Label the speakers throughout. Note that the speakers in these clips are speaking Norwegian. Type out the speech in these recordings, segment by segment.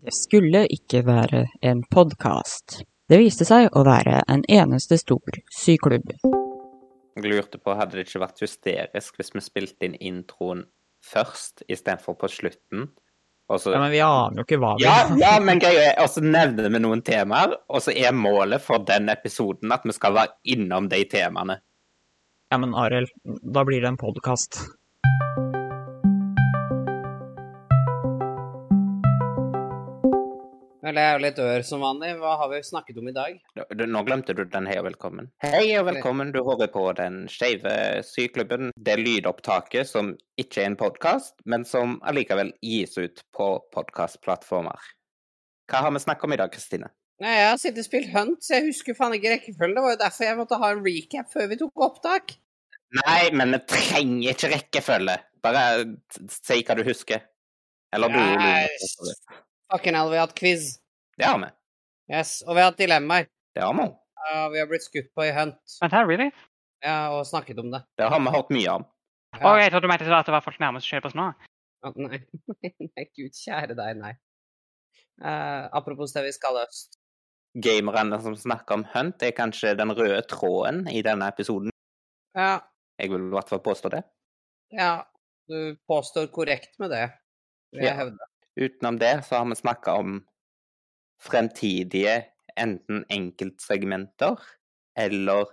Speaker 1: Det skulle ikke være en podkast. Det viste seg å være en eneste stor syklubb.
Speaker 2: Jeg lurte på, hadde det ikke vært hysterisk hvis vi spilte inn introen først istedenfor på slutten? Og så,
Speaker 1: Ja, men vi aner jo ikke hva vi
Speaker 2: ja, ja, men greia er, og så nevner vi noen temaer, og så er målet for den episoden at vi skal være innom de temaene.
Speaker 1: Ja, men Arild, da blir det en podkast.
Speaker 3: Vel, jeg er jo litt ør som vanlig. Hva har vi snakket om i dag?
Speaker 2: Nå- du- Nå glemte du den hei og velkommen. Hei og velkommen, du hører på Den skeive syklubben. Det lydopptaket som ikke er en podkast, men som allikevel gis ut på podkastplattformer. Hva har vi snakket om i dag, Kristine?
Speaker 3: Nei, Jeg har sittet og spilt Hunt, så jeg husker faen ikke rekkefølgen. Det var jo derfor jeg måtte ha en recap før vi tok opptak.
Speaker 2: Nei, men vi trenger ikke rekkefølge. Bare t- si hva du husker. Eller du,
Speaker 3: Nei.
Speaker 2: Lone.
Speaker 3: Fucking hell, vi har hatt quiz.
Speaker 2: Det har vi.
Speaker 3: Yes, Og vi har hatt dilemmaer.
Speaker 2: Det har vi.
Speaker 3: Ja, vi har blitt skutt på i Hunt.
Speaker 4: Vent her, really?
Speaker 3: Ja, og snakket om det.
Speaker 2: Det har vi hørt mye om.
Speaker 4: Å,
Speaker 3: Ja.
Speaker 4: jeg trodde du mente at det var folk nærmest som kjøper oss nå.
Speaker 3: Ja, Nei, nei, gud kjære deg, nei. Eh, apropos det vi skal øst.
Speaker 2: Gamerne som snakker om Hunt, er kanskje den røde tråden i denne episoden.
Speaker 3: Ja,
Speaker 2: Jeg vil i hvert fall påstå det.
Speaker 3: ja. Du påstår korrekt med det, vil jeg
Speaker 2: Ja.
Speaker 3: hevde.
Speaker 2: Utenom det så har vi snakka om fremtidige enten enkeltsegmenter eller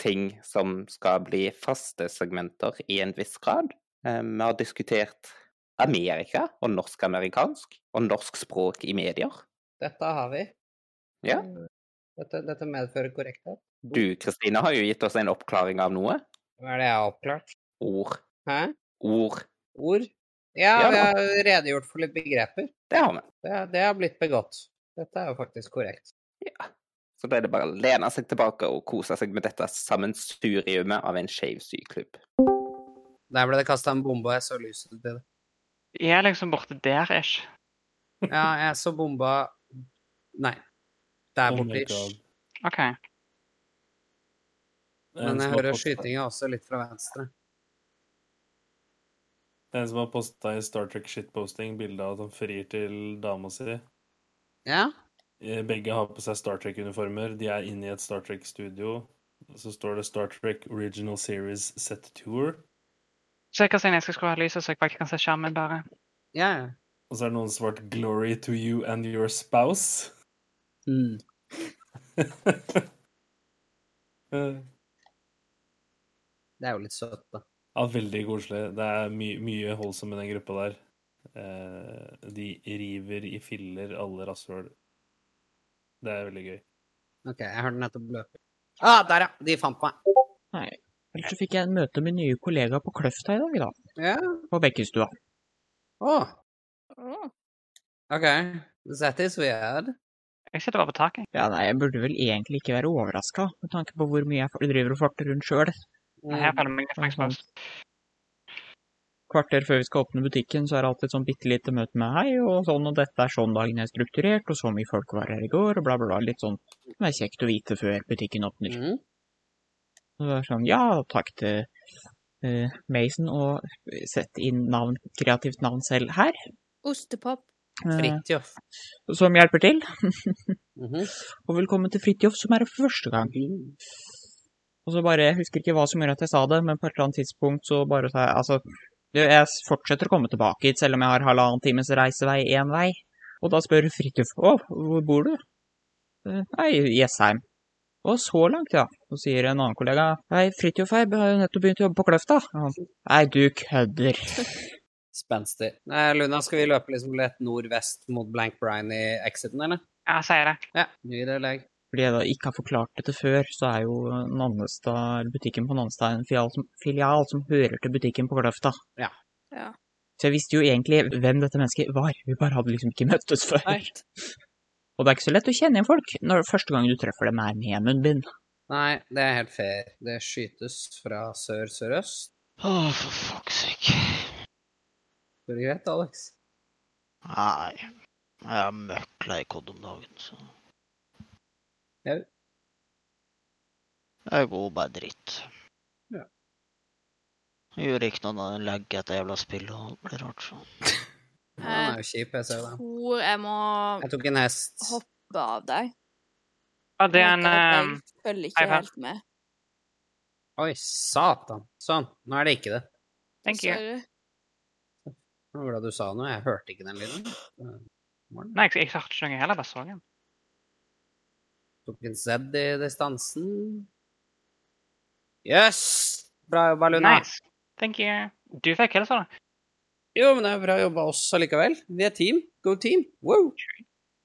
Speaker 2: ting som skal bli faste segmenter i en viss grad. Eh, Vi har diskutert Amerika og norsk-amerikansk og norsk språk i medier.
Speaker 3: Dette har vi. Eh,
Speaker 2: Ja.
Speaker 3: Dette, dette medfører korrekthet.
Speaker 2: Du Kristine har jo gitt oss en oppklaring av noe.
Speaker 3: Hva er det jeg har oppklart?
Speaker 2: Ord.
Speaker 3: Hæ?
Speaker 2: Ord.
Speaker 3: ord. Ja,
Speaker 2: Ja.
Speaker 3: vi har redegjort for litt begreper.
Speaker 2: Det har vi.
Speaker 3: Det, det har blitt begått. Dette er jo faktisk korrekt.
Speaker 2: Så da er det bare å lene seg tilbake og kose seg med dette sammensuriumet av en skeiv syklubb.
Speaker 3: Der ble det kasta en bombe, og jeg så lyset til det.
Speaker 4: Jeg er liksom borte der, ish.
Speaker 3: Ja, jeg så bomba Nei. Der
Speaker 5: Oh my
Speaker 3: borte. ish.
Speaker 5: God.
Speaker 4: OK.
Speaker 5: Det er en
Speaker 3: Men jeg
Speaker 5: som har
Speaker 3: hører
Speaker 5: postet-
Speaker 3: skytinga også litt fra venstre.
Speaker 5: Det er en som har posta i Star Trek shitposting bilde av at han frir til dama si.
Speaker 3: Ja?
Speaker 5: Eh, Begge har på seg Star Trek-uniformer. De er inne i et Star Trek-studio. Og Så står det Star Trek Original Series Set Tour.
Speaker 4: Så jeg kan si når jeg skal skru av lyset, så jeg faktisk kan se skjermen bare.
Speaker 3: Ja, ja.
Speaker 5: Og så er det noen som har svart 'Glory to you and your spouse'.
Speaker 3: Mm.
Speaker 5: Eh,
Speaker 3: Det er jo litt søtt, da.
Speaker 5: Ja, veldig koselig. Det er my mye holdsom i den gruppa der. Eh, De river i filler alle rasshøl. Det er veldig gøy.
Speaker 3: OK, jeg hørte nettopp løpe. Ah, der, ja! De fant meg.
Speaker 1: Ellers så fikk jeg møte med nye kollegaer på Kløfta i dag, da.
Speaker 3: Ja.
Speaker 1: På Bekkestua.
Speaker 3: Å. OK. That is weird.
Speaker 4: Jeg sitter bare på taket.
Speaker 1: Ja, nei, jeg burde vel egentlig ikke være overraska, med tanke på hvor mye jeg for- driver og farter rundt sjøl.
Speaker 4: Men Her føler jeg meg litt
Speaker 1: Mm.
Speaker 4: maksløs.
Speaker 1: Kvarter før vi skal åpne butikken, så er det alltid et sånn bitte lite møte med hei, og sånn, og dette er sånn dagen er strukturert, og så mye folk var her i går, og bla, bla, bla. Litt sånn som er kjekt å vite før butikken åpner.
Speaker 3: Mm.
Speaker 1: Og det er sånn, ja, takk til eh, Mason, og sett inn navn, kreativt navn selv her,
Speaker 6: Ostepop.
Speaker 1: eh,
Speaker 3: Fridtjof.
Speaker 1: som hjelper til.
Speaker 3: Mhm.
Speaker 1: Og velkommen til Fridtjof, som er her for første gang. Og så bare, jeg husker ikke hva som gjorde at jeg sa det, men på et eller annet tidspunkt så bare sa jeg, altså, du, jeg s- fortsetter å komme tilbake hit, selv om jeg har halvannen times reisevei én vei. Og da spør Fridtjof, å, hvor bor du? «Eh, Nei, i Jessheim. Å, så langt, ja. Så sier en annen kollega, nei, Fridtjof her har jo nettopp begynt å jobbe på Kløfta. Og han, Nei, du kødder.
Speaker 3: Spenstig. Eh, Luna, skal vi løpe liksom litt nordvest mot Blank Brian i exiten, eller?
Speaker 4: Ja, sier det.
Speaker 3: Ja. Ny delegg.
Speaker 1: Fordi jeg da ikke har forklart dette før, så er jo Nannestad, eller butikken på Nannestad en filial som, filial som hører til butikken på Kløfta.
Speaker 3: Ja.
Speaker 6: Ja.
Speaker 1: Så jeg visste jo egentlig hvem dette mennesket var, vi bare hadde liksom ikke møttes før.
Speaker 3: Nei.
Speaker 1: Og det er ikke så lett å kjenne igjen folk når første gang du treffer dem er med munnbind.
Speaker 3: Nei, det er helt fair. Det skytes fra sør-sørøst.
Speaker 4: Å, for fuck's sake.
Speaker 3: Går det greit, Alex?
Speaker 7: Nei. Jeg er mørkt lei kodd om dagen, så
Speaker 3: Jau.
Speaker 7: Jeg går bare dritt.
Speaker 3: Ja.
Speaker 7: Jeg gjør ikke noe annet enn legge et jævla spill og alt blir rart, så
Speaker 3: Han er jo kjip, jeg ser det.
Speaker 6: tror jeg må
Speaker 3: Jeg tok en hest.
Speaker 6: hoppe av deg.
Speaker 4: Ja, det er
Speaker 6: Jeg
Speaker 4: en
Speaker 6: vet at
Speaker 4: eh,
Speaker 6: Jeg følger ikke
Speaker 4: iPad.
Speaker 6: helt med.
Speaker 3: Oi, satan. Sånn. Nå er det ikke det.
Speaker 4: Thank you.
Speaker 6: Sorry.
Speaker 3: Det var det du sa nå. Jeg hørte ikke den lyden. Morgen.
Speaker 4: Nei, jeg, jeg hørte ikke noe heller, bare så den.
Speaker 3: Tok en Z i distansen. Jøss! Yes! Bra jobba, Luna.
Speaker 4: Nice. Thank you. Du fikk hele sånn.
Speaker 3: Jo, men det er bra jobba oss allikevel. Vi er team. Go team. Wow!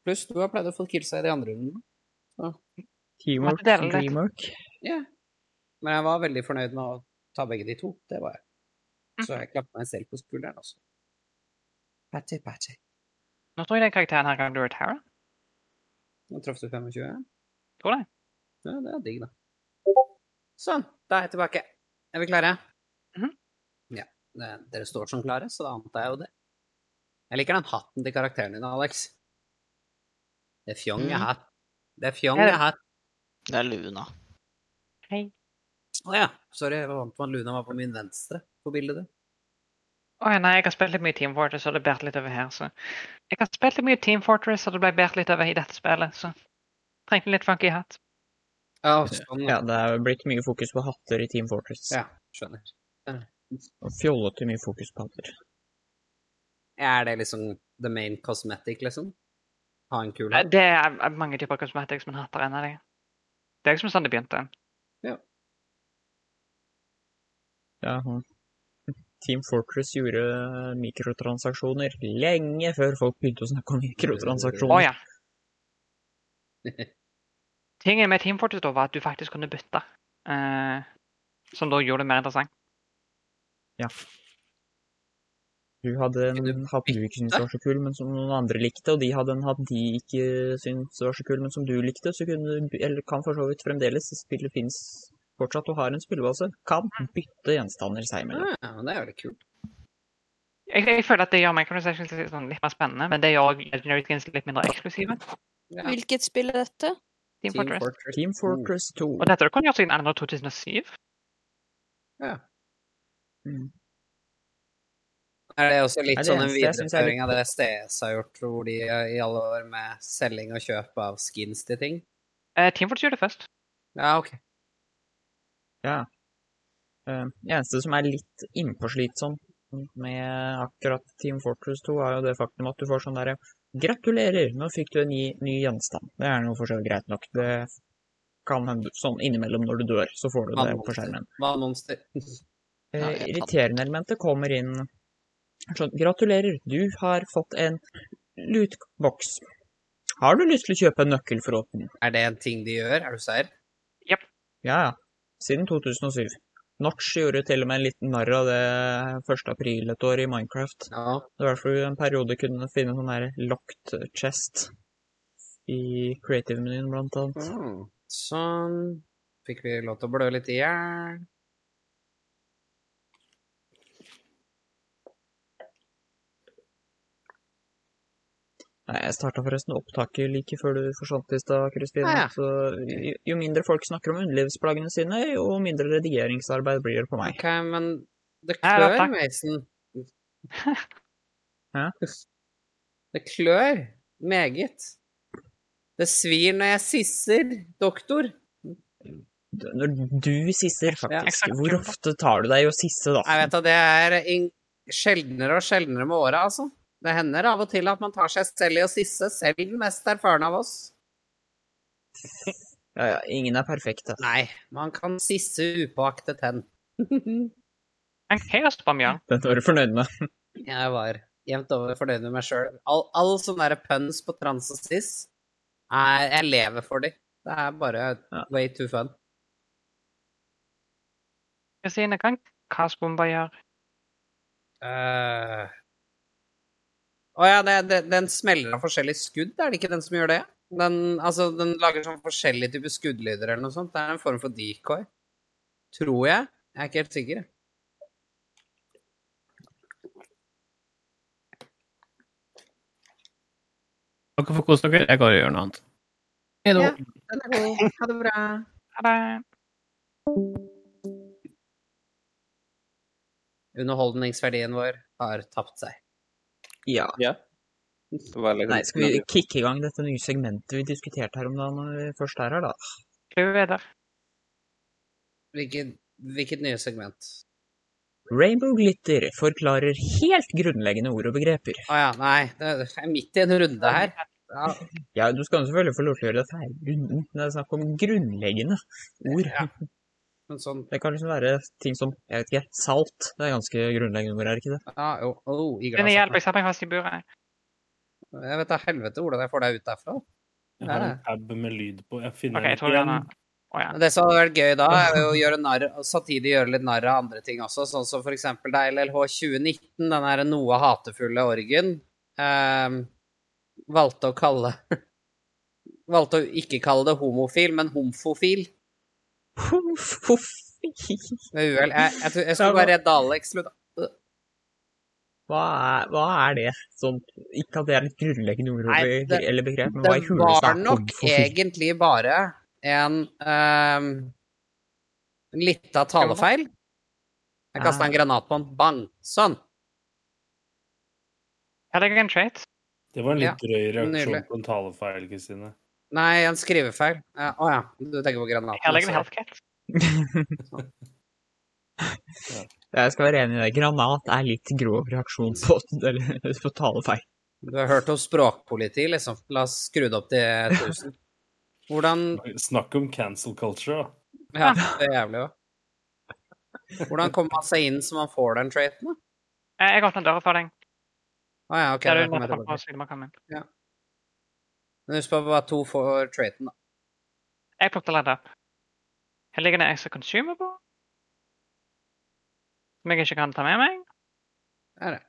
Speaker 3: Pluss du har pleid å få kills i de andre rundene.
Speaker 1: Teamwork,
Speaker 4: Måtte dele litt.
Speaker 1: dreamwork.
Speaker 3: Ja. Men jeg var veldig fornøyd med å ta begge de to. Det var jeg. Så jeg klapper meg selv på skulderen også. Patty, patty.
Speaker 4: Nå tror jeg den karakteren her kan lure Tara.
Speaker 3: Nå traff du 25. Ja,
Speaker 4: Tror det.
Speaker 3: det er digg, da. Sånn. Da er jeg tilbake. Er vi klare?
Speaker 4: Mhm.
Speaker 3: Ja. det- Dere står som klare, så da antar jeg jo det. Jeg liker den hatten til karakteren din, Alex. Det er fjong jeg
Speaker 7: Mhm.
Speaker 3: har. Det er fjong
Speaker 4: Er det-
Speaker 3: jeg har.
Speaker 7: Det er Luna.
Speaker 3: Å ja. Sorry, jeg var vant med at Luna var på min venstre på bildet. ditt.
Speaker 4: Å nei, jeg har spilt litt mye Team Fortress, og det bært litt over her, så Jeg har spilt litt mye Team Fortress, og det ble bært litt over i dette spillet, så Trengte litt funky hatt.
Speaker 3: Ja, sånn.
Speaker 1: Ja, det er jo blitt mye fokus på hatter i Team Fortress.
Speaker 3: Ja, skjønner.
Speaker 1: Og fjollete mye fokus på hatter.
Speaker 3: Er det liksom the main cosmetic, liksom? Ha en kul
Speaker 4: Nei,
Speaker 3: hatt?
Speaker 4: Det er er mange typer cosmetics, men hatter er en av de. Det er liksom sånn det begynte.
Speaker 1: Ja, og Team Fortress gjorde mikrotransaksjoner lenge før folk begynte å snakke om mikrotransaksjoner.
Speaker 4: Å ja. Tingen med Team Fortress da var at du faktisk kunne bytte. eh, som da gjorde det mer interessant.
Speaker 1: Du hadde en hatt du ikke syntes var så kul, men som noen andre likte, og de hadde en hatt de ikke syntes var så kul, men som du likte, så kunne du, eller kan for så vidt fremdeles, spillet finnes fortsatt og har en spillebase, kan bytte gjenstander seg imellom.
Speaker 3: Ah, Ja, men det er veldig kult.
Speaker 4: Jeg, jeg føler at det gjør Micronations litt, sånn, litt mer spennende, men det gjør Legendary Skins litt mindre eksklusive.
Speaker 3: Ja.
Speaker 6: Hvilket spill er dette?
Speaker 4: Team Fortress.
Speaker 1: Team
Speaker 3: Mm.
Speaker 1: Fortress 2.
Speaker 4: Og dette har du kunnet gjøre siden andre 2007.
Speaker 3: Er det også litt
Speaker 1: Nei, det
Speaker 3: sånn en
Speaker 1: eneste jeg synes er
Speaker 3: videreføring av det STS har gjort, hvor de eh, i alle år med selging og kjøp av skins til ting?
Speaker 4: Eh, Team Fortress gjorde det først.
Speaker 3: Ja, OK.
Speaker 1: Eh, Det eneste som er litt innpåslitsomt med akkurat Team Fortress 2, er jo det faktum at du får sånn derre Gratulerer, nå fikk du en ny, ny gjenstand. Det er noe for så vidt greit nok. Det kan hende sånn innimellom når du dør, så får du det på skjermen.
Speaker 3: Vannmonster.
Speaker 1: Eh,
Speaker 3: Ja, jeg
Speaker 1: irriterende elementet kommer inn sånn Gratulerer, du har fått en lootbox. Har du lyst til å kjøpe en nøkkel for å åpne den?
Speaker 3: Er det en ting de gjør? Er du seier?
Speaker 1: Ja, ja. Siden 2007. Notch gjorde til og med en liten narr av det 1. april et år i Minecraft.
Speaker 3: Ja.
Speaker 1: Det var derfor vi en periode kunne finne sånn der locked chest i creative-menyen, blant annet.
Speaker 3: Mm. Sånn. Fikk vi lov til å blø litt i hjel?
Speaker 1: Nei, jeg starta forresten opptaket like før du forsvant i stad, Kristine.
Speaker 3: Ah, ja.
Speaker 1: Så jo, jo mindre folk snakker om underlivsplaggene sine, jo mindre redigeringsarbeid blir det på meg.
Speaker 3: OK, men det
Speaker 4: Nei, da,
Speaker 3: klør,
Speaker 4: takk.
Speaker 3: Mason.
Speaker 1: Hæ?
Speaker 3: Det klør meget. Det svir når jeg sisser, doktor.
Speaker 1: D- Når du sisser, faktisk.
Speaker 4: exakt.
Speaker 1: Hvor ofte tar du deg i å sisse, da?
Speaker 3: Jeg vet at det er ing- sjeldnere og sjeldnere med åra, altså. Det hender av og til at man tar seg selv i å sisse, selv den mest erfarne av oss.
Speaker 1: Ja, ja, ingen er perfekte.
Speaker 3: Nei, man kan sisse upåaktet hen.
Speaker 4: En chaos bomb, ja.
Speaker 1: Den var du fornøyd med.
Speaker 3: Jeg var jevnt over fornøyd med meg sjøl. All, all sånn derre puns på trans og cis, er, jeg lever for de. Det er bare
Speaker 1: Ja.
Speaker 3: way too fun.
Speaker 4: Kristine, kan chaos bomber gjøre?
Speaker 3: Eh. Å ja, det, det, den smeller av forskjellige skudd, er det ikke den som gjør det? Den, altså, den lager sånn forskjellige typer skuddlyder eller noe sånt. Det er en form for decoy. Tror jeg. Jeg er ikke helt sikker. jeg.
Speaker 8: Dere får kose dere. Jeg går og gjør noe annet. Hei da.
Speaker 3: Ja. Den er god. Ha det bra.
Speaker 4: Ha det.
Speaker 3: Underholdningsverdien vår har tapt seg.
Speaker 1: Ja.
Speaker 2: Det var liksom-
Speaker 1: Nei, skal vi kicke i gang dette nye segmentet vi diskuterte her om dagen når vi først er her, da?
Speaker 4: Clue er der.
Speaker 3: Hvilket, hvilket nye segment?
Speaker 1: Rainbow Glitter forklarer helt grunnleggende ord og begreper.
Speaker 3: Å ja, nei. Det det er midt i en runde her. Ja,
Speaker 1: Ja, du skal jo selvfølgelig få lov til å gjøre dette her runden, men det er snakk om grunnleggende ord.
Speaker 3: men sånn
Speaker 1: Det kan liksom være ting som, jeg vet ikke, salt. Det er ganske grunnleggende ord, er det ikke det?
Speaker 3: Ja, jo. Oh, i
Speaker 4: Den hjelper,
Speaker 3: glasset.
Speaker 4: jeg satt meg fast i buret.
Speaker 3: Jeg vet da helvete hvordan jeg får deg ut derfra.
Speaker 5: Jeg har
Speaker 3: Ja.
Speaker 5: en tab med lyd på. Jeg finner
Speaker 4: Ok,
Speaker 5: den
Speaker 4: jeg tror
Speaker 5: ikke
Speaker 4: den
Speaker 5: igjen.
Speaker 4: er... Å ja.
Speaker 3: Men Det som hadde vært gøy da, er jo å gjøre narr, og samtidig gjøre litt narr av andre ting også, sånn som for eksempel da LLH 2019, den her noe hatefulle orgen, eh, valgte å kalle Valgte å ikke kalle det homofil, men homofil
Speaker 1: Huff, huff.
Speaker 3: med uhell. Jeg, jeg, tror- jeg skulle bare redde Alex. slutt.
Speaker 1: Hva er, hva er det? Sånn, ikke at det er et grunnleggende ord og
Speaker 3: Nei,
Speaker 1: be-
Speaker 3: det-
Speaker 1: eller begrep, men hva i
Speaker 3: Det
Speaker 1: huleste
Speaker 3: var
Speaker 1: er
Speaker 3: nok
Speaker 1: homofil?
Speaker 3: egentlig bare en um, lita talefeil. Jeg kasta
Speaker 1: Ah.
Speaker 3: en granat på den. Bang! Sånn.
Speaker 4: Her ligger en trait.
Speaker 5: Det var en litt drøy reaksjon
Speaker 3: nydelig.
Speaker 5: på en talefeil, Kristine.
Speaker 3: Nei, en skrivefeil. Ja, Å ja, du tenker på granaten.
Speaker 4: Her ligger en
Speaker 3: altså.
Speaker 4: healthcat.
Speaker 1: Jeg skal være enig i det. Granat er litt grov reaksjon på, eller, på talefeil.
Speaker 3: Du har hørt om språkpoliti, liksom. La oss skru det opp til 1000. Hvordan
Speaker 5: Snakk om cancel culture, da.
Speaker 3: Ja, det er jævlig, jo. Hvordan kommer man seg inn så man får den traiten, da?
Speaker 4: Eh, Jeg åpner døra for deg.
Speaker 3: Å ja, OK.
Speaker 4: Der
Speaker 3: Da
Speaker 4: du
Speaker 3: kommer jeg
Speaker 4: åpner på
Speaker 3: tilbake.
Speaker 4: siden man kommer inn.
Speaker 3: Men husk på at bare to får traiten, da.
Speaker 4: Jeg plukket ledd opp. Her ligger det extra consumable. Som jeg ikke kan ta med meg.
Speaker 3: Der, ja.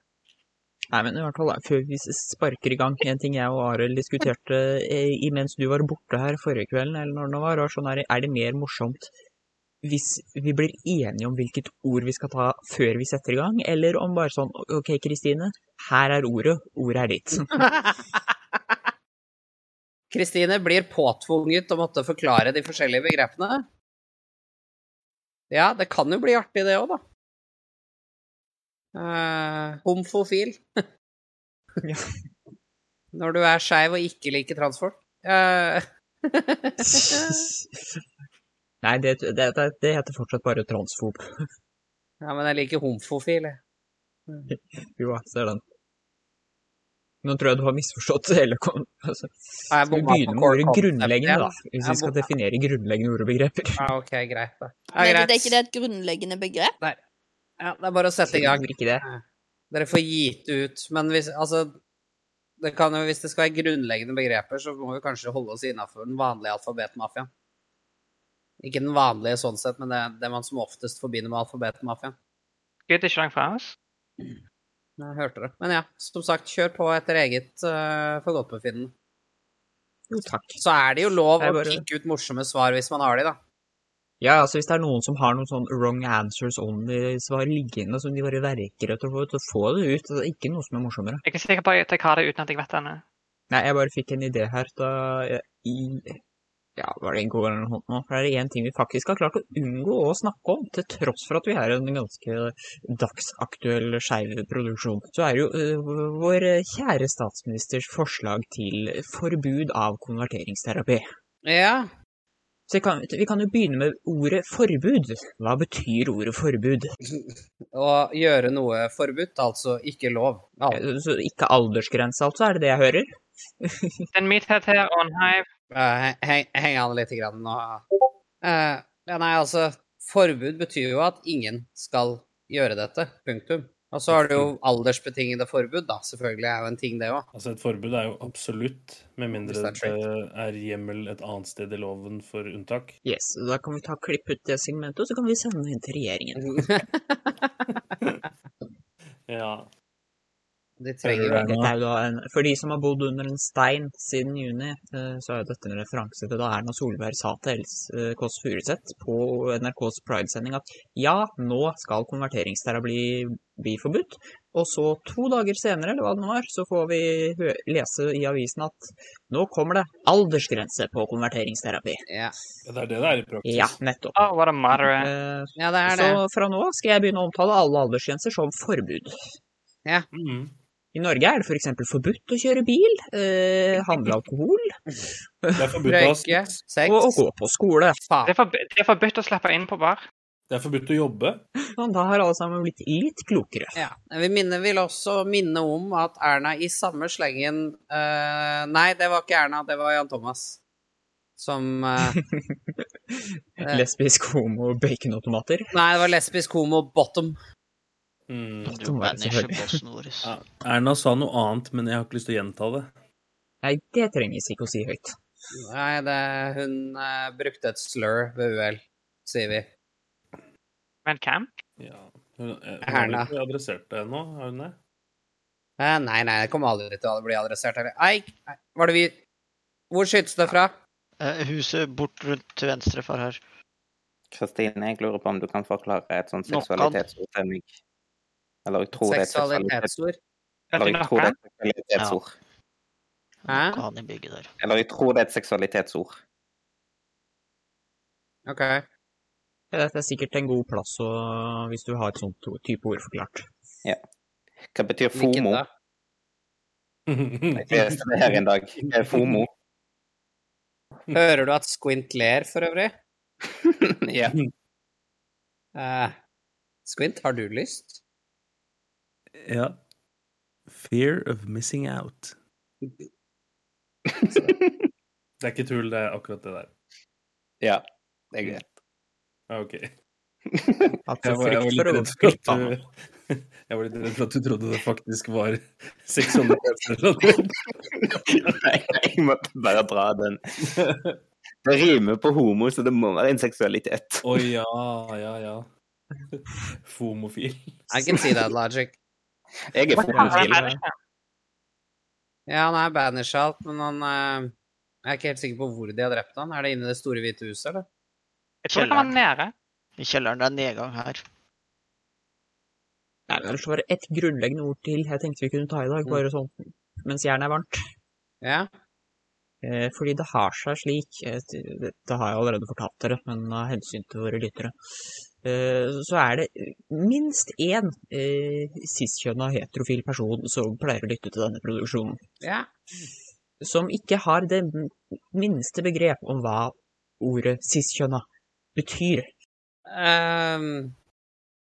Speaker 1: Nei, men i hvert fall, da, før vi sparker i gang, en ting jeg og Arild diskuterte eh, imens du var borte her forrige kvelden, eller når det var, var sånn her, er det mer morsomt hvis vi blir enige om hvilket ord vi skal ta før vi setter i gang, eller om bare sånn, ok, Kristine, her er ordet, ordet er ditt.
Speaker 3: Kristine blir påtvunget å måtte forklare de forskjellige begrepene. Ja, det kan jo bli artig, det òg, da. Eh, homofil.
Speaker 1: Ja.
Speaker 3: Når du er skeiv og ikke liker transfolk. Eh,
Speaker 1: Nei, det, det, det, det heter fortsatt bare transfob.
Speaker 3: ja, men jeg liker homofil, jeg.
Speaker 1: Jo, jeg ser den. Nå tror jeg du har misforstått hele kon- altså,
Speaker 3: Har
Speaker 1: Skal vi
Speaker 3: jeg bomma på
Speaker 1: begynne med
Speaker 3: core
Speaker 1: ordet
Speaker 3: concept
Speaker 1: grunnleggende,
Speaker 3: igjen?
Speaker 1: da? Hvis
Speaker 3: Jeg
Speaker 1: vi skal
Speaker 3: bomma.
Speaker 1: definere grunnleggende ord og begreper.
Speaker 3: Ja, OK, greit, da. Ja,
Speaker 6: Men
Speaker 3: greit.
Speaker 6: det er ikke det et grunnleggende begrep?
Speaker 3: Ja, det er bare å sette i gang.
Speaker 1: Tror ikke det.
Speaker 3: Dere får gitt ut, men hvis Altså, det kan jo, hvis det skal være grunnleggende begreper, så må vi kanskje holde oss innafor den vanlige alfabetmafiaen. Ikke den vanlige sånn sett, men det, det man som oftest forbinder med alfabetmafiaen.
Speaker 4: Gud, ikke langt fra oss.
Speaker 3: Jeg hørte det. Men ja, som sagt, kjør på etter eget uh, forgodtbefinnende.
Speaker 1: Jo, takk.
Speaker 3: Så er det jo lov
Speaker 1: Jeg
Speaker 3: å
Speaker 1: bare-
Speaker 3: kikke ut morsomme svar hvis man har de, da.
Speaker 1: Ja, altså hvis det er noen som har noen sånn wrong answers only-svar liggende som de bare verker etter å få ut, så få det ut. Det er ikke noe som er morsommere.
Speaker 4: Jeg er ikke sikker på at jeg har det uten at jeg vet det ennå.
Speaker 1: Nei, jeg bare fikk en idé her da jeg, i Ja, var det en god eller noe sånt nå? For det er én ting vi faktisk har klart å unngå å snakke om, til tross for at vi er en ganske dagsaktuell skeiv produksjon. Så er det jo øh, vår kjære statsministers forslag til forbud av konverteringsterapi.
Speaker 3: Ja.
Speaker 1: Så jeg kan, vi kan jo begynne med ordet forbud. Hva betyr ordet forbud?
Speaker 3: Å gjøre noe forbudt, altså ikke lov. Ja,
Speaker 1: Eh, Så ikke aldersgrense, altså, er det det jeg hører?
Speaker 4: Den meathead her og en hive.
Speaker 3: Eh, heng, heng an litt grann nå. Eh, ja, nei, altså, forbud betyr jo at ingen skal gjøre dette. Punktum. Og så har du jo aldersbetingede forbud, da. Selvfølgelig er jo en ting, det òg.
Speaker 5: Altså, et forbud er jo absolutt, med
Speaker 3: Hvis
Speaker 5: mindre
Speaker 3: det
Speaker 5: det
Speaker 3: er
Speaker 5: er hjemmel et annet sted i loven for unntak.
Speaker 1: Yes, da kan vi ta klipp ut det segmentet, og så kan vi sende det inn til regjeringen.
Speaker 5: Ja.
Speaker 3: De trenger jo
Speaker 5: Hører du det?
Speaker 1: Dette er jo da en, for de som har bodd under en stein siden juni, eh, så er jo dette en referanse til da Erna Solberg sa til Else eh, Kåss Furuseth på NRKs Pride-sending at ja, nå skal konverteringsterapi bli, bli forbudt. Og så to dager senere, eller hva det nå var, så får vi hø lese i avisen at nå kommer det aldersgrense på konverteringsterapi.
Speaker 3: Ja.
Speaker 5: Ja, Det er det det er i praksis.
Speaker 1: Ja, nettopp.
Speaker 4: Oh, what a moderate.
Speaker 1: Eh,
Speaker 3: ja, det er det.
Speaker 1: Så fra nå av skal jeg begynne å omtale alle aldersgrenser som forbud.
Speaker 5: Mhm.
Speaker 1: I Norge er det f.eks. forbudt å kjøre bil, eh, handle alkohol
Speaker 5: Det er forbudt å,
Speaker 3: Røyke,
Speaker 5: ha-
Speaker 3: sex
Speaker 1: og, og gå på skole.
Speaker 3: Faen.
Speaker 4: Det er, forb det er forbudt å slippe inn på bar.
Speaker 5: det er forbudt å jobbe.
Speaker 1: Sånn, da har alle sammen blitt litt klokere.
Speaker 3: Ja. Jeg vil, minne, vil også minne om at Erna i samme slengen eh, Nei, det var ikke Erna, det var Jan Thomas. Som eh, eh,
Speaker 1: Lesbisk, homo, baconautomater.
Speaker 3: Nei, det var lesbisk homo bottom.
Speaker 5: Mm.
Speaker 7: Du
Speaker 1: var det
Speaker 7: banisher
Speaker 1: selvfølgelig.
Speaker 7: bossen vår.
Speaker 5: Ja. Erna sa noe annet, men jeg har ikke lyst til å gjenta det.
Speaker 1: Nei, det trenges ikke å si høyt.
Speaker 3: Nei, det, hun eh, brukte et slur ved uhell, sier vi.
Speaker 4: Men hvem?
Speaker 5: Ja. Hun, eh, hun har
Speaker 3: Erna.
Speaker 5: ikke adressert det ennå, har hun det?
Speaker 3: Eh, nei, nei, det kommer aldri til å bli adressert heller. Nei, nei, var det vi Hvor skytes det fra?
Speaker 7: Eh, Huset bort rundt til venstre for her.
Speaker 2: Kristine, jeg lurer på om du kan forklare et sånn
Speaker 7: Nok han.
Speaker 2: seksualitetsord til meg? Eller jeg tror det er et seksualitets-
Speaker 3: Seksualitetsord?
Speaker 2: eller jeg tror det er et seksualitetsord.
Speaker 3: Hæ?
Speaker 7: Nok han i bygget der.
Speaker 2: Eller jeg tror det er et seksualitetsord.
Speaker 3: OK.
Speaker 1: Ja, Dette er sikkert en god plass å, hvis du har et sånt to- type ord forklart.
Speaker 2: Hva betyr
Speaker 3: Hvilken
Speaker 2: FOMO?
Speaker 3: da?
Speaker 2: Jeg leste det her en dag. Hva er FOMO?
Speaker 3: Hører du at Squint ler, for øvrig?
Speaker 2: ja.
Speaker 3: Eh, Squint, har du lyst?
Speaker 5: Ja. Fear of missing out. Det er ikke tull, det er akkurat det der.
Speaker 2: ja. Det er greit.
Speaker 5: Ah, OK.
Speaker 1: Altså,
Speaker 5: Jeg var, jeg var
Speaker 1: frykt for
Speaker 5: litt
Speaker 1: å
Speaker 5: redd for
Speaker 1: klippe av
Speaker 5: at
Speaker 1: noe.
Speaker 5: du Jeg var litt redd for at du trodde det faktisk var seksualitetsrelatert.
Speaker 2: Nei, jeg måtte bare dra den. Det rimer på homo, så det må være en seksualitet.
Speaker 5: Å ja, ja, ja. Homofil.
Speaker 3: I can see that logic.
Speaker 2: Jeg er
Speaker 4: Hva faen er
Speaker 2: homofil.
Speaker 4: det med det?
Speaker 3: Ja, han er banished, men han eh, Jeg er ikke helt sikker på hvor de har drept han. Er det inne i det store hvite huset, eller?
Speaker 4: Jeg tror det kan være nede.
Speaker 7: I kjelleren. Det er nedgang her.
Speaker 1: Nei, men ellers var det ett grunnleggende ord til jeg tenkte vi kunne ta i dag,
Speaker 5: Mm.
Speaker 1: bare sånn mens jernet er varmt.
Speaker 3: Ja.
Speaker 1: Eh, fordi det har seg slik eh, det- Dette har jeg allerede fortalt dere, men av hensyn til våre lyttere. eh, Så er det minst én eh, siskjønna heterofil person som pleier å lytte til denne produksjonen,
Speaker 3: ja.
Speaker 1: som ikke har det minste begrep om hva ordet siskjønna betyr.
Speaker 3: Ehm,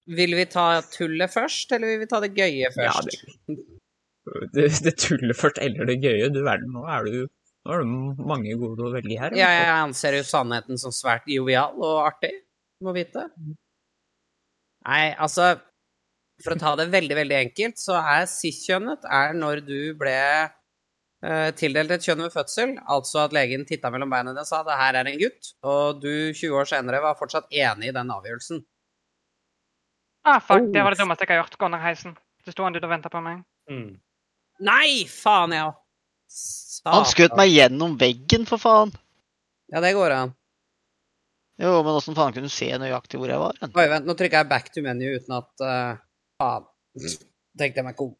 Speaker 3: vil vi ta tullet først, eller vil vi ta det gøye
Speaker 1: Ja,
Speaker 3: først?
Speaker 1: det, det, det tullet først eller det gøye. Du verden, nå er du nå er det mange gode å velge her.
Speaker 3: Ja, jeg anser jo sannheten som svært jovial og artig, må vite. Nei, altså For å ta det veldig, veldig enkelt, så er cis-kjønnet er når du ble eh, tildelt et kjønn ved fødsel, altså at legen titta mellom beina dine og sa det her er en gutt, og du 20 år senere var fortsatt enig i den avgjørelsen.
Speaker 4: Ah, fuck, det var det dummeste jeg har gjort. Gå ned heisen. Det sto han ute og venta på meg.
Speaker 5: Mm.
Speaker 3: Nei, faen, ja! Ah,
Speaker 7: Han skjøt meg gjennom veggen, for faen!
Speaker 3: Ja, det går an.
Speaker 7: Jo, men åssen faen kunne du se nøyaktig hvor jeg var? hen?
Speaker 3: Oi, vent, nå trykker jeg back to menu uten at eh, Faen.
Speaker 1: Mm.
Speaker 3: Tenkte jeg meg god.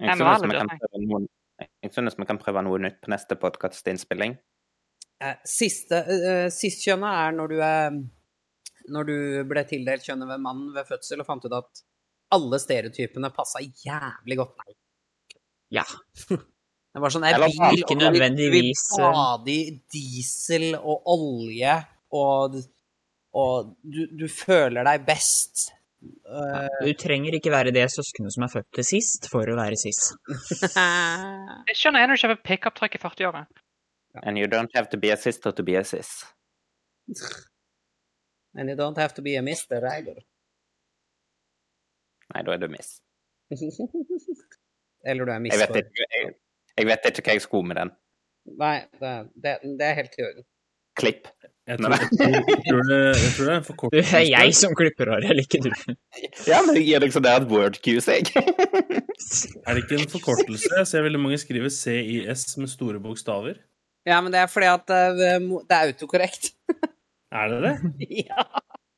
Speaker 4: Nei,
Speaker 2: Jeg
Speaker 4: men hva
Speaker 2: synes vi
Speaker 4: er det
Speaker 2: kan
Speaker 4: du
Speaker 2: prøve noe- jeg synes vi kan prøve noe nytt på neste podkastinnspilling.
Speaker 3: Eh, Siste eh, Sistkjønnet er når du er Når du ble tildelt kjønnet ved mannen ved fødsel og fant ut at alle stereotypene passa jævlig godt. Nei.
Speaker 1: Ja.
Speaker 3: Det var sånn der
Speaker 2: Eller
Speaker 3: bil
Speaker 1: ikke
Speaker 3: og du-
Speaker 1: nødvendigvis, eh,
Speaker 3: du vil Stadig diesel og olje og Og du, du føler deg best. Eh,
Speaker 1: Du trenger ikke være det søskenet som er født til sist for å være sis.
Speaker 4: Jeg skjønner jeg når du kjøper pickup-trykk i 40-åra.
Speaker 2: And you don't have to be a sister to be a sis.
Speaker 3: and you don't have to be a mister either.
Speaker 2: Nei, da er du miss.
Speaker 3: Eller du er
Speaker 2: Jeg vet
Speaker 3: misfornøyd.
Speaker 2: ikke, jeg, jeg vet ikke hva jeg skulle med den.
Speaker 3: Nei, det, det, det er helt i orden.
Speaker 2: Klipp.
Speaker 5: Jeg, tror, jeg, tror, jeg, tror det, jeg tror
Speaker 1: Du, det
Speaker 5: det er en
Speaker 1: er
Speaker 5: forkortelse.
Speaker 1: jeg som klipper håret, eller ikke du.
Speaker 2: Ja, men jeg gir deg sånn der et word cues, jeg.
Speaker 5: Er det ikke en forkortelse? Jeg ser veldig mange skrive CIS med store bokstaver.
Speaker 3: Ja, men det er fordi at eh, mo- det er autokorrekt.
Speaker 5: Er det det?
Speaker 3: ja.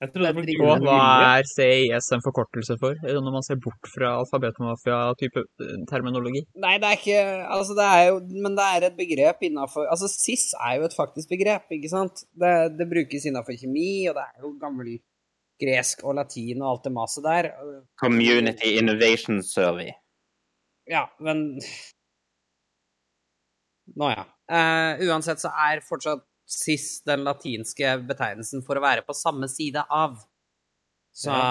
Speaker 5: Jeg trodde det var
Speaker 3: Det er
Speaker 1: Og
Speaker 5: gule
Speaker 1: hva
Speaker 5: linjer.
Speaker 1: er CIS en forkortelse for, når man ser bort fra alfabetmafia-type terminologi?
Speaker 3: Nei, det er ikke Altså, det er jo Men det er et begrep innafor Altså, SIS er jo et faktisk begrep, ikke sant? Det, det brukes innafor kjemi, og det er jo gammel gresk og latin og alt det maset der.
Speaker 2: Community Innovation Survey.
Speaker 3: Ja, men Nå, ja. Eh, uansett så er fortsatt cis den latinske betegnelsen for å være på samme side av. Så
Speaker 1: Ja.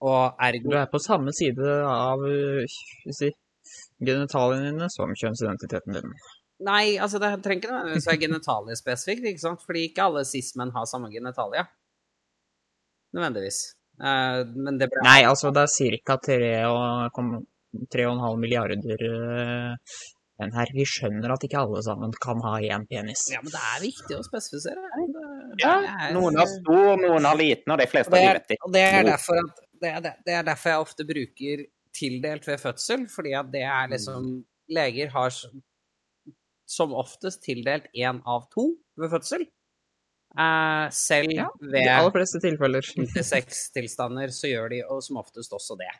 Speaker 3: Og
Speaker 1: Du
Speaker 3: ergo
Speaker 1: er på samme side av øh, skal vi si, genitaliene dine som kjønnsidentiteten din.
Speaker 3: Nei, altså det trenger ikke nødvendigvis være genitalier spesifikt, ikke sant? Fordi ikke alle cis-menn har samme genitalia. Nødvendigvis. Eh, men det ble
Speaker 1: Nei, altså det er ca. 3,5 milliarder øh, menn her. Vi skjønner at ikke alle sammen kan ha én penis.
Speaker 3: Ja, men det er viktig å spesifisere. Det,
Speaker 2: Ja,
Speaker 3: det er-
Speaker 2: Noen har stor, noen har liten, og de fleste
Speaker 3: Og eh, det,
Speaker 2: av de
Speaker 3: er,
Speaker 2: vet ikke.
Speaker 3: og det, er derfor at, det, er, det er derfor jeg ofte bruker tildelt ved fødsel, fordi at det er liksom Leger har s- som oftest tildelt én av to ved fødsel. Eh, selv
Speaker 1: Ja, De aller
Speaker 3: ved
Speaker 1: fleste tilfeller.
Speaker 3: sextilstander så gjør de og som oftest også det.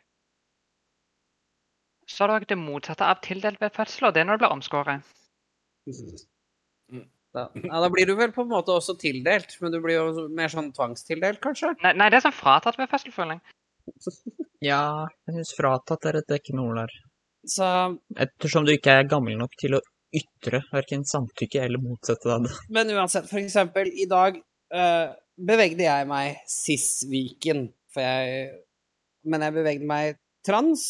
Speaker 4: Så er det også det motsatte av tildelt ved fødsel, og det er når du blir omskåret.
Speaker 3: Da, ja, da blir du vel på en måte også tildelt, men du blir jo mer sånn tvangstildelt, kanskje?
Speaker 4: Nei, nei det er sånn fratatt ved fødsel, føler jeg.
Speaker 1: Ja, jeg syns fratatt er et dekkende ord der.
Speaker 3: Så
Speaker 1: Ettersom du ikke er gammel nok til å ytre verken samtykke eller motsette deg det.
Speaker 3: Men uansett, for eksempel, i dag eh, bevegde jeg meg Sis-Viken, for jeg Men jeg bevegde meg trans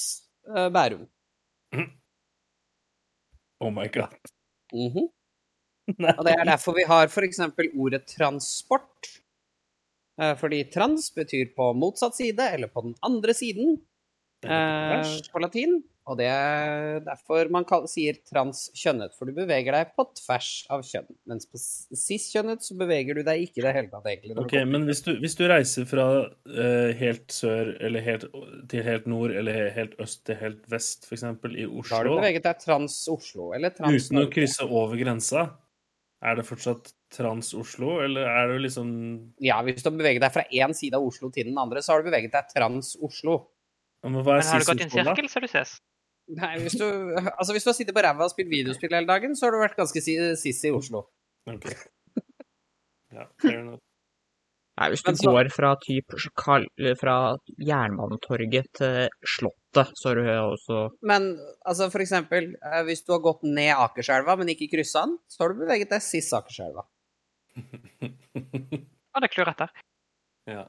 Speaker 3: eh, Bærum.
Speaker 5: Oh my god.
Speaker 3: Mhm.
Speaker 5: Nei.
Speaker 3: Og det er derfor vi har for eksempel ordet transport. Eh, fordi trans betyr på motsatt side, eller på den andre siden, eh, på latin. Og det er derfor man kall- sier transkjønnet, for du beveger deg på tvers av kjønn. Mens på s- cis-kjønnet så beveger du deg ikke i det hele tatt, egentlig. når
Speaker 5: Ok,
Speaker 3: du kommer
Speaker 5: men hvis du, hvis du reiser fra eh, helt sør eller helt, til helt nord eller he- helt øst til helt vest, f.eks. i
Speaker 3: Da har du
Speaker 5: Oslo,
Speaker 3: beveget deg trans-Oslo, eller trans
Speaker 5: uten å krysse over grensa, er det fortsatt Trans-Oslo, eller er du liksom
Speaker 3: Ja, hvis du har beveget deg fra én side av Oslo til den andre, så har du beveget deg trans-Oslo.
Speaker 5: Men hva er
Speaker 4: Men har du gått i en
Speaker 5: cis-Oslo, da?
Speaker 4: sirkel, så er du cis.
Speaker 3: Nei, hvis du, altså, hvis du har sittet på ræva og spilt videospill hele dagen, så har du vært ganske si- siss i Oslo.
Speaker 5: Ok. Ja, fair enough.
Speaker 1: Nei, hvis
Speaker 3: Men
Speaker 1: du
Speaker 3: så-
Speaker 1: går fra, typ, Karl- eller fra Jernbanetorget til Slottet, så er du også
Speaker 3: Men altså, for eksempel, eh, hvis du har gått ned Akerselva, men ikke kryssa den, så har du beveget deg siss Akerselva.
Speaker 4: Og det klør etter.
Speaker 5: ja.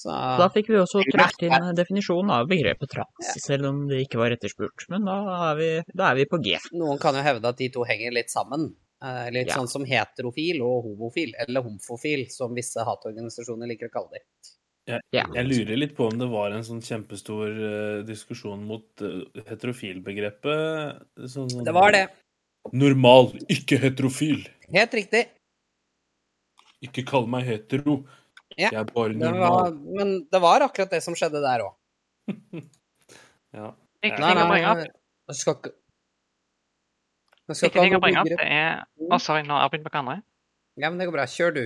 Speaker 3: Så
Speaker 1: Da fikk vi også trukket inn definisjonen av begrepet trans, selv om det ikke var etterspurt. Men da er vi, da er vi på G.
Speaker 3: noen kan jo hevde at de to henger litt sammen. Eh, Litt
Speaker 1: Ja.
Speaker 3: sånn som heterofil og homofil, eller homofil, som visse hatorganisasjoner liker å kalle det.
Speaker 1: Ja.
Speaker 5: Jeg lurer litt på om det var en sånn kjempestor eh, diskusjon mot eh, heterofilbegrepet. Sånn, sånn-
Speaker 3: Det var det.
Speaker 5: Normal, ikke heterofil.
Speaker 3: Helt riktig.
Speaker 5: Ikke kall meg hetero.
Speaker 3: Ja,
Speaker 5: Jeg er bare
Speaker 3: Det
Speaker 5: normal.
Speaker 3: var, men det var akkurat det som skjedde der òg.
Speaker 5: Ja.
Speaker 4: Viktig
Speaker 5: Nei,
Speaker 4: ting å bringe opp,
Speaker 3: Jeg skal ikke Jeg skal
Speaker 4: viktig
Speaker 3: ikke
Speaker 4: ting
Speaker 3: ha
Speaker 4: å bringe
Speaker 3: noe
Speaker 4: opp det
Speaker 3: grep.
Speaker 4: er Å, sorry, nå har jeg begynt på hverandre.
Speaker 3: Ja, men det går bra. Kjør du.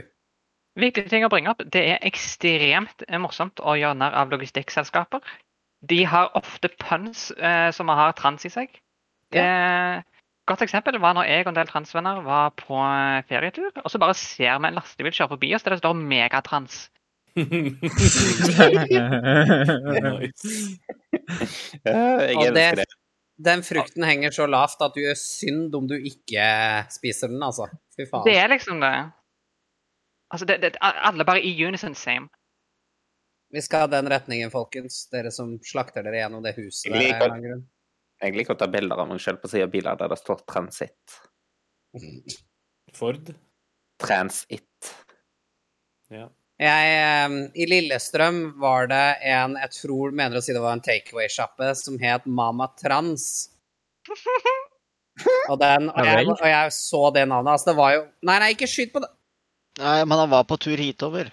Speaker 4: Viktig ting å bringe opp, det er ekstremt eh, morsomt å gjøre narr av logistikkselskaper. De har ofte puns eh, som har trans i seg. Eh, godt eksempel var når jeg og en del transvenner var på eh, ferietur, og så bare ser vi en lastebil kjøre forbi oss der det står 'megatrans'.
Speaker 5: nice.
Speaker 2: Ja, jeg
Speaker 3: Og
Speaker 2: elsker det.
Speaker 3: det, den frukten henger så lavt at du gjør synd om du ikke spiser den, altså. Fy faen.
Speaker 4: Det er liksom det. Altså, det, det, alle bare i unison same.
Speaker 3: Vi skal ha den retningen, folkens. Dere som slakter dere gjennom det huset der. av en
Speaker 2: Liker-
Speaker 3: eller annen grunn.
Speaker 2: Jeg liker å ta bilder av meg sjøl på siden av biler der det står transit.
Speaker 5: Ford.
Speaker 2: Transit.
Speaker 3: Jeg, eh, I Lillestrøm var det en jeg tror mener å si det var en takeaway-sjappe som het Mama Trans. Og, den, og, jeg, og jeg så det navnet. Altså, det var jo Nei, nei, ikke skyt på det.
Speaker 7: Nei, men han var på tur hitover.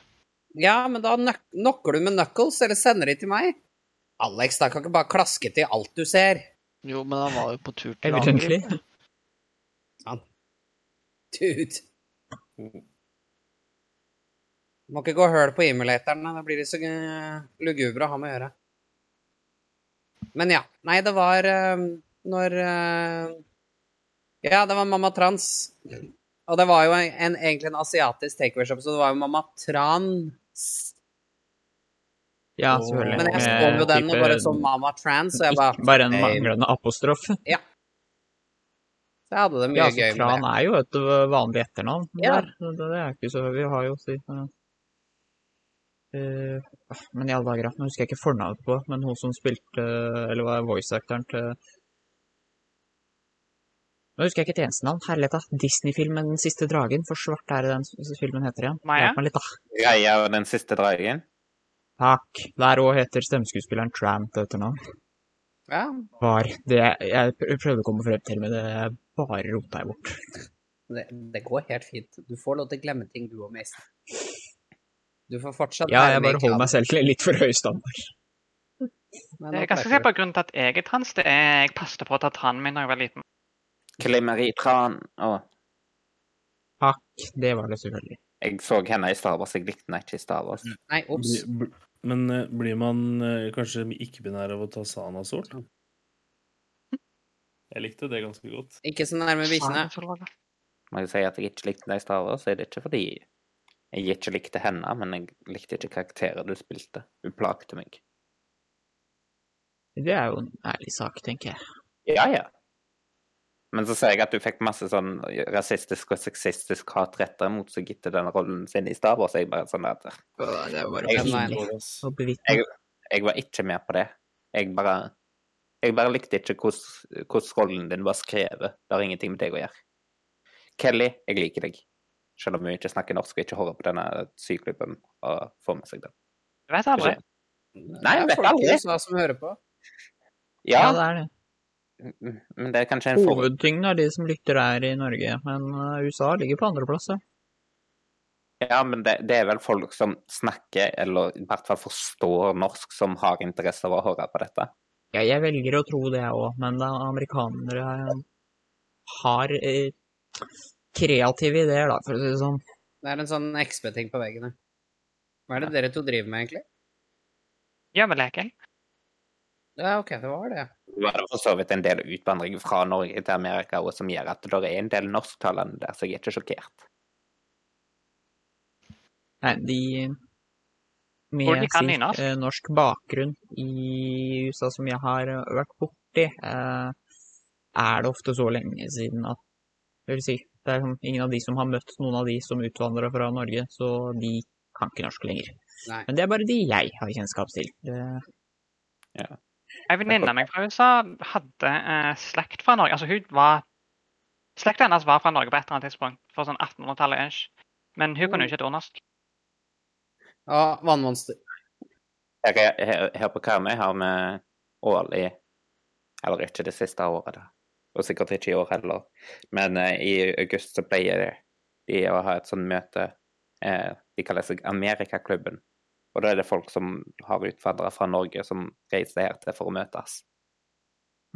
Speaker 3: Ja, men da nøk knocker du med knuckles, eller sender de til meg. Alex, da kan ikke bare klaske til alt du ser.
Speaker 7: Jo, men han var jo på tur til
Speaker 1: Evidently.
Speaker 7: Aker.
Speaker 3: Dude. Må ikke gå høl på emulatoren, da blir de så eh, lugubre å ha med å gjøre. Men ja. Nei, det var eh, når eh, Ja, det var Mamma Trans. Og det var jo en, en, egentlig en asiatisk takeaway-shop, så det var jo Mamma Trans.
Speaker 1: Ja, selvfølgelig.
Speaker 3: Men jeg
Speaker 1: Med
Speaker 3: skrev jo den
Speaker 1: type-
Speaker 3: bare som Mama Trans, og jeg
Speaker 1: Ikke
Speaker 3: bare,
Speaker 1: bare en
Speaker 3: Nei.
Speaker 1: manglende apostrof.
Speaker 3: så jeg hadde det mye
Speaker 1: Ja, altså,
Speaker 3: gøy med
Speaker 1: Tran
Speaker 3: det.
Speaker 1: er jo et ø, vanlig etternavn.
Speaker 3: Ja.
Speaker 1: Der. Det, det er ikke så Vi har jo si ø, ø, Men i alle dager, ja. Nå husker jeg ikke fornavnet på, men hun som spilte ø, Eller var voice-actoren til Nå husker jeg ikke et eneste navn. Herlighet, da. Disney-filmen 'Den siste dragen'. For svart er det den s- filmen heter igjen.
Speaker 4: Maya?
Speaker 1: Hjelp meg litt, da.
Speaker 2: Greia og den siste dragen.
Speaker 1: Takk. Der òg heter stemmeskuespilleren Tran til etternavn.
Speaker 3: Ja.
Speaker 1: Var det jeg pr- prøvde å komme frem til, men det bare rota jeg bort.
Speaker 3: Det, det går helt fint. Du får lov til å glemme ting, du og Mason. Du får fortsatt
Speaker 1: Ja,
Speaker 3: være
Speaker 1: jeg
Speaker 3: med i
Speaker 1: bare holder meg
Speaker 3: klanen,
Speaker 1: selv til litt for høy standard.
Speaker 3: men
Speaker 4: Det
Speaker 3: nå
Speaker 4: er ganske
Speaker 3: klarer
Speaker 4: sikkert på grunnen til at jeg er trans. Det er jeg passet på å ta tranen min da jeg var liten.
Speaker 2: Klimmeri Tran. Å,
Speaker 1: Det var det selvfølgelig.
Speaker 2: jeg så henne i Star Wars. Jeg likte henne ikke i Star Wars.
Speaker 3: du. Nei, ops.
Speaker 5: Bli- bl- Men eh, blir man eh, kanskje ikke-binær av å ta sanasol? Jeg likte det ganske godt.
Speaker 3: Ikke så nærme bikkjene.
Speaker 2: Når jeg sier at jeg ikke likte henne i Star Wars, så er det ikke fordi jeg ikke likte henne, men jeg likte ikke karakterer du spilte. Hun plagte meg.
Speaker 1: Det er jo en ærlig sak, tenker jeg.
Speaker 2: Ja, ja. Men så ser jeg at du fikk masse sånn rasistisk og sexistisk hat retta mot seg etter den rollen sin i Star Wars. Jeg bare sånn at
Speaker 1: Det er jo bare
Speaker 2: Jeg-
Speaker 1: pinlig å bevitne.
Speaker 2: jeg var ikke med på det. Jeg bare jeg bare likte ikke hvordan hvordan rollen din var skrevet. Det har ingenting med deg å gjøre. Kelly, jeg liker deg. Selv om hun ikke snakker norsk og ikke hører på denne syklubben og får med seg den.
Speaker 4: Du vet aldri.
Speaker 2: Nei,
Speaker 3: Det er
Speaker 2: vet
Speaker 3: folk i
Speaker 2: aldri.
Speaker 3: USA som hører på.
Speaker 1: Ja,
Speaker 2: Ja, Mm,
Speaker 1: det er det.
Speaker 2: men det er kanskje en forut...
Speaker 1: Hovedtyngden av de som lytter, er i Norge, men ø, USA ligger på andreplass. ja.
Speaker 2: Ja, men det, det er vel folk som snakker, eller i hvert fall forstår norsk, som har interesse av å høre på dette.
Speaker 1: Ja, jeg velger å tro det, jeg òg, men det er amerikanere ø, har ø, kreative ideer, da, for å si det sånn.
Speaker 3: Det er en sånn XB-ting på veggen her. Hva er det dere to driver med, egentlig?
Speaker 4: Gjømmeleken.
Speaker 3: Ja, OK, det var det.
Speaker 2: Det var for så vidt en del utvandring fra Norge til Amerika og som gjør at det er en del norsktalende der, så jeg er ikke sjokkert.
Speaker 1: Nei, de
Speaker 4: Og de
Speaker 1: med sin
Speaker 4: kan nynorsk.
Speaker 1: eh, norsk bakgrunn i USA som jeg har eh, vært borti, eh, er det ofte så lenge siden at Det vil si, det er sånn, ingen av de som har møtt noen av de som utvandra fra Norge, så de kan ikke norsk lenger.
Speaker 3: Nei.
Speaker 1: Men det er bare de jeg har kjennskap til. Det,
Speaker 4: Ei venninne av meg fra USA hadde eh, slekt fra Norge. Altså, hun var Slekta hennes var fra Norge på et eller annet tidspunkt, for sånn 1800-tallet ish. Men hun kunne jo ikke et ord norsk.
Speaker 3: Ja, vannmonster.
Speaker 2: Her, er- her, her på Karmøy har vi årlig Eller ikke det siste året, da. Og sikkert ikke i år heller. Men eh, i august så pleier det de å ha et sånt møte. Eh, de kaller seg Amerikaklubben. Og da er det folk som har utvandra fra Norge, som reiser her til for å møtes.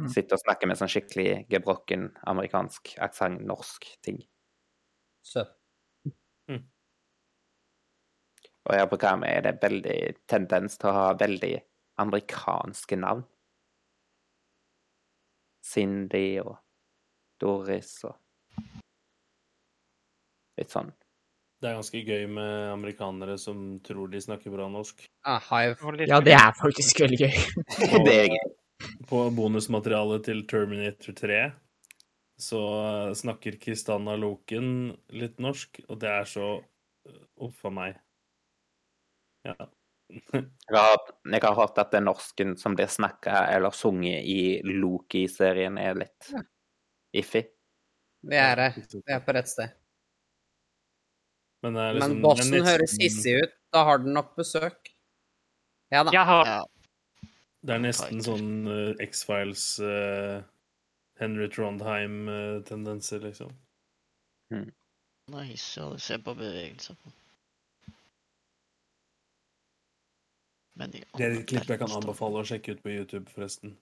Speaker 1: Mm.
Speaker 2: Sitter og snakker med sånn skikkelig gebrokken amerikansk aksent, norsk ting.
Speaker 3: Søt.
Speaker 2: Og her på Karmøy er det veldig tendens til å ha veldig amerikanske navn. Cindy og Doris og Litt sånn.
Speaker 5: Det er ganske gøy med amerikanere som tror de snakker bra norsk.
Speaker 3: Ah, hive.
Speaker 4: Hun var litt-
Speaker 1: ja, det er faktisk veldig gøy.
Speaker 2: Det er gøy.
Speaker 5: På bonusmaterialet til Terminator 3 så eh, snakker Kristanna Loken litt norsk, og det er så eh, Uff a meg. Ja.
Speaker 2: Jeg har, jeg har hørt at den norsken som blir snakka eller sunget i Loki-serien, er litt iffy.
Speaker 3: Vi er her. Vi er på rett sted.
Speaker 5: Men, det er liksom-
Speaker 3: Men
Speaker 5: det er
Speaker 3: bossen
Speaker 5: nesten-
Speaker 3: høres hissig ut. Da har den nok besøk. Ja da.
Speaker 4: Ja, har
Speaker 7: Ja.
Speaker 5: Det er nesten sånn eh, X-Files eh, Henry Trondheim-tendenser, liksom.
Speaker 7: Nice, ja, det ser på bevegelser på. Men i
Speaker 5: Det er
Speaker 7: alle
Speaker 5: et klipp jeg kan
Speaker 7: dager,
Speaker 5: anbefale å sjekke ut på YouTube, forresten.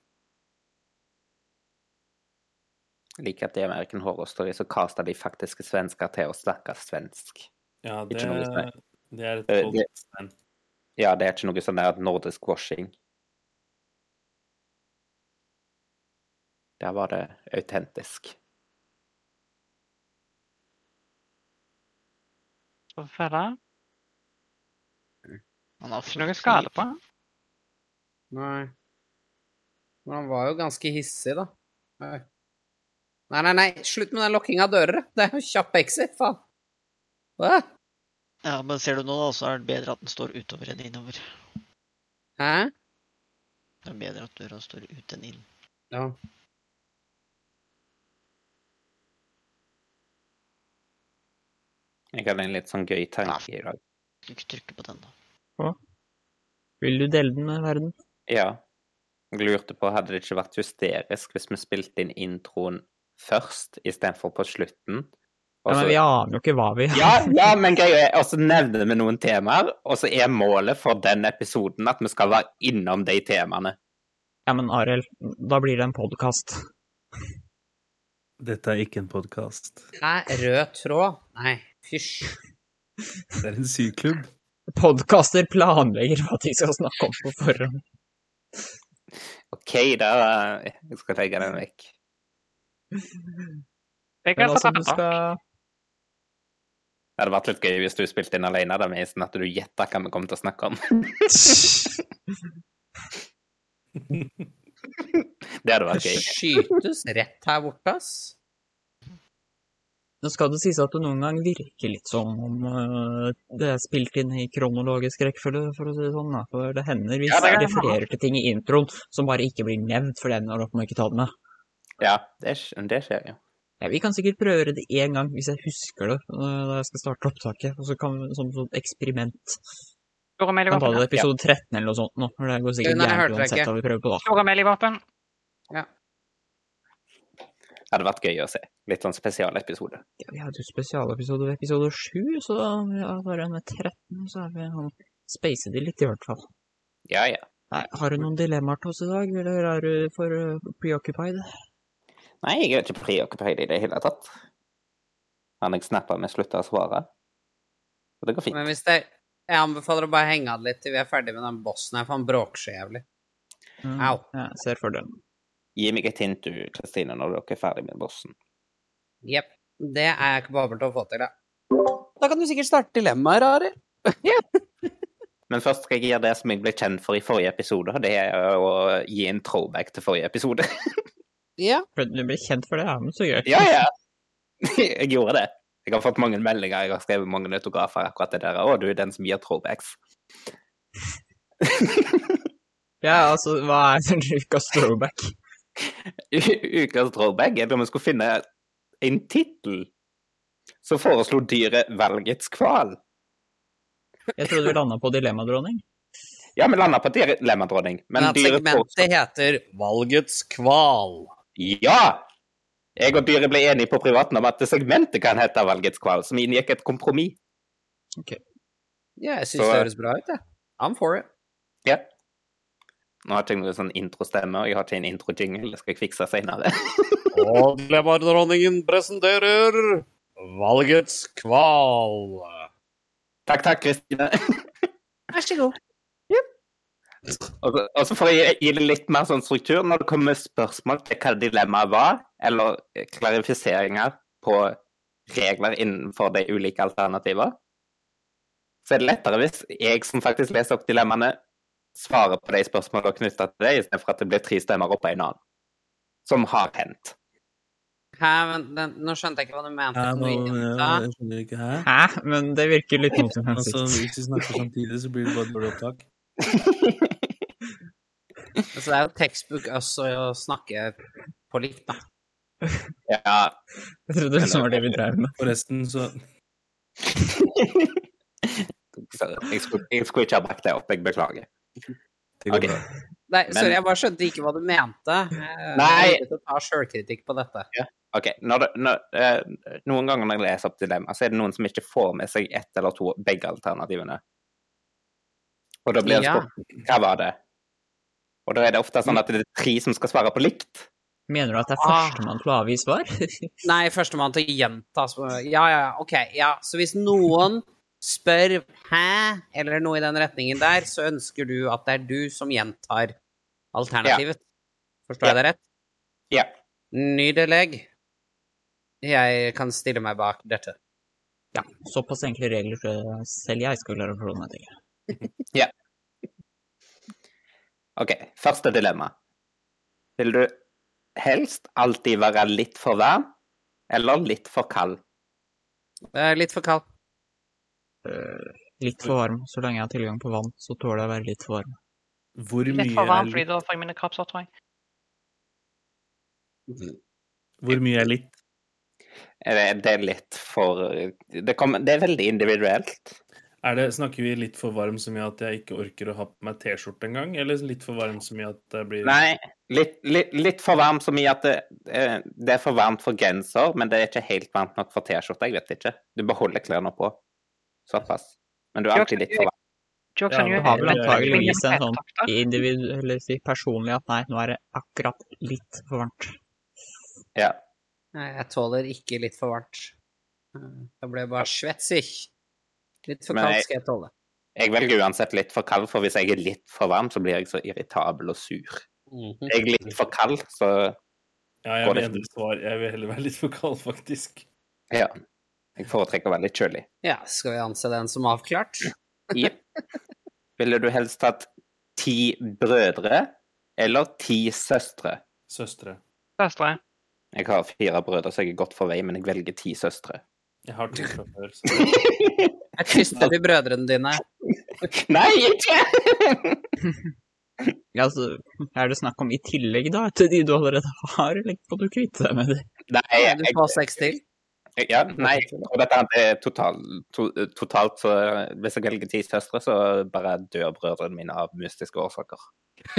Speaker 2: Jeg liker at i American Horror Story så casta de faktiske svensker til å snakke svensk.
Speaker 5: Ja, det,
Speaker 2: Ikke noe å si.
Speaker 5: det er et
Speaker 2: Eh,
Speaker 5: godt
Speaker 2: det-
Speaker 5: tegn.
Speaker 2: Ja, det er ikke noe sånn der nordisk washing. Der var det autentisk.
Speaker 4: Hva er det?
Speaker 7: Han har
Speaker 4: Ikke noe skade på.
Speaker 3: Nei. Men han var jo ganske hissig, da. Nei, nei, nei. nei. Slutt med den lukkinga av dører. Det er jo kjapp exit, faen. Hva?
Speaker 7: Ja, men ser du nå, da, så er det bedre at den står utover enn innover.
Speaker 3: Hæ?
Speaker 7: Det er bedre at døra står ut enn inn.
Speaker 3: Ja.
Speaker 2: Jeg hadde en litt sånn gøy tanke i dag.
Speaker 7: Du kan ikke trykke på den, da.
Speaker 1: Vil du dele den med verden?
Speaker 2: Ja. Jeg lurte på, hadde det ikke vært hysterisk hvis vi spilte inn introen først istedenfor på slutten?
Speaker 1: Ja,
Speaker 2: Og
Speaker 1: men
Speaker 4: Altså-
Speaker 2: så-
Speaker 1: vi aner jo ikke hva vi
Speaker 2: ja, ja, men greia er, og så nevner vi noen temaer, og så er målet for den episoden at vi skal være innom de temaene.
Speaker 1: Ja, men Arild, da blir det en podkast.
Speaker 5: Dette er ikke en podkast.
Speaker 3: Nei, rød tråd. Nei, fysj.
Speaker 5: Det er en syklubb.
Speaker 1: Podkaster planlegger hva de skal snakke om på forhånd.
Speaker 2: OK, da eh, Jeg skal legge den vekk.
Speaker 4: Jeg
Speaker 1: Men
Speaker 4: kan
Speaker 1: altså,
Speaker 4: ta
Speaker 1: du
Speaker 4: den bak.
Speaker 1: skal
Speaker 2: Det hadde vært litt gøy hvis du spilte inn alene, da, med sånn at du gjetta hva vi kommer til å snakke om. Det hadde vært gøy.
Speaker 3: Skytes rett her borte, ass.
Speaker 1: Nå skal det sies at det noen gang virker litt som om øh, det er spilt inn i kronologisk rekkefølge, for å si det sånn. Da. For det hender hvis
Speaker 4: Ja, det
Speaker 1: jeg
Speaker 4: kan jeg
Speaker 1: refererer til ting i introen som bare ikke blir nevnt, for det ender opp med å ikke ta det med.
Speaker 2: Ja, det, sk- det skjer jo.
Speaker 1: Ja, vi kan sikkert prøve å gjøre det én gang, hvis jeg husker det, øh, da jeg skal starte opptaket. Og så kan vi som sånn eksperiment.
Speaker 4: Store
Speaker 1: Vi kan ta
Speaker 4: melee-våpen.
Speaker 1: det episode 13 eller noe sånt nå, for det går sikkert
Speaker 3: Nei, jeg
Speaker 1: gærent
Speaker 3: hørte deg ikke.
Speaker 1: uansett hva vi prøver på da.
Speaker 4: Store melee-våpen.
Speaker 2: Det hadde vært gøy å se. Litt sånn spesialepisode.
Speaker 1: Ja, vi hadde jo spesialepisode ved episode 7, så ja, bare med 13 så er vi han spacet de litt i hvert fall.
Speaker 2: Ja, ja.
Speaker 1: Nei, har du noen dilemmaer til oss i dag, eller er du for uh, preoccupied?
Speaker 2: Nei, jeg er ikke preoccupied i det hele tatt. Han jeg snappa med, slutta å svare. Så det går fint.
Speaker 3: Men hvis det Jeg anbefaler å bare henge av det litt til vi er ferdig med den bossen her, for han bråker så jævlig.
Speaker 1: Mm.
Speaker 3: Au.
Speaker 1: Ja, ser fordelen.
Speaker 2: Gi meg et hint, du, Kristine, når dere er ferdig med bossen.
Speaker 3: Jepp. Det er jeg kapabel til å få til, da. Da kan du sikkert starte dilemmaer, Arild.
Speaker 2: Men først skal jeg gjøre det som jeg ble kjent for i forrige episode, og det er å gi en throwback til forrige episode.
Speaker 3: Ja.
Speaker 1: For Du blir kjent for det, ja, men så gøy.
Speaker 2: ja, ja! Jeg gjorde det. Jeg har fått mange meldinger, jeg har skrevet mange autografer akkurat det der. Å, du er den som gir throwbacks.
Speaker 1: Ja, altså, hva er en ukas throwback?
Speaker 2: U- Ukas throwback er da vi skulle finne en tittel. Så foreslo dyret valgets kval.
Speaker 1: Jeg trodde vi landa på dilemmadronning.
Speaker 2: Ja, vi landa på dilemmadronning, men
Speaker 3: Men at
Speaker 2: dyret foreslo
Speaker 3: segmentet heter Valgets kval.
Speaker 2: Ja! Jeg og dyret ble enige på privaten om at segmentet kan hete Valgets kval, som inngikk et kompromiss.
Speaker 3: Ja, jeg
Speaker 2: Så-
Speaker 3: syns det høres bra ut, jeg. I'm for it.
Speaker 2: Ja. Nå har ikke jeg noen sånn introstemme, og jeg har ikke en introjingle. Det skal jeg fikse senere.
Speaker 3: Og dilemmadronningen presenterer Valgets kval.
Speaker 2: Takk, takk, Kristine.
Speaker 3: Vær så god.
Speaker 2: Og så- og så får jeg gi det litt mer sånn struktur når det kommer spørsmål til hva dilemmaet var, eller eh, klarifiseringer på regler innenfor de ulike alternativene. Så er det lettere hvis jeg som faktisk leser opp dilemmaene, svarer på de spørsmålene knytta til det, istedenfor at det blir tre stemmer opp av en annen. Som har hendt.
Speaker 3: Hæ, men den, nå skjønte jeg ikke hva du mente.
Speaker 5: Hæ,
Speaker 3: Kan du
Speaker 5: nå- ja,
Speaker 3: gjenta?
Speaker 5: jeg skjønner ikke hæ.
Speaker 1: Hæ? Men det virker litt mot sin hensikt.
Speaker 5: Altså, hvis vi snakker samtidig, så blir det bare et dårlig opptak.
Speaker 3: Så Altså, det er jo textbook også å snakke på likt, da.
Speaker 2: Ja.
Speaker 1: Jeg trodde det var det vi drev med.
Speaker 5: Forresten, så
Speaker 2: Så jeg skulle, jeg skulle ikke ha brakt det opp, jeg beklager.
Speaker 5: det går
Speaker 2: Ok.
Speaker 5: bra.
Speaker 3: Nei,
Speaker 2: Men-
Speaker 3: sorry, jeg bare skjønte ikke hva du mente. Jeg-
Speaker 2: Nei.
Speaker 3: Jeg vil ta sjølkritikk på dette.
Speaker 2: Ok, når det, når, eh, Noen ganger når jeg leser opp dilemma, så er det noen som ikke får med seg ett eller to, begge alternativene. Og da blir det
Speaker 3: Ja.
Speaker 2: spurt hva var det? Og da er det ofte sånn at det er tre som skal svare på likt.
Speaker 1: Mener du at det er
Speaker 3: Ah.
Speaker 1: førstemann til å avgi svar?
Speaker 3: Nei, førstemann til å gjenta. sp- Ja, ja, ja, ok. Ja. Så hvis noen spør 'hæ?' eller noe i den retningen der, så ønsker du at det er du som gjentar alternativet. Forstår jeg det rett?
Speaker 2: Ja.
Speaker 3: Nydelig. Jeg kan stille meg bak dette.
Speaker 1: ja, såpass enkle regler så selv jeg skal klare å forholde meg til.
Speaker 2: OK, første dilemma. Vil du helst alltid være litt for varm eller litt for kald?
Speaker 3: Eh, litt for kald.
Speaker 1: Eh, Litt for varm. Så lenge jeg har tilgang på vann, så tåler jeg å være litt for varm.
Speaker 5: Hvor mye,
Speaker 4: Litt for varmt,
Speaker 5: er
Speaker 4: fordi
Speaker 5: litt?
Speaker 4: da får jeg mine kroppsår, tror jeg.
Speaker 5: Hvor mye er litt?
Speaker 2: Er Det det er litt for Det, kommer, det er veldig individuelt.
Speaker 5: Er det, snakker vi litt for varm som gjør at jeg ikke orker å ha på meg T-skjorte engang? Eller litt for varm som gjør at jeg blir
Speaker 2: Nei, litt, litt, litt for varm som i at det, eh, det er for varmt for genser, men det er ikke helt varmt nok for T-skjorte. Jeg vet ikke. Du beholder klærne på. Såpass. Men du er alltid litt for varm.
Speaker 4: Jokes
Speaker 5: Ja,
Speaker 4: on
Speaker 5: men
Speaker 4: you.
Speaker 5: har vel
Speaker 4: men-
Speaker 1: antageligvis
Speaker 4: men-
Speaker 1: en sånn
Speaker 4: men-
Speaker 1: Individuelt si personlig at nei, nå er det akkurat litt for varmt.
Speaker 2: Ja.
Speaker 3: Nei, jeg tåler ikke litt for varmt. Eh, Da blir jeg bare svetsig. Litt for
Speaker 2: Men
Speaker 3: kaldt
Speaker 2: jeg-
Speaker 3: skal jeg tåle.
Speaker 2: Jeg velger uansett litt for kald, for hvis jeg er litt for varm, så blir jeg så irritabel og sur. Jeg er litt for kald, så
Speaker 5: Ja, jeg
Speaker 2: Går
Speaker 5: vil
Speaker 2: det
Speaker 5: endre svar. Jeg vil heller være litt for kald, faktisk.
Speaker 2: ja. Jeg foretrekker å være litt kjølig.
Speaker 3: Ja, skal vi anse den som avklart?
Speaker 2: Jepp. Ville du helst hatt ti brødre eller ti søstre?
Speaker 5: Søstre.
Speaker 4: Søstre.
Speaker 2: Jeg har fire brødre, så jeg er godt på vei, men jeg velger ti søstre.
Speaker 5: Jeg har to fra før. Så.
Speaker 3: Jeg kysser de brødrene dine.
Speaker 2: Nei, ikke!
Speaker 1: Ja, altså, er det snakk om i tillegg da, til de du allerede har, eller må du kvitte deg med de?
Speaker 2: Nei,
Speaker 3: Kan du
Speaker 2: jeg,
Speaker 3: få seks til?
Speaker 2: ja, nei, og dette er totalt, to, totalt, så hvis jeg velger ti søstre, så bare dør brødrene mine av mystiske årsaker.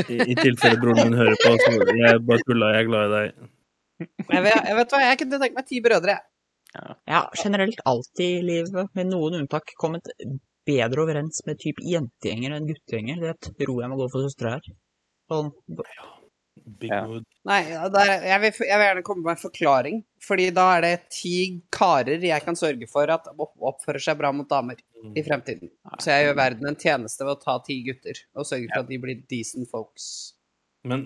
Speaker 5: I, I tilfelle broren min hører på, så jeg bare tulla. Jeg er glad i deg.
Speaker 3: Jeg vet, jeg vet hva, jeg kunne tenkt meg ti brødre, jeg.
Speaker 1: Jeg har generelt alltid i livet, med noen unntak, kommet bedre overens med typ jentegjenger enn guttegjenger. Det tror jeg må gå for søstre her. Sånn,
Speaker 5: Big
Speaker 2: Ja.
Speaker 5: mood.
Speaker 3: Nei, det er, jeg, vil, jeg vil gjerne komme med en forklaring. Fordi da er det ti karer jeg kan sørge for at opp- oppfører seg bra mot damer
Speaker 2: Mm.
Speaker 3: i fremtiden. Så jeg gjør verden en tjeneste ved å ta ti gutter og sørge for at de blir decent folks.
Speaker 5: Men,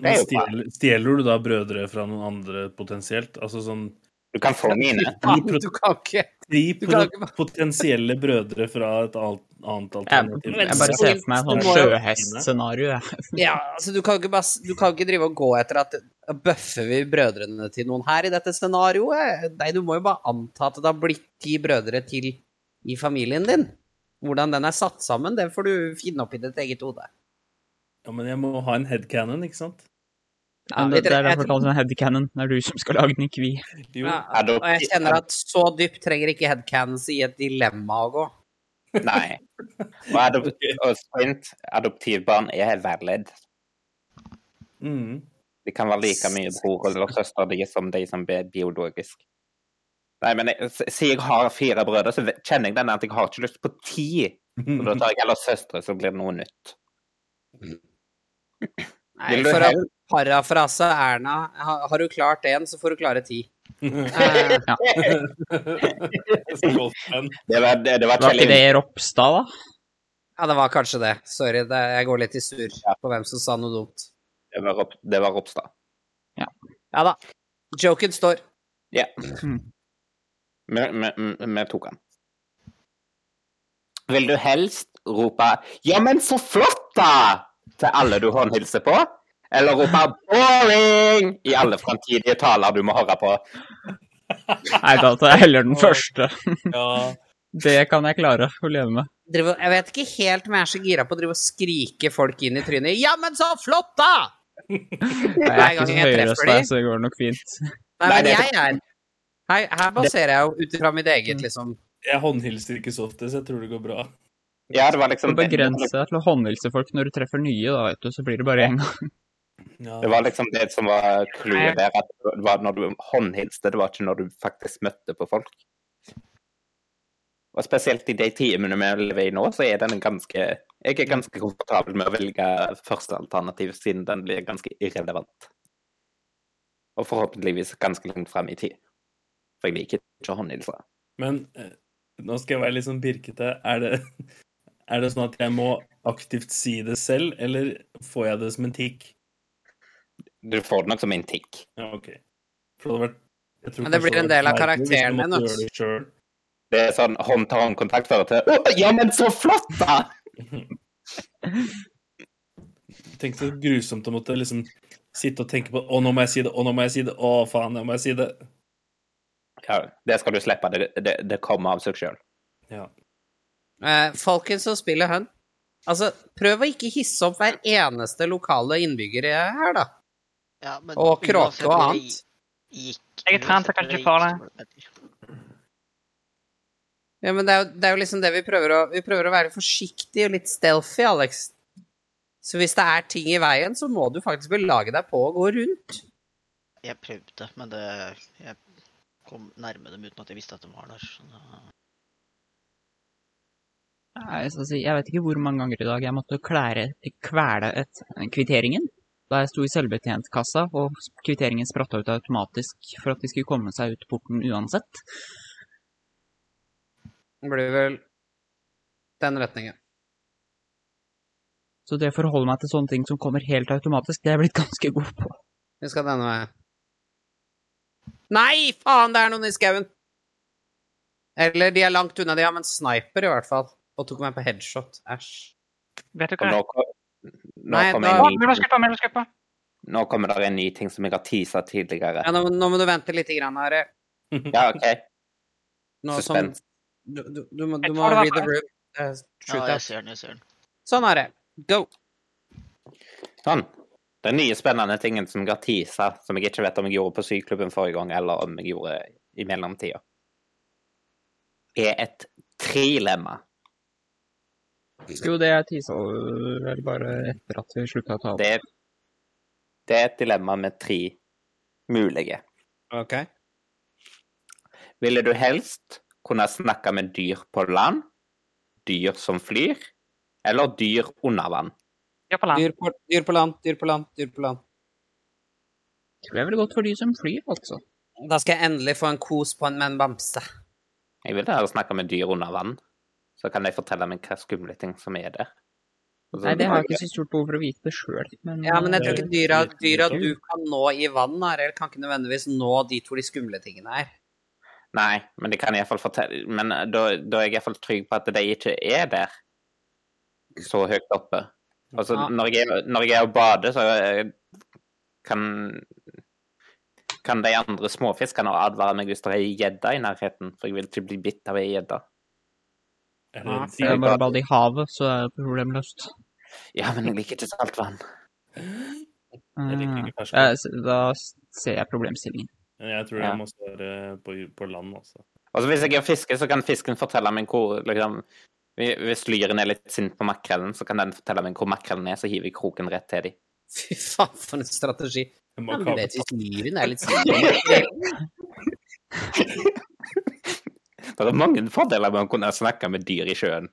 Speaker 2: Det er
Speaker 5: men
Speaker 2: jo
Speaker 5: stjeler, stjeler du da brødre fra noen andre potensielt? Altså sånn
Speaker 2: Du kan få mine.
Speaker 5: Ti pro-
Speaker 3: Ah, Du kan ikke
Speaker 5: Tre
Speaker 3: Du kan
Speaker 5: pro- potensielle brødre fra et alt, annet alternativ.
Speaker 1: jeg bare ser for meg et
Speaker 3: Du
Speaker 1: sånn
Speaker 3: må jo-
Speaker 1: sjøhestscenario. jeg.
Speaker 3: Ja, altså du kan jo ikke, bare, s- du kan jo ikke drive og gå etter at Bøffer vi brødrene til noen her i dette scenarioet? Nei, du må jo bare anta at det har blitt ti brødre til i familien din. Hvordan den er satt sammen, det får du finne opp i ditt eget hode.
Speaker 5: Ja, men jeg må ha en headcanon, ikke sant?
Speaker 3: Ja,
Speaker 1: Men det, det er
Speaker 3: jeg-
Speaker 1: derfor det kalles en headcanon. Det er du som skal lage den, ikke vi.
Speaker 5: Jo.
Speaker 3: Ja,
Speaker 2: Adopti-
Speaker 3: og jeg kjenner at så dypt trenger ikke headcans i et dilemma å gå.
Speaker 2: Nei. Og, adop og sprint, adoptivbarn er valid.
Speaker 5: Mm.
Speaker 2: De kan være like mye bror eller søster de som de som er biologisk. Nei, men jeg, siden jeg har fire brødre, så kjenner jeg den at jeg har ikke lyst på ti. Så da tar jeg heller søstre, så blir det noe nytt.
Speaker 3: Nei,
Speaker 2: Vil du
Speaker 3: for å
Speaker 2: hel-
Speaker 3: parafrase Erna, ha- har du klart én, så får du klare ti. Eh,
Speaker 5: Skål for den.
Speaker 2: Det var, det, det var
Speaker 1: Var
Speaker 2: Kjell
Speaker 1: ikke det Ropstad, da?
Speaker 3: Ja, det var kanskje det. Sorry, det, jeg går litt i surr på hvem som sa noe dumt.
Speaker 2: Det var, Rop- det var Ropstad.
Speaker 3: Ja da. Joken står.
Speaker 2: Ja.
Speaker 1: Mm.
Speaker 2: Vi, vi, vi- vi tok han. Vil du helst rope 'ja, men så flott', da! til alle du håndhilser på? Eller rope 'boring' i alle fremtidige taler du må høre på?
Speaker 1: Nei, da tar jeg heller den første.
Speaker 5: Ja.
Speaker 1: Det kan jeg klare å leve med.
Speaker 3: Driver, jeg vet ikke helt om jeg er så gira på å drive og skrike folk inn i trynet. Ja, men så flott, da!
Speaker 1: Nei, jeg er ikke
Speaker 3: Hver gang
Speaker 1: så
Speaker 3: jeg treffer
Speaker 1: høyrøsta,
Speaker 3: de.
Speaker 1: så det går nok fint.
Speaker 3: Nei,
Speaker 2: Nei,
Speaker 3: men
Speaker 2: det-
Speaker 3: jeg er Her, her baserer jeg jo ut ifra mitt eget, liksom.
Speaker 5: Jeg håndhilser ikke så ofte, så jeg tror det går bra.
Speaker 2: Ja, det var
Speaker 1: Så
Speaker 2: liksom
Speaker 1: begrenser jeg til å håndhilse folk når du treffer nye, da, vet du, så blir det bare én gang.
Speaker 5: Ja.
Speaker 2: Det var liksom det som var clouet der, at det var når du håndhilste, det var ikke når du faktisk møtte på folk. Og spesielt i de timene vi lever i nå, så er den ganske Jeg er ganske komfortabel med å velge første alternativ, siden den blir ganske irrelevant. Og forhåpentligvis ganske langt frem i tid. For jeg liker ikke håndhilser.
Speaker 5: Men eh, nå skal jeg være litt sånn birkete. Er det, er det sånn at jeg må aktivt si det selv, eller får jeg det som en tikk?
Speaker 2: Du får det nok som en tikk.
Speaker 5: Ja, OK. For det hadde vært jeg tror
Speaker 3: Men det
Speaker 5: kanskje
Speaker 3: blir en
Speaker 5: hadde vært
Speaker 3: del av
Speaker 5: verre hvis
Speaker 3: karakteren
Speaker 5: du måtte
Speaker 3: din,
Speaker 5: gjøre det selv.
Speaker 2: Det er sånn hånd-til-hånd-kontakt fører til Å, ja, men så flott, da!
Speaker 5: Tenk så grusomt å måtte liksom sitte og tenke på Å, nå må jeg si det, å, nå må jeg si det, å, faen, nå må jeg si det.
Speaker 2: Ja, det skal du slippe. Det, det, det kommer av seg sjøl.
Speaker 5: Ja.
Speaker 3: Eh, folkens som spiller hun. Altså, prøv å ikke hisse opp hver eneste lokale innbygger her, da.
Speaker 7: Ja, men
Speaker 3: Og kråke
Speaker 7: uansett
Speaker 3: og
Speaker 7: hvor det
Speaker 3: annet.
Speaker 7: Gikk,
Speaker 4: Jeg er trent, jeg kan ikke få
Speaker 3: Ja, men det er, jo, det er jo liksom det vi prøver å Vi prøver å være forsiktige og litt stealthy, Alex. Så hvis det er ting i veien, så må du faktisk belage deg på å gå rundt.
Speaker 7: Jeg prøvde, men det Jeg kom nærme dem uten at jeg visste at de var der. Så da-
Speaker 1: Nei, jeg skal si, jeg vet ikke hvor mange ganger i dag jeg måtte klære, kvele et, eh, kvitteringen. Da jeg sto i selvbetjentkassa, og kvitteringen spratt ut automatisk for at de skulle komme seg ut porten uansett.
Speaker 3: Det blir vel den retningen.
Speaker 1: Så det å forholde meg til sånne ting som kommer helt automatisk, det er jeg blitt ganske god på.
Speaker 3: Vi skal denne veien. Nei, faen, det er noen i skauen! Eller de er langt unna, de har med en sniper, i hvert fall. Og tok meg på headshot. Æsj.
Speaker 4: Vet du
Speaker 2: Og
Speaker 4: hva?
Speaker 2: nå, ko- nå,
Speaker 3: Nei,
Speaker 2: kommer
Speaker 3: da-
Speaker 4: Å,
Speaker 2: en ny,
Speaker 4: middagskuppa, middagskuppa!
Speaker 2: nå kommer det en ny ting som jeg har tisa tidligere.
Speaker 3: Ja, nå, nå må du vente litt, grann, Are.
Speaker 2: Ja, OK.
Speaker 3: Nå som
Speaker 2: Suspens.
Speaker 3: du, du, du må, du
Speaker 4: Jeg
Speaker 3: må
Speaker 4: tror det var
Speaker 3: read the room. Eh,
Speaker 7: Ja,
Speaker 3: shoot
Speaker 7: jeg
Speaker 3: us.
Speaker 7: ser den, jeg ser den.
Speaker 3: Sånn, Are. Go.
Speaker 2: Sånn. Den nye spennende tingen som jeg har tisa, som jeg ikke vet om jeg gjorde på syklubben forrige gang, eller om jeg gjorde i mellomtida, er et trilemma.
Speaker 1: Jo, det jeg tisa vel bare etter at vi slutta å ta opp.
Speaker 2: Det, det er et dilemma med tre mulige.
Speaker 3: Ok.
Speaker 2: Ville du helst kunne snakke med dyr på land, dyr som flyr, eller dyr under vann?
Speaker 4: Ja, på land.
Speaker 3: Dyr på, dyr på land, dyr på land, dyr på land.
Speaker 1: Jeg tror det er vel godt for de som flyr, altså.
Speaker 3: Da skal jeg endelig få en kos på en med en bamse.
Speaker 2: Jeg vil heller snakke med dyr under vann, så kan de fortelle meg hva skumle ting som er der. Og så-
Speaker 1: Nei, det har jeg ikke så stort behov for å vite sjøl, men eh,
Speaker 3: Ja, men jeg tror ikke
Speaker 2: Eh,
Speaker 3: dyra,
Speaker 5: Det er
Speaker 3: dyra
Speaker 5: litt
Speaker 3: du kan nå i vann, Arild, kan ikke nødvendigvis nå dit hvor de skumle tingene er.
Speaker 2: Nei, men de kan i hvert fall fortelle Men eh, da, da er jeg iallfall trygg på at de ikke er der så høyt oppe. Altså,
Speaker 3: Ja.
Speaker 2: når jeg, er- når jeg er og bader, så eh, kan kan de andre småfiskene advare meg hvis det er gjedde i nærheten? For jeg vil ikke bli bitt av ei gjedde.
Speaker 5: Er
Speaker 3: Ja,
Speaker 5: det en
Speaker 1: det er
Speaker 5: ting?
Speaker 1: bare å bade i havet, så er det problemløst.
Speaker 2: Ja, men jeg liker ikke saltvann.
Speaker 5: Jeg liker ikke ferskvann.
Speaker 1: Eh, s- Da s- ser jeg problemstillingen.
Speaker 5: Men jeg tror
Speaker 2: Ja.
Speaker 5: jeg må svare på, på land, altså.
Speaker 2: Og så hvis jeg er fisker, så kan fisken fortelle meg hvor liksom, Hvis lyren er litt sint på makrellen, så kan den fortelle meg hvor makrellen er, så hiver jeg kroken rett til dem.
Speaker 3: Fy faen, for en strategi.
Speaker 5: Jeg må
Speaker 3: Ja, men du
Speaker 5: kappe
Speaker 3: vet, hvis myren er litt skummel
Speaker 2: Det er mange fordeler med å kunne snakke med dyr i sjøen.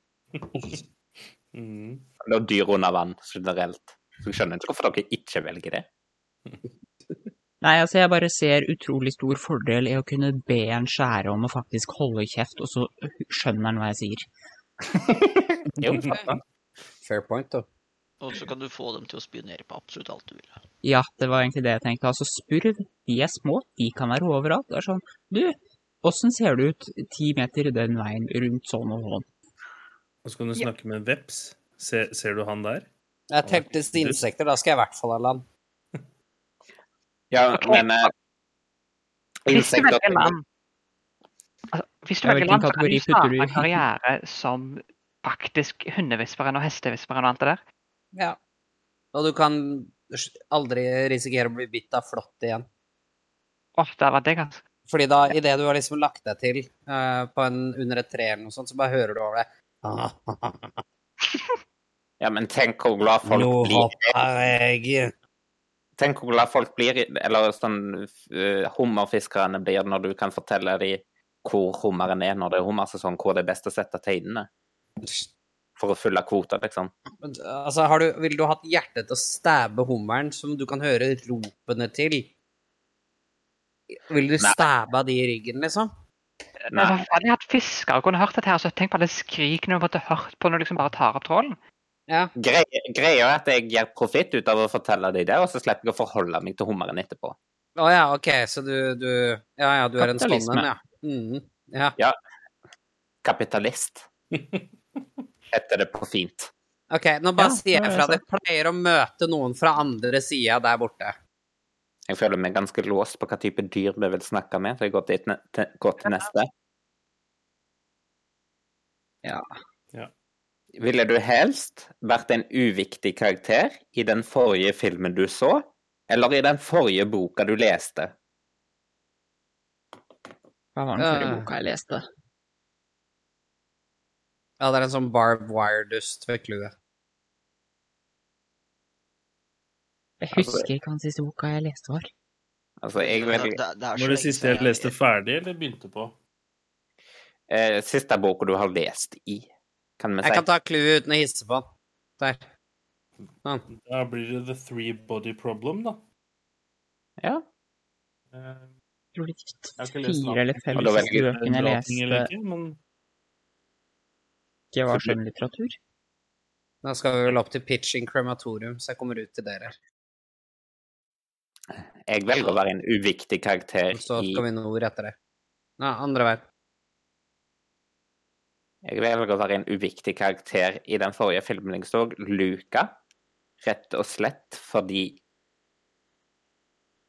Speaker 5: Mm.
Speaker 2: Eller dyr under vann generelt. Så jeg skjønner ikke hvorfor dere ikke velger det.
Speaker 1: Nei, altså jeg bare ser utrolig stor fordel i å kunne be en skjære om å faktisk holde kjeft, og så skjønner han hva jeg sier.
Speaker 2: Jo, sant da.
Speaker 3: Fair point, da.
Speaker 7: Og så kan du få dem til å spionere på absolutt alt du vil.
Speaker 1: Ja, det var egentlig det jeg tenkte. Altså, spurv, de er små, de kan være overalt. Det er sånn, du, åssen ser du ut ti meter den veien rundt sånn og sånn?
Speaker 5: Og så kan du snakke med en veps. Se, ser du han der?
Speaker 3: Jeg teltes til insekter, da skal jeg i hvert fall ha land.
Speaker 2: Ja, men eh,
Speaker 4: Hvis du
Speaker 2: insekter
Speaker 4: velger land altså, Hvis du
Speaker 1: Ja,
Speaker 4: velger
Speaker 1: hvilken
Speaker 4: land, så kan
Speaker 1: kategori putter
Speaker 4: du
Speaker 1: du
Speaker 4: starte en
Speaker 1: i?
Speaker 4: karriere som faktisk hundevisperen og hestevisperen og alt det der.
Speaker 3: Ja. Og du kan aldri risikere å bli bitt av flått igjen.
Speaker 4: Åh, der var det ganske
Speaker 3: Fordi da, i det du har liksom lagt deg til eh, på en, under et tre eller noe sånt, så bare hører du over det.
Speaker 2: Ja, men tenk hvor glad folk blir
Speaker 3: hopper jeg.
Speaker 2: Tenk hvor glad folk blir, eller sånn eh, hummerfiskerne blir når du kan fortelle dem hvor hummeren er når det er hummersesong, hvor det er best å sette teinene. For å fylle kvota, liksom.
Speaker 3: Men, Altså, har du, vil du ha hatt hjerte til å stæbe hummeren som du kan høre ropene til? Vil du
Speaker 2: Nei.
Speaker 3: stæbe av de i ryggen, liksom?
Speaker 4: Nei.
Speaker 2: Nei.
Speaker 4: Hadde jeg hatt fiskere og kunne hørt dette her, så tenk på alle skrikene du måtte hørt på når du liksom bare tar opp trålen.
Speaker 3: Ja.
Speaker 2: Greia, greia er at jeg gjør profitt ut av å fortelle dem det, og så slipper jeg å forholde meg til hummeren etterpå.
Speaker 3: Å ja, OK, så du, du Ja ja, du er en sånn
Speaker 1: Kapitalisme.
Speaker 3: en, ja. Mhm. ja.
Speaker 2: Kapitalist. Heter det på fint.
Speaker 3: OK, nå bare
Speaker 1: Ja,
Speaker 3: sier
Speaker 1: nå
Speaker 3: jeg
Speaker 1: er
Speaker 3: fra.
Speaker 1: jeg
Speaker 3: Det pleier å møte noen fra andre sida der borte.
Speaker 2: Jeg føler meg ganske låst på hva type dyr vi vil snakke med, så jeg går til, et ne- til, går til neste. Ja.
Speaker 5: Ja.
Speaker 2: Ville du helst vært en uviktig karakter i den forrige filmen du så, eller i den forrige boka du leste?
Speaker 1: Hva var den forrige
Speaker 3: Øh.
Speaker 1: boka jeg leste?
Speaker 3: Ja, det er en sånn barb wire-dust ved clouet.
Speaker 1: Jeg husker ikke hva den siste boka jeg leste var.
Speaker 2: Altså, jeg vil
Speaker 7: Det, det er så
Speaker 5: Var det
Speaker 7: lenge
Speaker 5: siste
Speaker 7: siden
Speaker 5: jeg leste ferdig, eller begynte på?
Speaker 2: eh, Siste boka du har lest i, kan vi si.
Speaker 3: Jeg kan ta clouet uten å hisse på den. Der.
Speaker 5: Da blir det The Three Body Problem, da.
Speaker 2: Ja.
Speaker 5: Eh,
Speaker 1: Jeg tror de
Speaker 5: Jeg har ikke lest den.
Speaker 1: fire eller fem
Speaker 2: Og da velger
Speaker 1: siste
Speaker 5: det er en
Speaker 1: bøkene jeg
Speaker 5: bra ting
Speaker 1: leste,
Speaker 5: eller ikke, Men
Speaker 1: ikke var skjønnlitteratur.
Speaker 3: Da skal vi vel opp til pitching crematorium, så jeg kommer ut til dere.
Speaker 2: Jeg velger å være en uviktig karakter
Speaker 3: Så
Speaker 2: i
Speaker 3: skal vi nord etter det. Nei, andre veien.
Speaker 2: Jeg velger å være en uviktig karakter i den forrige filmen jeg så, Luca. Rett og slett fordi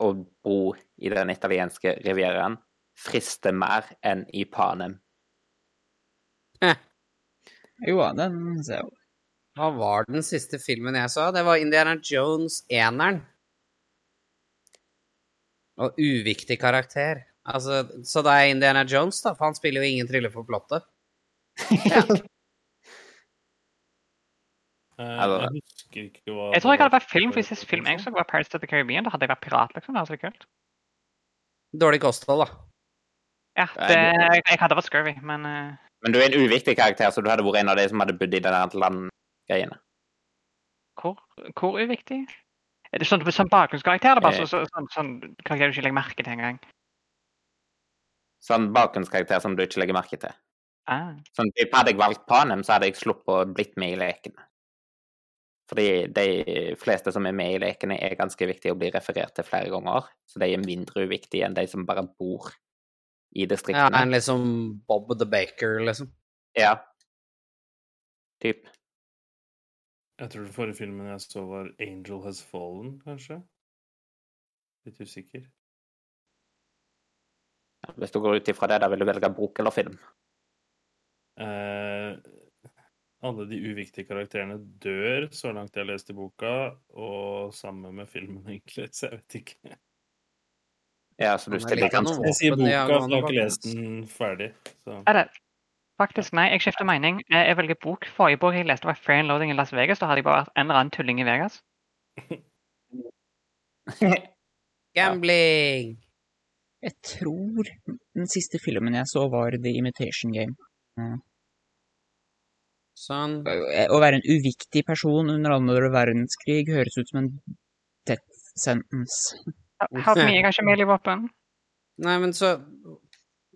Speaker 2: å bo i den italienske rivieraen frister mer enn i Panem.
Speaker 1: Jo, ja, den ser jeg jo.
Speaker 3: Hva var den siste filmen jeg så? Det var Indiana Jones 1-eren. Og uviktig karakter. Altså, så da er Indiana Jones, da, for han spiller jo ingen triller for plottet.
Speaker 5: eh,
Speaker 2: Ja, da-
Speaker 5: jeg husker ikke hva
Speaker 4: Jeg tror jeg hadde vært film, for sist film jeg så, var Pirates of the Caribbean. Da hadde jeg vært pirat, liksom. Det hadde vært kult.
Speaker 3: Dårlig kosthold, da.
Speaker 4: Ja, det, jeg, jeg hadde vært scurvy, men eh,
Speaker 2: Men du er en uviktig karakter, så du hadde vært en av de som hadde bodd i den der landgreiene.
Speaker 4: hvor, hvor uviktig? Er det sånn, sånn bakgrunnskarakter? Eller bare
Speaker 2: Eh.
Speaker 4: så, så, sånn, sånn karakter du ikke legger merke til engang?
Speaker 2: Sånn bakgrunnskarakter som du ikke legger merke til.
Speaker 4: Ah.
Speaker 2: Sånn, typ, hadde jeg valgt Panem, så hadde jeg sluppet å blitt med i lekene. Fordi de fleste som er med i lekene, er ganske viktige å bli referert til flere ganger. Så de er mindre uviktige enn de som bare bor i
Speaker 3: Ja,
Speaker 2: distriktene.
Speaker 3: en liksom Bob the Baker, liksom.
Speaker 2: Ja. Typ.
Speaker 5: Jeg tror den forrige filmen jeg så, var Angel Has Fallen, kanskje? Litt usikker.
Speaker 2: Hvis du går ut ifra det, da vil du velge bok eller film.
Speaker 5: Eh, alle de uviktige karakterene dør, så langt jeg har lest i boka, og samme med filmen, egentlig, så jeg vet ikke.
Speaker 2: Ja, så du
Speaker 3: Men jeg
Speaker 2: stiller
Speaker 3: liker
Speaker 2: kanskje
Speaker 3: noe.
Speaker 5: Jeg sier
Speaker 3: Våpen,
Speaker 5: boka, for
Speaker 3: ja,
Speaker 5: jeg har
Speaker 3: bak-
Speaker 5: ikke lest den ferdig. Så.
Speaker 4: Er det? Faktisk, nei. Jeg skifter mening. Eh, Jeg velger bok. Forrige bok jeg leste, var Fair and Loading i Las Vegas. Da hadde jeg bare vært en eller annen tulling i Vegas.
Speaker 3: Gambling!
Speaker 1: Jeg tror den siste filmen jeg så, var The Imitation Game.
Speaker 3: Sånn.
Speaker 1: Å være en uviktig person under andre verdenskrig høres ut som en death sentence.
Speaker 4: Help me, jeg har ikke melee-våpen.
Speaker 3: Nei, men så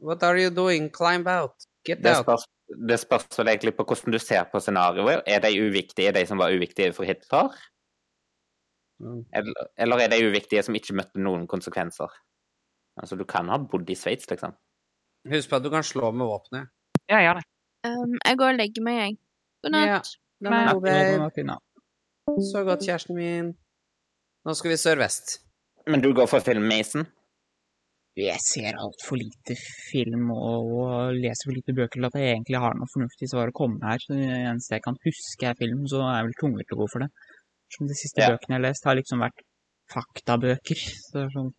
Speaker 3: What are you doing? Climb out. Get
Speaker 2: Det
Speaker 3: out.
Speaker 2: spørs, det spørs vel egentlig på hvordan du ser på scenarioet. Er de uviktige, de som var uviktige for Hitler?
Speaker 3: Mm.
Speaker 2: Eller, eller er de uviktige som ikke møtte noen konsekvenser? Altså, du kan ha bodd i Sveits, liksom.
Speaker 3: Husk på at du kan slå med våpenet.
Speaker 4: Ja, jeg gjør det.
Speaker 6: Um, jeg går og legger meg, jeg. God natt.
Speaker 3: Ja. Den
Speaker 4: Nei.
Speaker 3: er god, babe.
Speaker 1: Ja.
Speaker 3: Så
Speaker 4: Mm.
Speaker 3: godt, kjæresten min. Nå skal vi sørvest.
Speaker 2: Men du går for filmmeisen?
Speaker 1: Jeg ser altfor lite film og, og leser for lite bøker til at jeg egentlig har noe fornuftig svar å komme med her. Så det eneste jeg kan huske er film, så er jeg vel tvunget til å gå for det. Som de siste
Speaker 2: Ja.
Speaker 1: bøkene jeg har lest, har liksom vært faktabøker. Så det er sånn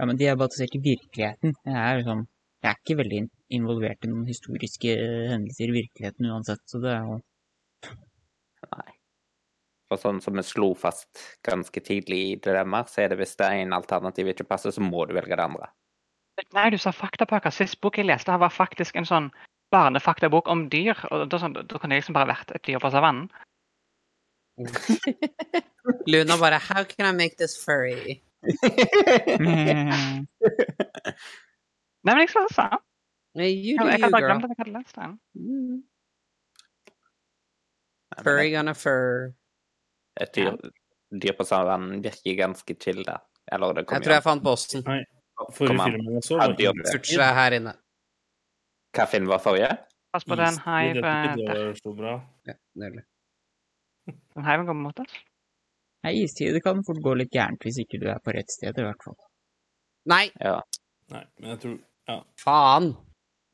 Speaker 1: Ja, men de er basert i virkeligheten. Jeg er liksom Jeg er ikke veldig in- involvert i noen historiske eh, hendelser i virkeligheten uansett, så det er jo
Speaker 2: Nei. For sånn som vi slo fast ganske tidlig i dilemmaer, så er det hvis det ene alternativet ikke passer, så må du velge det andre.
Speaker 4: Nei, du sa faktapakker. Sist bok jeg leste, her var faktisk en sånn barnefaktabok om dyr. og Da, sånn, da kunne jeg liksom bare vært et dyr på savannen.
Speaker 3: Luna bare How can I make this furry?
Speaker 1: Mm.
Speaker 4: Nei, men jeg skal lese den.
Speaker 3: You do
Speaker 4: Jeg
Speaker 3: you,
Speaker 4: hadde bare
Speaker 3: girl.
Speaker 4: glemt at jeg hadde lest den.
Speaker 3: Furry gonna fur.
Speaker 2: Et dyr, dyr på savannen virker ganske chill, da. Eller det
Speaker 3: Jeg
Speaker 2: kommer
Speaker 3: tror
Speaker 2: jo
Speaker 3: jeg fant bossen.
Speaker 5: Forrige
Speaker 2: Kom an.
Speaker 5: filmen jeg så,
Speaker 2: Ja,
Speaker 5: var
Speaker 2: dyr.
Speaker 5: ikke
Speaker 3: Sutra er her inne.
Speaker 2: Hva film var forrige?
Speaker 4: Pass på den eh,
Speaker 5: Istid, jeg
Speaker 4: hive
Speaker 5: tror ikke
Speaker 4: der.
Speaker 5: det var så bra.
Speaker 3: Ja, nydelig.
Speaker 4: Men Heimen går mot oss.
Speaker 1: Nei, istider kan fort gå litt gærent hvis ikke du er på rett sted, i hvert fall.
Speaker 3: Nei,
Speaker 2: Ja.
Speaker 5: Nei, men jeg tror
Speaker 3: faen!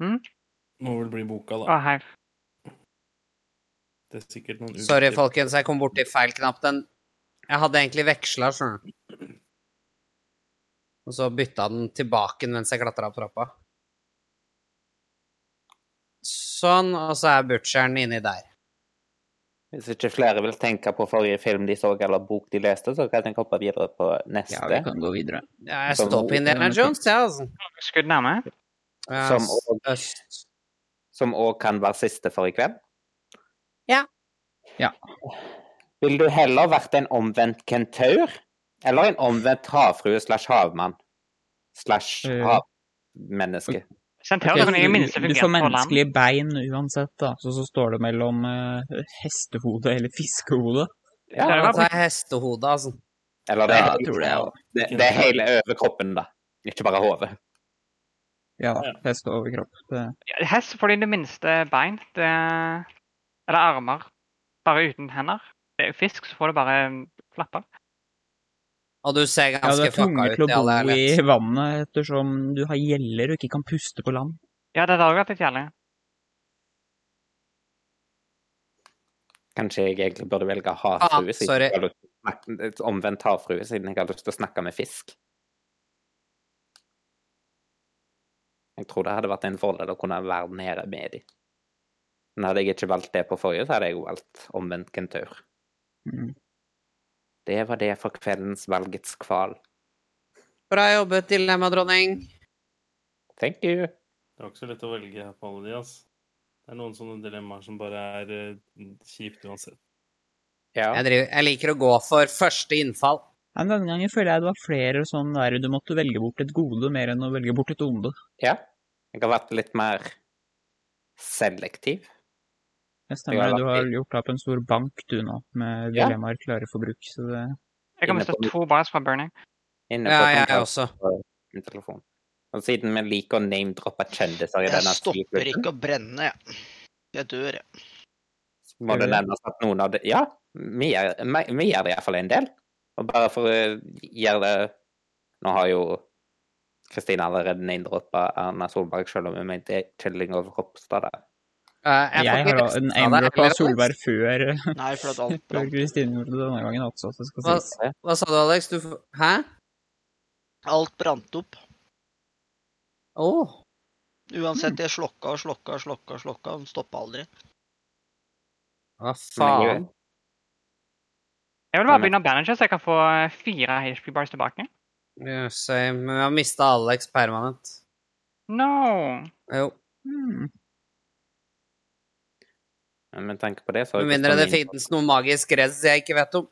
Speaker 5: Må vel bli boka,
Speaker 4: Å,
Speaker 5: da.
Speaker 4: hei.
Speaker 5: Det er sikkert noen
Speaker 3: Sorry,
Speaker 5: ulykker.
Speaker 3: folkens, jeg kom borti feil knapp. Den Jeg hadde egentlig veksla, skjønner du. Og så bytta den tilbake mens jeg klatra opp trappa. Sånn, og så er butcheren inni der.
Speaker 2: Hvis ikke flere vil tenke på forrige film de så, eller bok de leste, så kan jeg hoppe videre på
Speaker 1: Ja, vi
Speaker 2: neste.
Speaker 1: kan gå videre.
Speaker 3: Ja, Jeg
Speaker 2: Som-
Speaker 4: Sånn.
Speaker 3: står på Indiana Jones, jeg, ja, altså.
Speaker 4: Skudd nærme.
Speaker 3: Ja,
Speaker 2: Som
Speaker 3: s-
Speaker 2: og-
Speaker 3: øst.
Speaker 2: Som òg kan være siste for i kveld.
Speaker 3: Ja.
Speaker 1: Ja.
Speaker 2: Vil du heller vært en omvendt kentaur, eller en omvendt havfrue slash havmann? Slash
Speaker 1: Eh.
Speaker 2: havmenneske.
Speaker 4: Sentauren
Speaker 1: Ok,
Speaker 4: er
Speaker 1: du-
Speaker 4: jo minste
Speaker 1: du får
Speaker 4: fungert på land.
Speaker 1: menneskelige bein uansett, da. Så, så står det mellom eh, hestehode eller fiskehode.
Speaker 2: Ja,
Speaker 4: det
Speaker 3: Ja,
Speaker 4: var-
Speaker 3: det er hestehodet, altså.
Speaker 2: eller det,
Speaker 1: Ja,
Speaker 2: er
Speaker 1: jeg tror
Speaker 2: hele,
Speaker 1: det, ja.
Speaker 2: det, det er hele overkroppen, da. Ikke bare hodet.
Speaker 1: Ja,
Speaker 5: Ja.
Speaker 1: hest og overkropp. Det,
Speaker 4: Ja, Hest får de det minste bein. Det, eller armer. Bare uten hender. Det er jo fisk, så får du bare um, flapper.
Speaker 3: Og du ser
Speaker 1: ja, du
Speaker 3: ganske
Speaker 1: er tvunget
Speaker 3: fucka
Speaker 1: til å
Speaker 3: ut i all
Speaker 1: bo i
Speaker 3: ærlighet.
Speaker 1: vannet ettersom du har gjeller og ikke kan puste på land.
Speaker 4: Ja, det hadde også vært litt jævlig.
Speaker 2: Kanskje jeg egentlig burde velge
Speaker 3: Ah,
Speaker 2: havfrue, siden
Speaker 3: sorry.
Speaker 2: jeg har lyst til å snakke- omvendt havfrue, siden jeg har lyst til å snakke med fisk. Jeg tror det hadde vært en fordel å kunne være nede med dem. Men hadde jeg ikke valgt det på forrige, så hadde jeg jo valgt omvendt kentaur.
Speaker 1: Mm.
Speaker 2: Det var det for kveldens valgets kval.
Speaker 3: Bra jobbet, dilemmadronning.
Speaker 2: Thank you.
Speaker 5: Det var ikke så lett å velge på alle de, ass. Det er noen sånne dilemmaer som bare er eh, kjipt uansett.
Speaker 2: Ja,
Speaker 3: Jeg, driver, jeg liker å gå for første innfall.
Speaker 1: Ja, Men denne gangen føler jeg det var flere sånn der du måtte velge bort et gode mer enn å velge bort et onde.
Speaker 2: ja. Jeg har vært litt mer selektiv.
Speaker 1: Det stemmer,
Speaker 2: Ja,
Speaker 1: du har gjort opp en stor bank du nå, med
Speaker 2: Ja.
Speaker 1: dilemmaer klare for bruk. Så det
Speaker 4: Jeg kan
Speaker 2: Inne
Speaker 4: miste
Speaker 2: på den.
Speaker 4: to bars fra burning.
Speaker 2: Inne på
Speaker 3: Ja, jeg
Speaker 2: kontakt-
Speaker 3: også.
Speaker 2: min telefon. Og siden vi liker å name-droppe kjendiser i
Speaker 7: Jeg
Speaker 2: denne
Speaker 7: stopper
Speaker 2: stikklubben,
Speaker 7: ikke å brenne, jeg. Jeg dør, jeg.
Speaker 2: så må det nevnes at noen av de Ja, vi gjør, vi, vi gjør det iallfall en del. Og bare for å gjøre det Nå har jo Kristine allerede name-droppa Erna Solberg, selv om hun mente Kjelling og Ropstad. da.
Speaker 3: Eh,
Speaker 1: Jeg,
Speaker 3: får ikke
Speaker 1: har
Speaker 3: resten
Speaker 1: en
Speaker 3: av det
Speaker 1: aimer på
Speaker 3: heller, Alex.
Speaker 1: Solberg før eh,
Speaker 7: Nei, for at alt
Speaker 1: før
Speaker 7: brant.
Speaker 1: Kristin gjorde det denne gangen også, så skal
Speaker 3: Hva,
Speaker 1: sies.
Speaker 3: hva sa du, Alex? Du, f- hæ?
Speaker 7: Alt brant opp.
Speaker 3: Å,
Speaker 7: Uansett, jeg slokka og slokka og slokka og slokka. Den stoppa aldri.
Speaker 2: Men
Speaker 3: hva faen?
Speaker 4: Jeg vil bare
Speaker 2: Nei,
Speaker 4: begynne å banage, så jeg kan få eh, fire HP bars tilbake.
Speaker 3: Yes, jeg- men jeg har mista Alex permanent.
Speaker 4: No!
Speaker 3: Jo,
Speaker 1: Hmm.
Speaker 2: Men med tanke på det, så
Speaker 3: med mindre det finnes noe magisk rez jeg ikke vet om.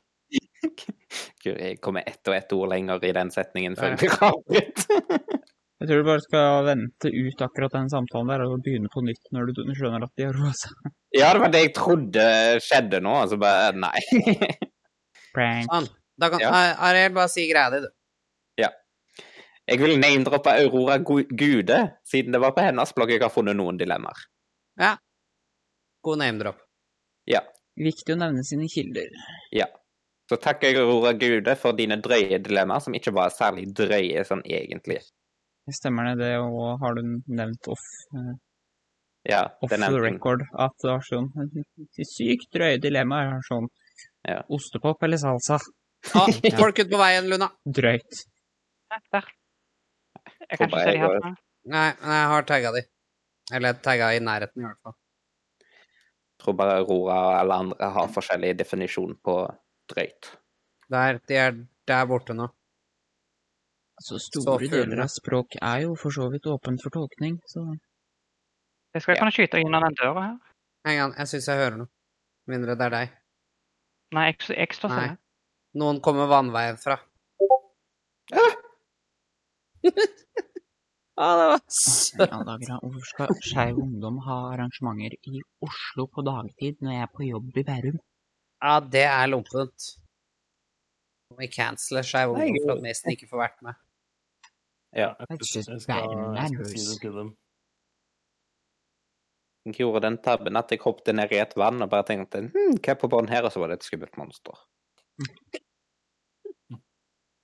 Speaker 2: Gud, jeg kommer ett og ett ord lenger i den setningen før vi avbryter.
Speaker 1: Jeg tror du bare skal vente ut akkurat den samtalen der, og begynne på nytt når du skjønner at de har roa seg.
Speaker 2: Ja, det var det jeg trodde skjedde nå, og så bare Nei.
Speaker 1: Prank.
Speaker 3: Sånn. Da kan
Speaker 2: Ja.
Speaker 3: Ar- Ariel bare si greia di, du.
Speaker 2: Jeg vil name-droppe Aurora Gu- Gude, siden det var på hennes blogg jeg har funnet noen dilemmaer.
Speaker 3: God name-drop.
Speaker 1: Viktig å nevne sine kilder.
Speaker 2: Så takker jeg Aurora Gude for dine drøye dilemmaer, som ikke var særlig drøye sånn egentlig.
Speaker 1: Det Stemmer det det, og har du nevnt off, eh,
Speaker 2: Ja,
Speaker 1: off
Speaker 2: den
Speaker 1: the
Speaker 2: enten-
Speaker 1: record at det var sånn sykt drøye dilemmaer? er Sånn
Speaker 2: Ja.
Speaker 1: ostepop eller salsa?
Speaker 3: Å, Ah, folk ut på veien, Luna.
Speaker 1: Drøyt.
Speaker 4: Nei, Der. Jeg kan
Speaker 2: Håper
Speaker 4: ikke se
Speaker 2: jeg
Speaker 4: de her.
Speaker 2: går-
Speaker 4: fra.
Speaker 3: Nei, men jeg har tagga de. Eller tagga i nærheten, i hvert fall.
Speaker 2: Tror bare Aurora og alle andre har forskjellig definisjon på drøyt.
Speaker 3: Der, de er der borte nå.
Speaker 1: Altså, store
Speaker 3: fuglene.
Speaker 1: deler av språk er jo for så vidt åpent for tolkning, så
Speaker 4: Jeg skal
Speaker 2: Ja.
Speaker 4: kunne skyte gjennom den døra her.
Speaker 3: Heng an, jeg syns jeg hører noe. Med mindre det er deg.
Speaker 4: Nei, jeg, jeg står
Speaker 3: Nei.
Speaker 4: stille.
Speaker 3: Noen kommer vannveien fra. Å, det var søtt.
Speaker 1: Ja, dager, da. Hvorfor skal Skeiv Ungdom ha arrangementer i Oslo på dagtid når jeg er på jobb i Bærum?
Speaker 3: Ja, det er lompent. Må vi cancele Skeiv
Speaker 2: Nei,
Speaker 3: Ungdom for
Speaker 2: gud.
Speaker 3: at Mason ikke får vært med.
Speaker 2: Ja.
Speaker 5: Jeg,
Speaker 1: That's just
Speaker 5: jeg, skal,
Speaker 1: bad
Speaker 5: jeg skal si
Speaker 1: manners.
Speaker 5: det til dem.
Speaker 2: Jeg gjorde den tabben at jeg hoppet ned i et vann og bare tenkte hm, hva er på bånn her? Og så var det et skummelt monster.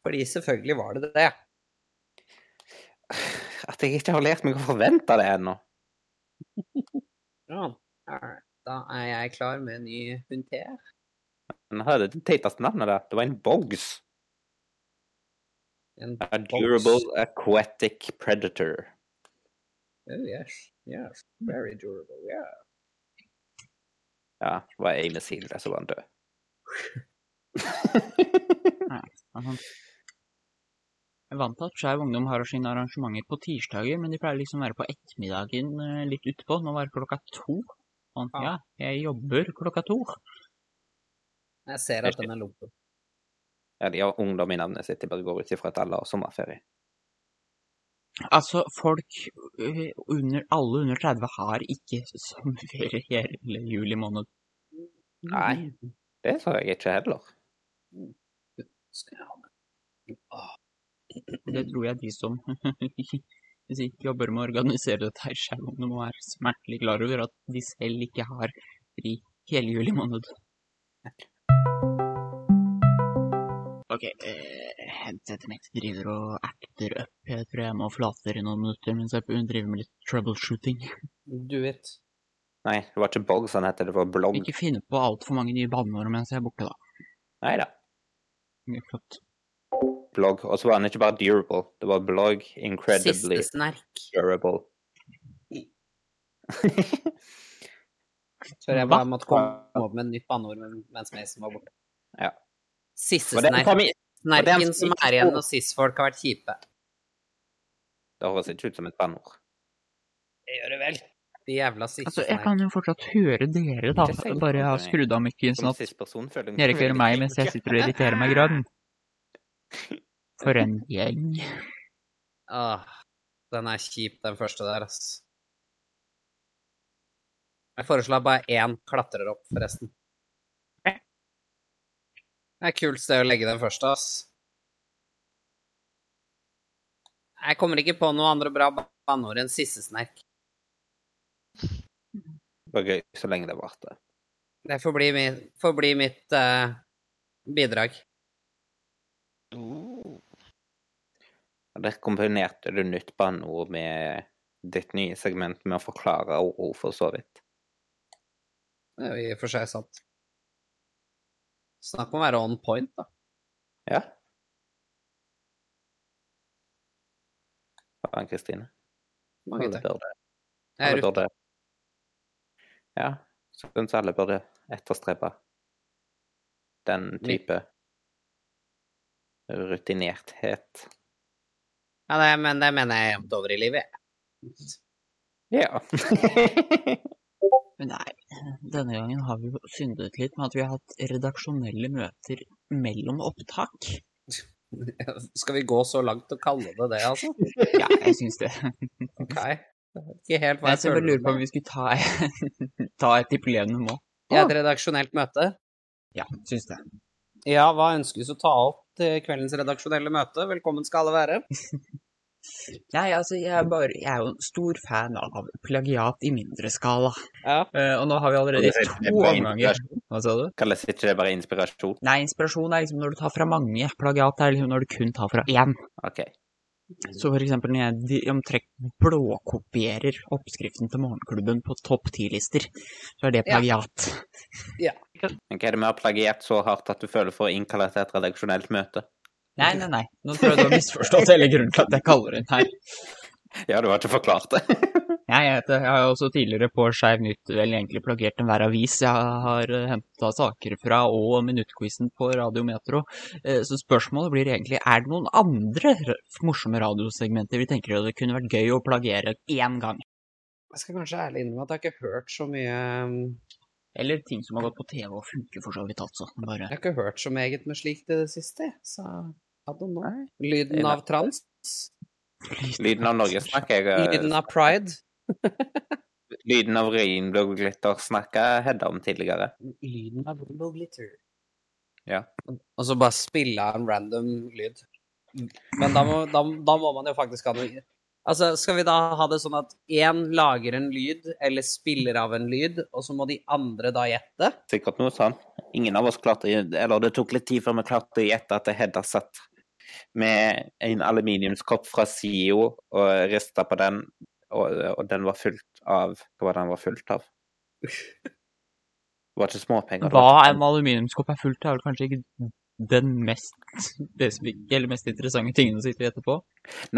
Speaker 3: Fordi selvfølgelig var det det.
Speaker 2: At jeg ikke har lært meg å forvente det ennå.
Speaker 3: Ja. Da er jeg klar med en ny hund til.
Speaker 2: Den hadde det teiteste navnet der. Det var en bogs.
Speaker 3: En
Speaker 2: A durable aquatic predator.
Speaker 3: Oh, yes. Yes. Very durable. Yeah.
Speaker 2: Ja, det var ei missil der, så var han død.
Speaker 1: Aha. Altså, Jeg vant til at Skeiv Ungdom har sine arrangementer på tirsdager, men de pleier liksom å være på ettermiddagen eh, litt utpå. Nå var det klokka to. Sånn,
Speaker 3: Ah.
Speaker 1: ja, jeg jobber klokka to.
Speaker 3: Jeg ser at den er lumpen.
Speaker 2: ja, de har ungdom i navnet sitt. De bare går ut ifra at alle har sommerferie.
Speaker 1: Altså, folk eh, under, alle under 30 har ikke sommerferie hele juli måned.
Speaker 2: Nei, det sa jeg ikke heller.
Speaker 1: Ah. Det tror jeg de som hvis ikke jobber med å organisere dette her sjøl, om de må være smertelig klar over at de selv ikke har fri hele juli måned. OK, eh, headsetet mitt driver og erter opp. Jeg tror jeg må forlate dere i noen minutter mens jeg driver med litt troubleshooting.
Speaker 3: Du vet.
Speaker 2: Nei, det var ikke Borg som het det, det var Blogg.
Speaker 1: Ikke finne på altfor mange nye banneord mens jeg er borte, da.
Speaker 2: Nei da.
Speaker 1: Det er Flott.
Speaker 2: Blogg. Og så var han ikke bare durable, det var Blogg incredibly
Speaker 3: Siste snerk.
Speaker 2: durable.
Speaker 3: Før jeg
Speaker 1: Hva?
Speaker 3: bare måtte komme opp med et nytt banneord men- mens Mason var borte.
Speaker 2: Ja.
Speaker 3: Siste
Speaker 2: Og det,
Speaker 3: snerk.
Speaker 2: kom i- og det er-
Speaker 3: Snerken som er igjen når cis-folk har vært kjipe.
Speaker 2: det høres ikke ut som et banneord.
Speaker 3: Det gjør det vel. De jævla
Speaker 1: Altså, jeg
Speaker 3: siste
Speaker 1: kan jo fortsatt høre dere, da.
Speaker 2: Ikke si-
Speaker 1: Bare jeg har skrudd av mikken sånn
Speaker 2: Som
Speaker 1: at
Speaker 2: sist person føler jeg
Speaker 1: dere ikke hører meg mens jeg sitter og irriterer meg grønn. For en gjeng.
Speaker 3: Åh, den er kjip, den første der, ass. Jeg foreslår at bare én klatrer opp, forresten. Det er kult sted å legge den første, ass. Jeg kommer ikke på noe andre bra banneord enn sissesnerk.
Speaker 2: Det var gøy så lenge det varte.
Speaker 3: Det får bli mitt, får bli mitt eh, bidrag.
Speaker 7: Oh,
Speaker 2: Og Der kombinerte du nytt banneord med ditt nye segment med å forklare ord for så vidt.
Speaker 3: Det er jo i og for seg sant. Snakk om å være on point, da.
Speaker 2: Ja. Faen, Kristine.
Speaker 3: Mange
Speaker 2: Alle
Speaker 3: takk.
Speaker 2: burde-
Speaker 3: Jeg
Speaker 2: Alle
Speaker 3: er ute.
Speaker 2: burde Ja, syns alle burde etterstrebe den type rutinerthet.
Speaker 3: Ja, det, men det mener jeg jevnt over i livet. jeg.
Speaker 2: Ja.
Speaker 1: Men nei, denne gangen har vi jo syndet litt med at vi har hatt redaksjonelle møter mellom opptak.
Speaker 3: Skal vi gå så langt og kalle det det, altså?
Speaker 1: Ja, jeg syns det.
Speaker 3: Ok. Ikke helt hva
Speaker 1: Jeg
Speaker 3: jeg
Speaker 1: skal bare
Speaker 3: føler
Speaker 1: lure på om vi skulle ta, ta et diplomerende nå.
Speaker 3: I et redaksjonelt møte.
Speaker 1: Ja, syns det.
Speaker 3: Ja, hva ønskes å ta opp til kveldens redaksjonelle møte? Velkommen skal alle være.
Speaker 1: Nei, altså, jeg er, bare, jeg er jo en stor fan av plagiat i mindre skala.
Speaker 3: Ja.
Speaker 1: Eh, og nå har vi allerede i to omganger Hva sa du?
Speaker 2: Kalles ikke det bare inspirasjon?
Speaker 1: Nei, inspirasjon er liksom når du tar fra mange. Plagiat er liksom når du kun tar fra én.
Speaker 2: OK.
Speaker 1: Så for eksempel når jeg di- omtrekk blåkopierer oppskriften til Morgenklubben på topp ti-lister, så er det
Speaker 3: Ja.
Speaker 1: plagiat.
Speaker 2: Men hva er det vi har plagiert så hardt at du føler for å innkalle til et redaksjonelt møte?
Speaker 1: Nei, nei, nei. Nå tror jeg du har misforstått hele grunnen til at jeg kaller den her.
Speaker 2: Ja, du har ikke forklart det.
Speaker 1: Nei, jeg, vet det. jeg har jo også tidligere på Skeiv Nytt vel egentlig plagiert enhver avis jeg har henta saker fra, og minuttquizen på Radio Metro. Eh, Så spørsmålet blir egentlig er det noen andre r- morsomme radiosegmenter vi tenker at det kunne vært gøy å plagiere én gang?
Speaker 3: Jeg skal kanskje ærlig innrømme at jeg har ikke hørt så mye um,
Speaker 1: Eller ting som har gått på TV og funker for så vidt, altså. Bare
Speaker 3: Jeg har ikke hørt så meget med slikt i det siste, så I don't know. Lyden av trans.
Speaker 2: Lyden av Norge snakker
Speaker 1: Eh,
Speaker 2: jeg eh,
Speaker 3: Lyden av pride.
Speaker 2: Lyden av regnbueglitter snakka Hedda om tidligere.
Speaker 3: Lyden av rainbow glitter.
Speaker 2: Ja.
Speaker 3: Og så bare spille av en random lyd. Men da må, da, da må man jo faktisk ha noe Altså, skal vi da ha det sånn at én lager en lyd, eller spiller av en lyd, og så må de andre da gjette?
Speaker 2: Sikkert noe sånn. Ingen av oss klarte Eller det tok litt tid før vi klarte å gjette at Hedda satt med en aluminiumskopp fra SIO og rista på den, og, og den var fullt av Hva var det den var fullt av? Det var ikke småpenger. det
Speaker 1: Hva
Speaker 2: var
Speaker 1: en aluminiumskopp er fullt av, er vel kanskje ikke den mest spesifikke eller mest interessante tingen å sitte og gjette på.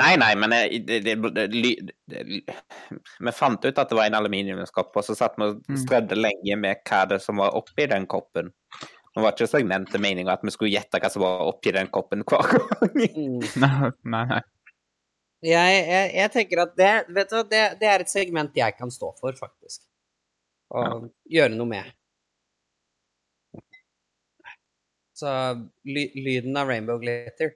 Speaker 2: Nei, nei, men eh, det, det, det, ly- det, ly- Vi fant ut at det var en aluminiumskopp, og så satt vi og
Speaker 1: Mm.
Speaker 2: strødde lenge med hva det som var oppi den koppen. Det var ikke segmentet meninga at vi skulle gjette hva som var oppi den koppen hver gang.
Speaker 1: Nei, nei, nei.
Speaker 3: Jeg, jeg, jeg tenker at det, vet du, hva, det, det er et segment jeg kan stå for, faktisk. Og gjøre noe med. Så ly, lyden av rainbow glitter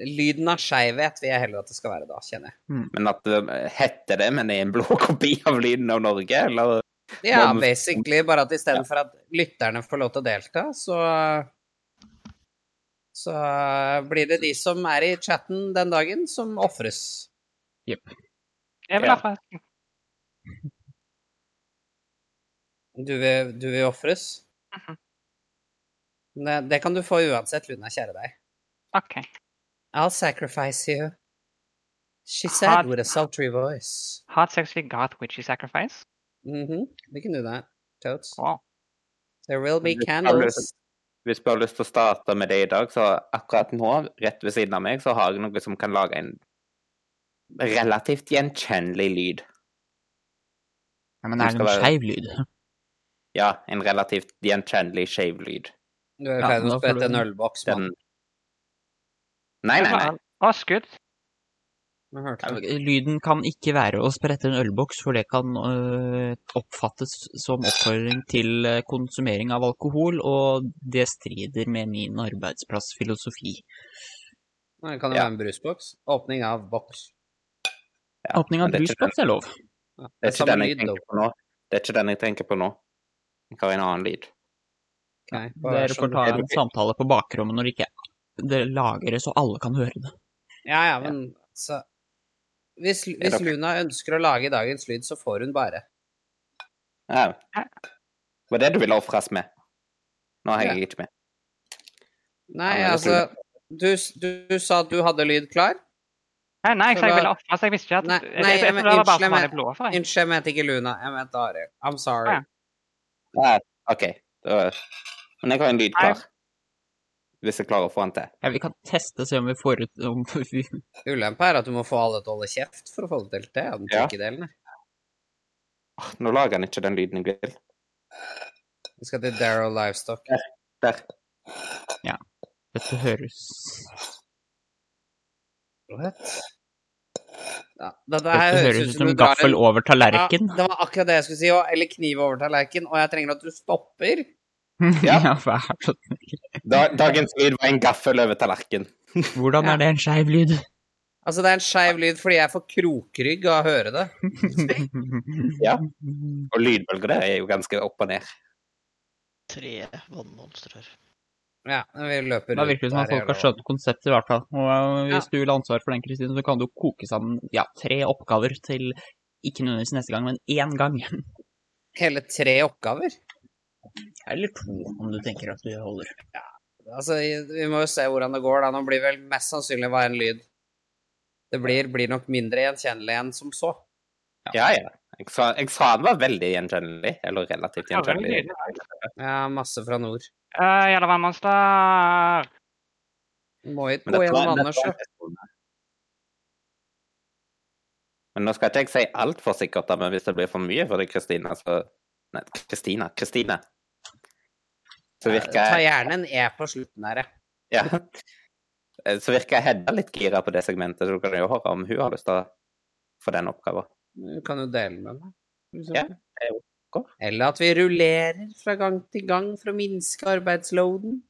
Speaker 3: Lyden av skeivhet vil jeg heller at det skal være da, kjenner jeg.
Speaker 2: Men at det heter det, men det er en blå kopi av lyden av Norge, eller
Speaker 3: Ja,
Speaker 2: Nå-
Speaker 3: basically bare at istedenfor at lytterne får lov til å delta, så Så blir det de som er i chatten den dagen, som ofres.
Speaker 4: Jeg vil
Speaker 2: Ja.
Speaker 4: ha fra
Speaker 3: Du vil, du vil ofres?
Speaker 4: Mhm.
Speaker 3: det, det kan du få uansett, Luna, kjære deg.
Speaker 4: OK.
Speaker 3: I'll sacrifice you. She said
Speaker 4: Har-
Speaker 3: with a sultry voice.
Speaker 4: Hard sexy god witchy sacrifice.
Speaker 3: Mhm, We can do that, totes.
Speaker 4: Wow.
Speaker 3: There will be
Speaker 2: Men det-
Speaker 3: candles.
Speaker 2: Hvis du har lyst til å starte med det i dag, så akkurat nå, rett ved siden av meg, så har jeg noe som kan lage en relativt gjenkjennelig lyd.
Speaker 1: nei men det er
Speaker 2: Skal
Speaker 1: en
Speaker 2: være-
Speaker 1: skeiv lyd.
Speaker 2: Ja, en relativt gjenkjennelig skeiv lyd.
Speaker 3: Du er
Speaker 1: Ja,
Speaker 3: ferdig med
Speaker 1: da
Speaker 3: å
Speaker 1: får
Speaker 3: sprette
Speaker 1: du-
Speaker 3: en ølboks, mann.
Speaker 2: Den Nei, nei, nei.
Speaker 4: Å, skudd.
Speaker 3: Vi hørte det.
Speaker 1: Lyden kan ikke være å sprette en ølboks, for det kan øh, oppfattes som oppfordring til øh, konsumering av alkohol, og det strider med min arbeidsplassfilosofi.
Speaker 3: Nei, Kan det
Speaker 2: Ja.
Speaker 3: være en brusboks? Åpning av boks.
Speaker 2: Ja,
Speaker 1: Åpning av
Speaker 2: men det er ikke den-
Speaker 1: brusboks er lov.
Speaker 3: Ja,
Speaker 2: Det er ikke den jeg
Speaker 3: lyd,
Speaker 2: tenker på nå. Det er ikke den jeg tenker på nå. Jeg har en annen lyd.
Speaker 3: Ok, bare
Speaker 1: Dere
Speaker 3: sånn-
Speaker 1: får ta
Speaker 2: er
Speaker 1: en
Speaker 2: ok.
Speaker 1: samtale på bakrommet når det ikke det lagres, så alle kan høre det.
Speaker 3: sånn. Ja, ja, men så hvis, hvis
Speaker 2: dere-
Speaker 3: Luna ønsker å lage dagens lyd, så får hun bare.
Speaker 2: Ja. Var det du ville ofres med? Nå henger jeg ikke med. Ja, men
Speaker 3: Nei,
Speaker 2: det
Speaker 3: altså du, s- du, du sa at du hadde lyd klar.
Speaker 4: Nei, nei,
Speaker 3: Så
Speaker 4: så jeg
Speaker 3: da-
Speaker 4: ville ofre, så jeg visste ikke at
Speaker 3: Nei,
Speaker 4: jeg-
Speaker 3: nei,
Speaker 4: jeg, jeg,
Speaker 3: men
Speaker 4: trodde det var
Speaker 3: unnskyld,
Speaker 4: bare for
Speaker 3: men-
Speaker 4: vanlig blod offer, jeg.
Speaker 3: Unnskyld, jeg mente ikke Luna. Jeg mente Arild. I'm sorry.
Speaker 4: Ja.
Speaker 2: Ja, OK. Da- Men jeg har en lyd klar. Hvis jeg klarer å få den til.
Speaker 1: Ja, vi kan teste, se om vi får ut om vi,
Speaker 3: Ulempa er at du må få alle til å holde kjeft for å få det til. Det er den
Speaker 2: Ja.
Speaker 3: tricky delen.
Speaker 2: Åh, Nå lager den ikke den lyden jeg vil.
Speaker 3: Vi skal til Darrow Livestock.
Speaker 2: Der.
Speaker 1: Dette høres
Speaker 3: Ja, dette her
Speaker 1: Dette høres ut som gaffel over tallerken.
Speaker 3: Ja, det var akkurat det jeg skulle si òg. Eller kniv over tallerken. Og jeg trenger at du stopper.
Speaker 2: Ja.
Speaker 1: Ja, vær så snill.
Speaker 2: Da, dagens lyd var en gaffel over tallerken.
Speaker 1: Hvordan er det en skeiv lyd?
Speaker 3: Altså, det er en skeiv lyd fordi jeg får krokrygg av å høre det.
Speaker 2: Ja. Og lydbølger der er jo ganske opp og ned.
Speaker 7: Tre vannmonstrer.
Speaker 3: Ja, men vi løper
Speaker 1: Det virker det som at
Speaker 3: der
Speaker 1: folk har
Speaker 3: jævla-
Speaker 1: skjønt konseptet, i hvert fall. Og eh, hvis du vil ha ansvar for den, Kristine, så kan du koke sammen ja, tre oppgaver til ikke nødvendigvis neste gang, men én gang.
Speaker 3: Hele tre oppgaver.
Speaker 1: Eller to, om du tenker at du holder.
Speaker 3: Altså, vi må jo se hvordan det går, da. Nå blir vel mest sannsynlig hva en lyd Det blir, blir nok mindre gjenkjennelig enn som så.
Speaker 2: Ja, ja. Jeg sa, jeg sa den var veldig gjenkjennelig. Eller relativt
Speaker 4: Ja, veldig
Speaker 2: gjenkjennelig.
Speaker 3: Ja, masse fra nord.
Speaker 4: Eh, Gjelder vannmonster.
Speaker 3: Må ikke
Speaker 2: Men
Speaker 3: gå
Speaker 2: dette var-
Speaker 3: gjennom
Speaker 2: dette
Speaker 3: Anders,
Speaker 2: var
Speaker 3: da.
Speaker 2: en testone. Men nå skal ikke jeg si altfor sikkert, da, men hvis det blir for mye for deg, Kristina, så Nei, Kristina. Kristine. Så
Speaker 3: Ta
Speaker 2: virker jeg
Speaker 3: gjerne en E på slutten her, jeg.
Speaker 2: ja. Eh, Så virker Hedda litt gira på det segmentet, så du kan jo høre om hun har lyst til å få den oppgaven.
Speaker 3: Du kan jo dele med meg. for
Speaker 2: Ja,
Speaker 3: eksempel.
Speaker 2: det er jo godt.
Speaker 3: Eller at vi rullerer fra gang til gang for å minske arbeidsloaden.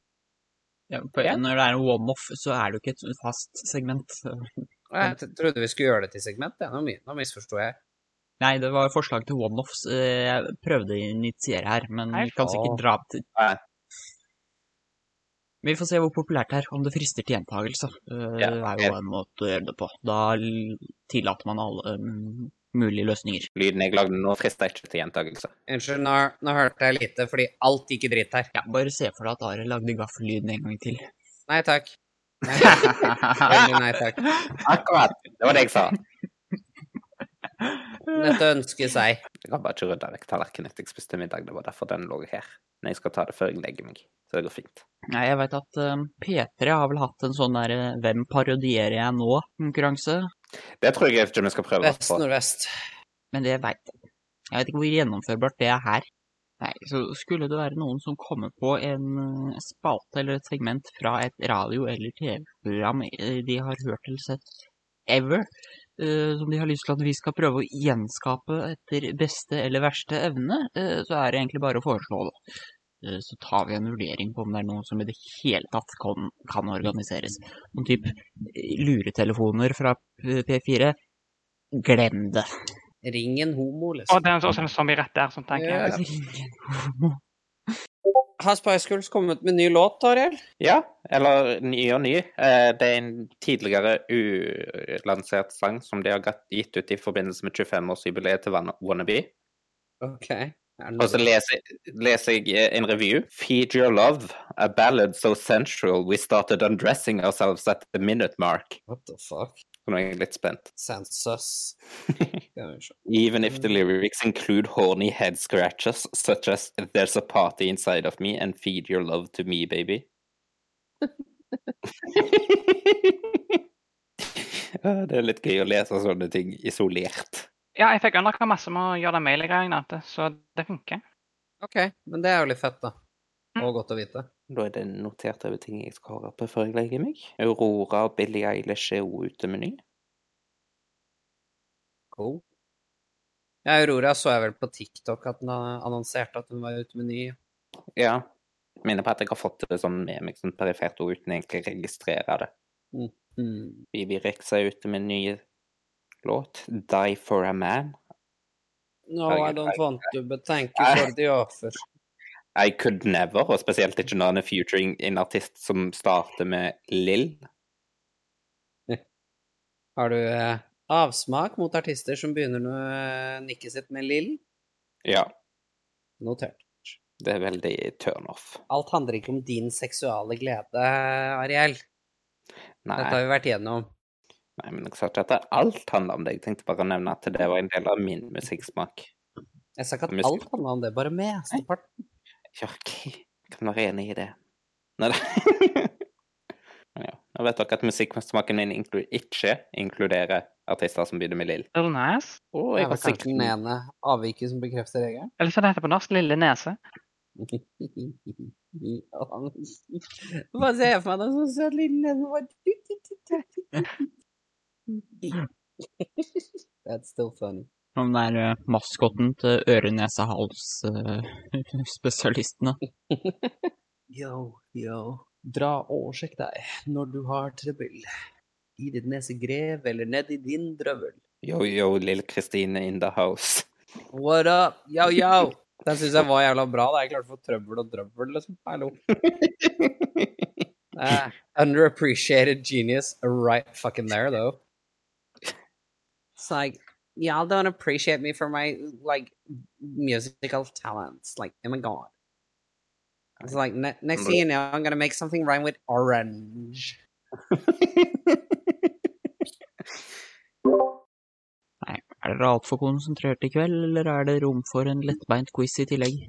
Speaker 1: Ja, på,
Speaker 2: Ja.
Speaker 1: Når det er en one-off, så er det jo ikke et fast segment.
Speaker 3: Og Jeg t- trodde vi skulle gjøre det til segment, ja. nå, mi- nå misforsto jeg.
Speaker 1: Nei, det var forslag til one-offs eh, jeg prøvde å initiere her, men
Speaker 4: Nei,
Speaker 1: vi kan
Speaker 2: faen.
Speaker 1: sikkert dra til Vi får se hvor populært det er, om det frister til gjentagelse. Eh,
Speaker 2: Ja,
Speaker 1: Det er jo en måte å gjøre det på. Da l- tillater man alle mm, mulige løsninger.
Speaker 2: Lyden jeg lagde nå, frister ikke til gjentakelse.
Speaker 3: Unnskyld, nå, nå hørte jeg lite, fordi alt gikk i dritt her.
Speaker 1: Ja, bare se for deg at Are lagde gaffellyden en gang til.
Speaker 3: Nei takk. Nei, takk. Veldig nei takk.
Speaker 2: Akkurat! Det var det jeg sa.
Speaker 3: Dette ønsker seg.
Speaker 2: Jeg har bare ikke rydda vekk tallerkenen etter jeg spiste middag. Det var derfor den lå her. Men jeg skal ta det før jeg legger meg. Så det går fint.
Speaker 1: Nei, jeg veit at eh, P3 har vel hatt en sånn derre 'Hvem parodierer jeg nå?'-konkurranse.
Speaker 2: Det tror jeg ikke vi skal prøve oss
Speaker 3: Vest
Speaker 2: på.
Speaker 3: nordvest.
Speaker 1: Men det veit jeg. Jeg vet ikke hvor gjennomførbart det er her. Nei, så skulle det være noen som kommer på en eh, spalte eller et segment fra et radio- eller TV-program eh, de har hørt eller sett ever, eh, som de har lyst til at vi skal prøve å gjenskape etter beste eller verste evne, eh, så er det egentlig bare å foreslå det. Eh, Så tar vi en vurdering på om det er noe som i det hele tatt kan, kan organiseres. Noen typ eh, luretelefoner fra eh, P4. Glem det.
Speaker 3: Ring en homo,
Speaker 4: Og
Speaker 3: liksom.
Speaker 4: det er også en zombie-rett der, sånn tenker jeg.
Speaker 3: Ja. Har Spice Girls kommet med ny låt, Ariel?
Speaker 2: Ja, eller ny og ny. Eh, Det er en tidligere ulansert sang som de har gatt- gitt ut i forbindelse med 25-årsjubileet til Wanna- Wannabe.
Speaker 3: OK. Er det
Speaker 2: Og så
Speaker 3: noe-
Speaker 2: leser, leser jeg eh, en review. Feed your love, a ballad so sensual we started undressing ourselves at the minute mark.
Speaker 3: What the fuck?
Speaker 2: Så nå er jeg litt spent.
Speaker 3: Sensus. Skal vi se.
Speaker 2: Even if the lyrics include horny head scratches, such as There's a party inside of me and feed your love to me, baby. Ah, Det er litt gøy å lese sånne ting isolert.
Speaker 4: Ja, jeg fikk underka masse med å gjøre det mailegreiene, Nate, så det funker.
Speaker 3: OK, men det er jo litt fett, da. Og godt å vite.
Speaker 2: Da er det notert over ting jeg skal høre på før jeg legger meg. Aurora og Billie Eilish er også ute meny.
Speaker 3: Cool. Ja, Aurora så jeg vel på TikTok at hun annonserte at hun var ute med ny.
Speaker 2: Ja. Minner på at jeg har fått det sånn med meg sånn perifert og uten egentlig å registrere det.
Speaker 3: Mm.
Speaker 2: Vivi Rex er ute med en ny låt, 'Die for a Man'.
Speaker 3: No, I don't want to, but thank you
Speaker 2: Nei.
Speaker 3: for the offer.
Speaker 2: I could never, og spesielt ikke når han er featuring en artist som starter med Lill.
Speaker 3: Har du eh, avsmak mot artister som begynner med eh, nikket sitt med Lill?
Speaker 2: Ja,
Speaker 3: Notert.
Speaker 2: det er veldig turnoff.
Speaker 3: Alt handler ikke om din seksuale glede, Ariel.
Speaker 2: Nei,
Speaker 3: Dette har vi vært gjennom.
Speaker 2: nei, men jeg sa ikke at alt handler om det. Jeg tenkte bare å nevne at det var en del av min musikksmak.
Speaker 3: Jeg sa ikke at
Speaker 2: Musikk.
Speaker 3: alt handler om det, bare mesteparten.
Speaker 2: Ja, ok, kan være enig i det. Nei da. Men ja, nå vet dere at musikksmaken min inklu ikke inkluderer artister som begynner med Lill.
Speaker 4: Little Nas,
Speaker 2: Og
Speaker 3: Det
Speaker 2: jeg
Speaker 3: er
Speaker 2: har
Speaker 3: vel kanskje den
Speaker 2: sikkert
Speaker 3: ene avviket som bekrefter regelen.
Speaker 4: eller så det heter på norsk Lille Nese.
Speaker 3: Hva ser jeg for meg da, så søt lille nese bare That's still funny.
Speaker 1: Om det er eh, maskotten til eh, øre-nese-hals-spesialistene.
Speaker 3: Yo, yo. Dra og sjekk deg når du har trøbbel. I ditt nesegrev eller nedi din drøvel.
Speaker 2: Yo-Yo Lill Kristine in the house.
Speaker 3: What up? Yo, yo! Den syns jeg var jævla bra. da. Jeg klarte å få trøbbel og drøbbel, liksom. Hallo. Eh, underappreciated genius right fucking there, though. It's like, y'all don't appreciate me for my, like, musical talents. Like, oh my god. It's like, ne- next thing you know, I'm gonna make something rhyme with orange.
Speaker 1: Er dere altfor konsentrert i kveld, eller er det rom for en lettbeint quiz i tillegg?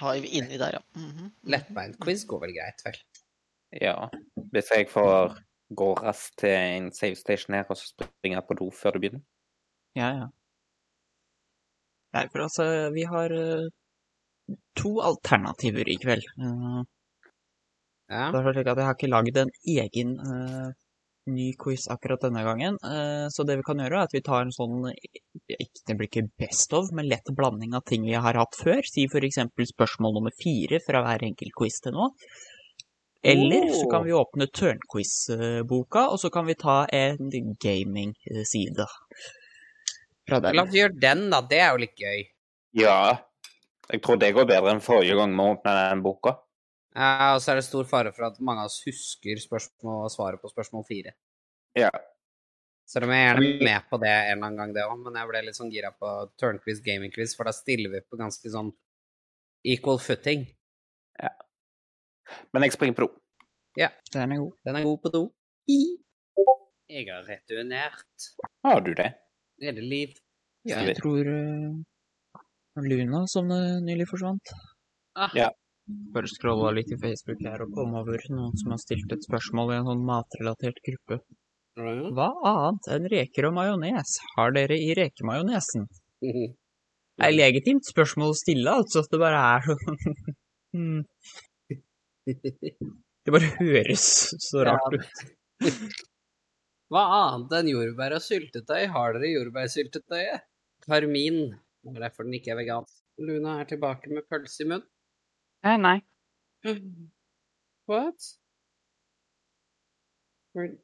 Speaker 7: Har vi inni der, ja. Mhm.
Speaker 3: Lettbeint quiz går vel greit, vel?
Speaker 2: Ja. Hvis jeg får gå raskt til en save station her, og så springe på do før det begynner.
Speaker 1: Ja, ja. Nei, for altså, vi har eh, to alternativer i kveld. Eh,
Speaker 3: Ja.
Speaker 1: Det er slik at jeg har ikke lagd en egen eh, ny quiz akkurat denne gangen. eh, så det vi kan gjøre, er at vi tar en sånn eh, ikke, Det blir ikke best of, men lett blanding av ting vi har hatt før. Si f.eks. spørsmål nummer fire fra hver enkelt quiz til nå. Eller så kan vi
Speaker 3: Oh.
Speaker 1: åpne Tørnquiz-boka, og så kan vi ta en gaming-side fra
Speaker 3: La
Speaker 1: den.
Speaker 3: oss gjøre den, da. Det er jo litt gøy.
Speaker 2: Ja. Jeg tror det går bedre enn forrige gang vi åpna den boka.
Speaker 3: Ja, og så er det stor fare for at mange av oss husker spørsmål og svaret på spørsmål fire.
Speaker 2: Ja.
Speaker 3: Selv om jeg er gjerne med på det en eller annen gang, det òg, men jeg ble litt sånn gira på turnquiz, gamingquiz, for da stiller vi på ganske sånn equal footing.
Speaker 2: Men jeg springer på do.
Speaker 1: Den er god.
Speaker 3: Den er god på do. Jeg har returnert.
Speaker 2: Har du det?
Speaker 3: Hele liv.
Speaker 2: Ja.
Speaker 1: Jeg tror eh, Luna, som eh, nylig forsvant.
Speaker 3: Ah.
Speaker 2: Ja.
Speaker 1: Bare scrolla litt i Facebook her og kom over noen som har stilt et spørsmål i en sånn matrelatert gruppe. Hva annet enn reker og majones har dere i rekemajonesen? Det er et legitimt spørsmål å stille, altså. at Det bare er sånn Hmm. Det bare høres så
Speaker 3: Ja.
Speaker 1: rart ut.
Speaker 3: Hva annet enn jordbær og syltetøy har dere i jordbærsyltetøyet? Karmin. Det er derfor den ikke er vegansk. Luna er tilbake med pølse i munnen.
Speaker 4: Eh, nei.
Speaker 3: What? Hvor-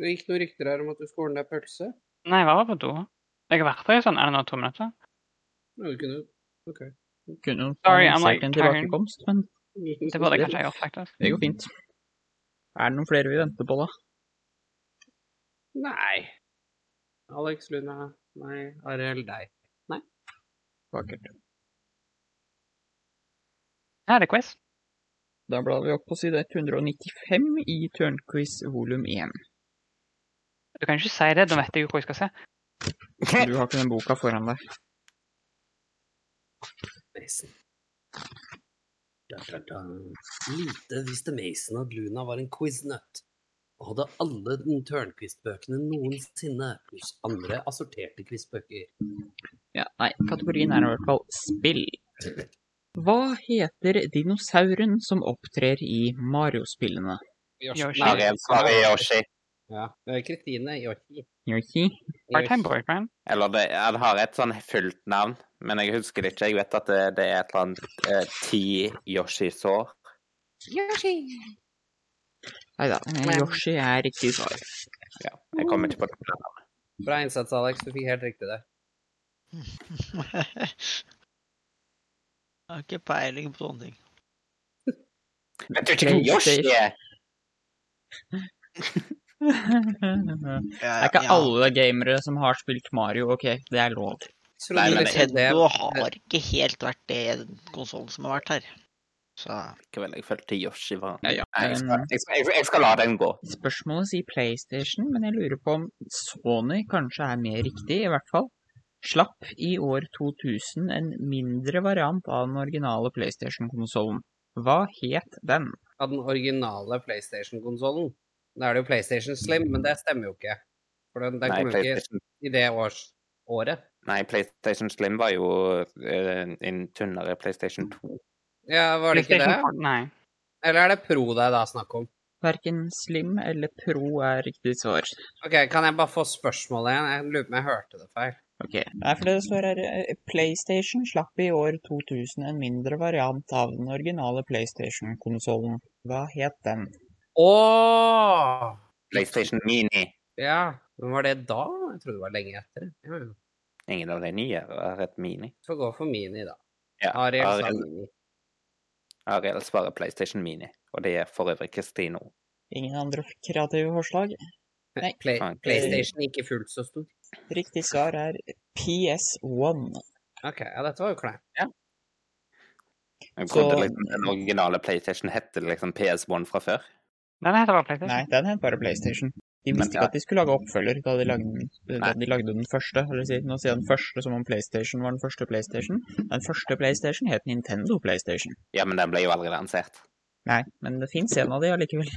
Speaker 3: Det gikk noen rykter her om at du skulle ordne deg pølse.
Speaker 4: Nei, jeg var bare på do. Jeg har vært der i sånn er det nå to minutter.
Speaker 3: Men du kunne... Ok.
Speaker 1: Kunne jo
Speaker 4: Sorry,
Speaker 1: annonsert
Speaker 4: I'm like
Speaker 1: en
Speaker 4: tired.
Speaker 1: tilbakekomst, men
Speaker 4: Det burde jeg kanskje ha gjort, faktisk.
Speaker 1: det går fint. Er det noen flere vi venter på, da?
Speaker 3: Nei. Alex, Luna, nei, Ariel, deg.
Speaker 1: Vakkert.
Speaker 4: Her er det quiz.
Speaker 1: Da blar vi opp på side 195 i Tørnquiz volum 1.
Speaker 4: Du kan ikke si det, da vet jeg jo hvor jeg skal se.
Speaker 1: Du har ikke den boka foran deg.
Speaker 3: Mason. Da, da, da. Lite visste Mason at Luna var en quiznøtt, og hadde alle Tørnquist-bøkene noensinne, pluss andre assorterte quizbøker.
Speaker 1: Ja, nei, kategorien er i hvert fall spill. Hva heter dinosauren som opptrer i Mario-spillene?
Speaker 4: Yoshi.
Speaker 2: Ariel svarer Yoshi.
Speaker 3: Ja, det er Kristine Yoshi.
Speaker 1: Yoshi?
Speaker 4: Part-time boyfriend.
Speaker 2: Eller det, han har et sånn fullt navn, men jeg husker det ikke. Jeg vet at det, det er et eller annet eh, ti Yoshi-sår.
Speaker 1: Nei da, Yoshi er riktig svar.
Speaker 2: Jeg kommer ikke på det.
Speaker 3: Bra innsats, Alex. Du fikk helt riktig der.
Speaker 7: Jeg har ikke peiling på sånne ting.
Speaker 2: Vet du ikke hvem Yoshi er?
Speaker 1: Det
Speaker 7: Det
Speaker 1: er ikke alle gamere som har spilt Mario, OK? Det er lov.
Speaker 3: Tror
Speaker 7: Nei,
Speaker 3: du
Speaker 7: men
Speaker 3: liksom det-
Speaker 7: Nintendo har ikke helt vært det konsollen som har vært her. Så
Speaker 2: Likevel, jeg følte Yoshi var
Speaker 1: Ja, ja.
Speaker 2: Nei, jeg, skal, jeg, skal, jeg, jeg skal la den gå.
Speaker 1: Spørsmålet sier PlayStation, men jeg lurer på om Sony kanskje er mer riktig, i hvert fall. Slapp i år 2000 en mindre variant av den originale PlayStation-konsollen. Hva het den?
Speaker 3: av den originale PlayStation-konsollen. Da er det jo PlayStation Slim, men det stemmer jo ikke. For den, den
Speaker 2: Nei,
Speaker 3: kom jo ikke
Speaker 2: PlayStation,
Speaker 3: i det års, året.
Speaker 2: nei, PlayStation Slim var jo eh, en tynnere PlayStation 2.
Speaker 3: Ja, var det ikke det?
Speaker 4: PlayStation- Nei.
Speaker 3: Eller er det Pro det er da snakk om?
Speaker 1: Verken Slim eller Pro er riktig svar.
Speaker 3: Ok, Kan jeg bare få spørsmålet igjen? Jeg lurer på om jeg hørte det feil.
Speaker 1: Ok. Nei, for det står her eh, PlayStation slapp i år 2000 en mindre variant av den originale PlayStation-konsollen. Hva het den?
Speaker 3: Ååå!
Speaker 2: PlayStation Mini.
Speaker 3: Ja. Men var det da? Jeg trodde det var lenge etter. Ja, ja.
Speaker 2: Ingen av de nye har et Mini.
Speaker 3: Får gå for Mini, da.
Speaker 2: Ja,
Speaker 3: Ariel sa
Speaker 2: Ariel,
Speaker 3: Mini.
Speaker 2: Ariel svarer PlayStation Mini, og det er for øvrig Kristine også.
Speaker 1: Ingen andre kreative forslag? Nei.
Speaker 3: Play,
Speaker 2: Faen.
Speaker 3: PlayStation ikke fullt så stor.
Speaker 1: Riktig svar er PS1.
Speaker 3: Ok, ja, dette var jo kleint.
Speaker 2: Jeg
Speaker 1: Så-
Speaker 2: trodde liksom den originale PlayStation hette liksom PS1 fra før.
Speaker 4: Nei, det heter bare PlayStation.
Speaker 1: Nei, den het bare PlayStation. De
Speaker 2: Men-
Speaker 1: visste ikke at de skulle lage oppfølger da de lagde, den- eh, da de lagde den første. det vil Si, nå sier jeg den første som om PlayStation var den første PlayStation. Den første PlayStation het Nintendo PlayStation.
Speaker 2: Ja, men den ble jo aldri lansert.
Speaker 1: Nei, men det fins en av de allikevel.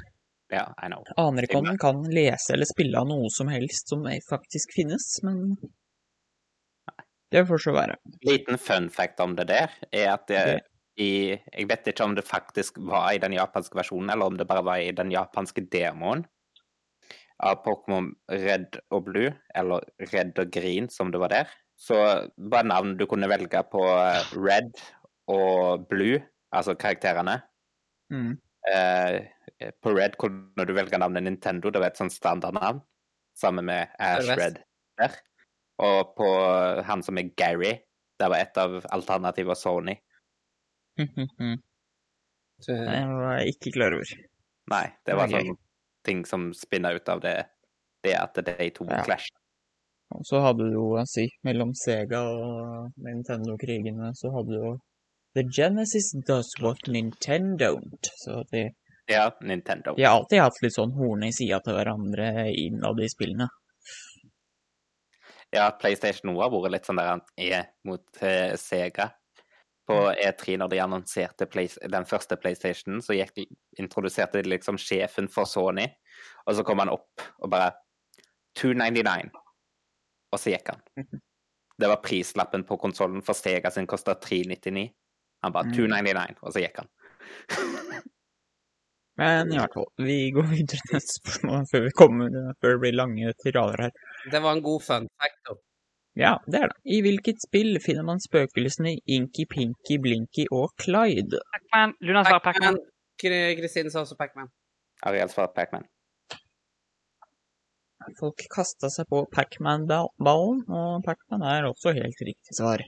Speaker 2: Ja, I know.
Speaker 1: Aner ikke om den kan lese eller spille av noe som helst som faktisk finnes, men Det får så være.
Speaker 2: Liten fun fact om det der er at det,
Speaker 1: Ok.
Speaker 2: i, jeg vet ikke om det faktisk var i den japanske versjonen, eller om det bare var i den japanske demoen av Pokémon Red og Blue, eller Red og Green som det var der. Så var navn du kunne velge på eh, Red og Blue, altså karakterene.
Speaker 1: Mm.
Speaker 2: Eh, på Red kunne du velge navnet Nintendo, det var et sånt standardnavn, sammen med Ash
Speaker 3: Sør-Vest.
Speaker 2: Red der. Og på eh, han som er Gary, det var et av alternativene Sony.
Speaker 1: Det var jeg ikke klar over.
Speaker 2: Nei, det var
Speaker 1: Det er gøy.
Speaker 2: sånn ting som spinner ut av det, det at de to
Speaker 1: Ja.
Speaker 2: clasher.
Speaker 1: Og så hadde du jo, jeg sier, mellom Sega og Nintendo-krigene, så hadde du jo The Genesis does what Nintendo don't. Så de,
Speaker 2: Ja, Nintendo.
Speaker 1: de har alltid hatt litt sånn horn i sida til hverandre innad i spillene.
Speaker 2: Ja, PlayStation 1 har vært litt sånn der han er mot eh, Sega.
Speaker 1: Mm.
Speaker 2: På E3, når de annonserte Play den første PlayStationen, så gikk, introduserte de liksom sjefen for Sony, og så kom han opp og bare 299, og så gikk han.
Speaker 1: Mhm.
Speaker 2: Det var prislappen på konsollen, for Sega sin kosta 399. Han bare
Speaker 1: Mm.
Speaker 2: 299, og så gikk han.
Speaker 1: Men i hvert fall, vi går videre til neste spørsmål før vi kommer, før det blir lange tirader her.
Speaker 3: Det var en god fun fact. da.
Speaker 1: Ja, det er det. I hvilket spill finner man spøkelsene Inky, Pinky, Blinky og Clyde?
Speaker 4: Pac-Man. Luna svarer Pac-Man.
Speaker 3: Pac-Man. Kri- Kristine sa også Pac-Man.
Speaker 2: Ariel svarer Pac-Man.
Speaker 1: Folk kasta seg på Pacman-ballen, og Pacman er også helt riktig svar.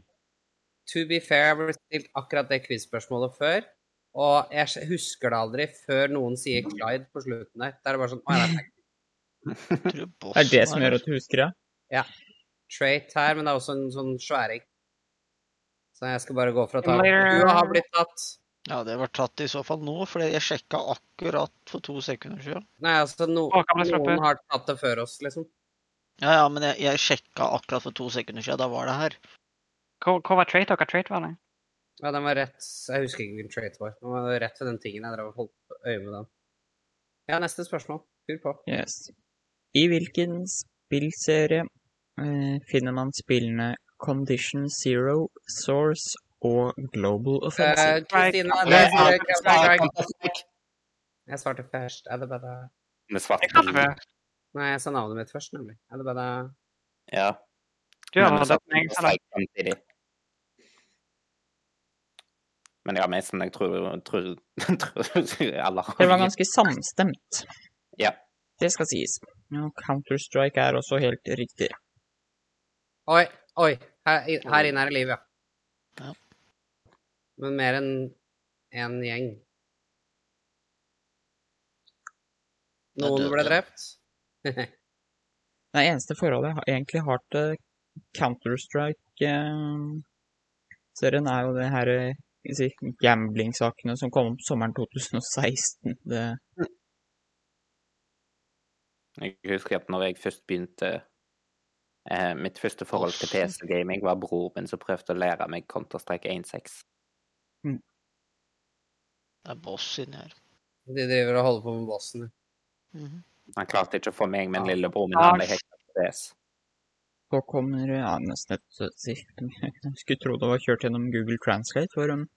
Speaker 3: To be fair, jeg ble stilt akkurat det quiz-spørsmålet før. Og jeg s- husker det aldri før noen sier Clyde på slutten der. Da er det bare sånn Å, ja, det er
Speaker 7: Jeg tror
Speaker 1: Det er det
Speaker 7: bossen
Speaker 1: som
Speaker 7: her,
Speaker 1: gjør
Speaker 7: altså.
Speaker 1: at du husker det?
Speaker 3: Pac-Trait her, men det er også en sånn sværing. Så jeg skal bare gå for å ta
Speaker 4: Later.
Speaker 3: Du har blitt tatt.
Speaker 7: Ja, det var tatt i så fall nå, for jeg sjekka akkurat for to sekunder siden.
Speaker 3: Nei, altså, no,
Speaker 4: Å, kan man slappe?
Speaker 3: noen har tatt det før oss, liksom.
Speaker 7: Ja, ja, men jeg, jeg sjekka akkurat for to sekunder siden. Da var det her.
Speaker 4: Hvor hvor var trait og hva trait var det?
Speaker 3: Ja, den var rett Jeg husker ikke hvilken trait det var. Den var rett ved den tingen jeg drev og holdt øye med den. Ja, neste spørsmål. Fyr på.
Speaker 1: Yes. I hvilken spillserie eh, finner man spillene Condition Zero, Source og Global Offensive?
Speaker 3: Eh, Kristina
Speaker 4: Nei,
Speaker 3: nei,
Speaker 2: nei,
Speaker 3: jeg svarte- Jeg svarte først. Er det bare
Speaker 2: Med svart
Speaker 4: Jeg klarte det.
Speaker 3: Nei, jeg sa navnet mitt først, nemlig. Er det bare
Speaker 2: Ja.
Speaker 4: Du har
Speaker 2: Men
Speaker 4: det. men jeg sa det.
Speaker 2: sagt samtidig. Men ja, Mason, jeg tror, tror, tror alle har
Speaker 1: Det var ganske samstemt.
Speaker 2: Ja.
Speaker 1: Det skal sies. Ja, Counter-Strike er også helt riktig.
Speaker 3: Oi, oi. Her, i- her inne er det liv, ja.
Speaker 7: Ja.
Speaker 3: Men mer enn én gjeng.
Speaker 7: Da
Speaker 3: Noen
Speaker 7: døde
Speaker 3: ble
Speaker 7: jeg.
Speaker 3: drept.
Speaker 1: Det eneste forholdet jeg har- egentlig har til Counter-Strike-serien, er jo det her eh, skal vi si, gambling-sakene som kom opp sommeren 2016. Det,
Speaker 2: Jeg husker at når jeg først begynte eh, Mitt første forhold til PC-gaming var broren min som prøvde å lære meg Counter-Strike 1.6.
Speaker 7: Det er boss inni her.
Speaker 3: De driver og holder på med bossen.
Speaker 7: Mhm.
Speaker 2: Han klarte ikke å få meg, men
Speaker 3: Ja.
Speaker 2: lillebror min han ble hekta på PS.
Speaker 1: så kommer ja, nesten et så å si, Jeg skulle tro det var kjørt gjennom Google Translate, for um,